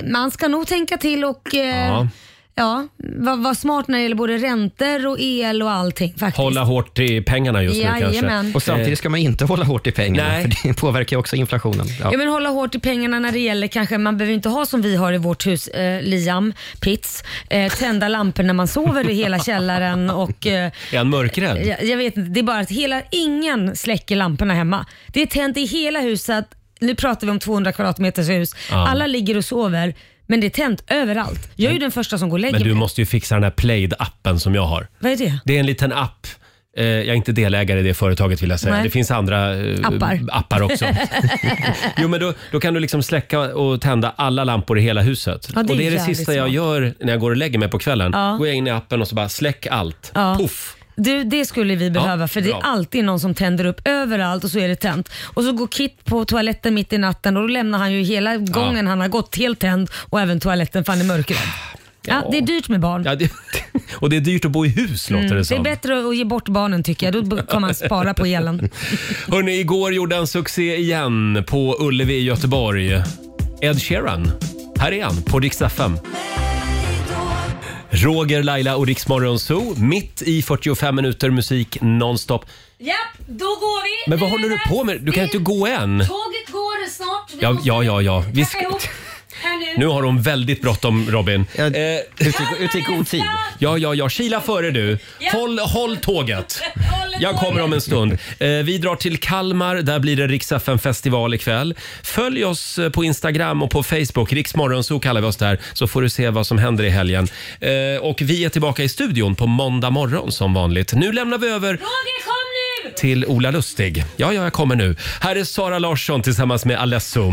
Speaker 3: man ska nog tänka till och eh,
Speaker 1: Ja.
Speaker 3: ja. vara var smart när det gäller både räntor och el och allting faktiskt.
Speaker 1: Hålla hårt i pengarna just nu
Speaker 3: Jajamän.
Speaker 1: kanske.
Speaker 3: Och samtidigt
Speaker 8: ska man inte hålla hårt i pengarna för det påverkar ju också inflationen.
Speaker 3: Ja. men hålla hårt i pengarna när det gäller kanske, man behöver inte ha som vi har i vårt hus, eh, Liam, Pitts, eh, tända lampor när man sover i hela källaren och eh,
Speaker 1: Är han mörkrädd?
Speaker 3: jag, jag vet inte, det är bara att hela, ingen släcker lamporna hemma. Det är tänt i hela huset, nu pratar vi om 200 kvadratmeters hus,
Speaker 1: Ja.
Speaker 3: alla ligger och sover men det är tänt överallt. Jag är ju den första som går och lägger
Speaker 1: Men du
Speaker 3: mig.
Speaker 1: måste ju fixa den här Plaid-appen som jag har.
Speaker 3: Vad är det?
Speaker 1: Det är en liten app. Eh, Jag är inte delägare i det företaget vill jag säga.
Speaker 3: Nej.
Speaker 1: Det finns andra eh,
Speaker 3: Appar.
Speaker 1: appar också. jo, men då, då kan du liksom släcka och tända alla lampor i hela huset.
Speaker 3: Ja, det
Speaker 1: och det
Speaker 3: är
Speaker 1: är det
Speaker 3: jävligt
Speaker 1: sista jag
Speaker 3: smart.
Speaker 1: gör när jag går och lägger mig på kvällen.
Speaker 3: Ja.
Speaker 1: Går jag in i appen och så bara släck allt.
Speaker 3: Ja.
Speaker 1: Puff!
Speaker 3: Du, det skulle vi behöva för det är
Speaker 1: bra.
Speaker 3: alltid någon som tänder upp överallt och så är det tänt. Och så går Kit på toaletten mitt i natten och då lämnar han ju hela gången han har gått helt tänd och även toaletten för han är mörkrädd. Ja. det är dyrt med barn.
Speaker 1: Ja, det, och det är dyrt att bo i hus låter
Speaker 3: Mm,
Speaker 1: det
Speaker 3: det
Speaker 1: som.
Speaker 3: är bättre att ge bort barnen tycker jag. Då kan man spara på elen.
Speaker 1: Hörrni, igår gjorde han succé igen på Ullevi i Göteborg. Ed Sheeran. Här är han på Rix FM. Roger, Laila och Rix Morgon Zoo. Mitt i 45 minuter musik nonstop.
Speaker 3: Japp, då går vi.
Speaker 1: Men vad håller du på med? Du kan inte gå än.
Speaker 3: Tåget går snart. Vi
Speaker 1: Ja, ja, ja. ja. Vi ska...
Speaker 3: Här
Speaker 1: Nu har hon väldigt bråttom, Robin. Ut i, ut i god tid. Ja, ja, ja. Kila före du. Håll, håll tåget. Jag kommer om en stund. Eh, vi drar till Kalmar. Där blir det Rix FM festival ikväll. Följ oss eh, på Instagram och på Facebook. Rix Morgonzoo kallar vi oss där. Så får du se vad som händer i helgen. Eh, och vi är tillbaka i studion på måndag morgon som vanligt. Nu lämnar vi över
Speaker 3: Roger, kom nu!
Speaker 1: till Ola Lustig. Ja, ja, jag kommer nu. Här är Sara Larsson tillsammans med Alesso.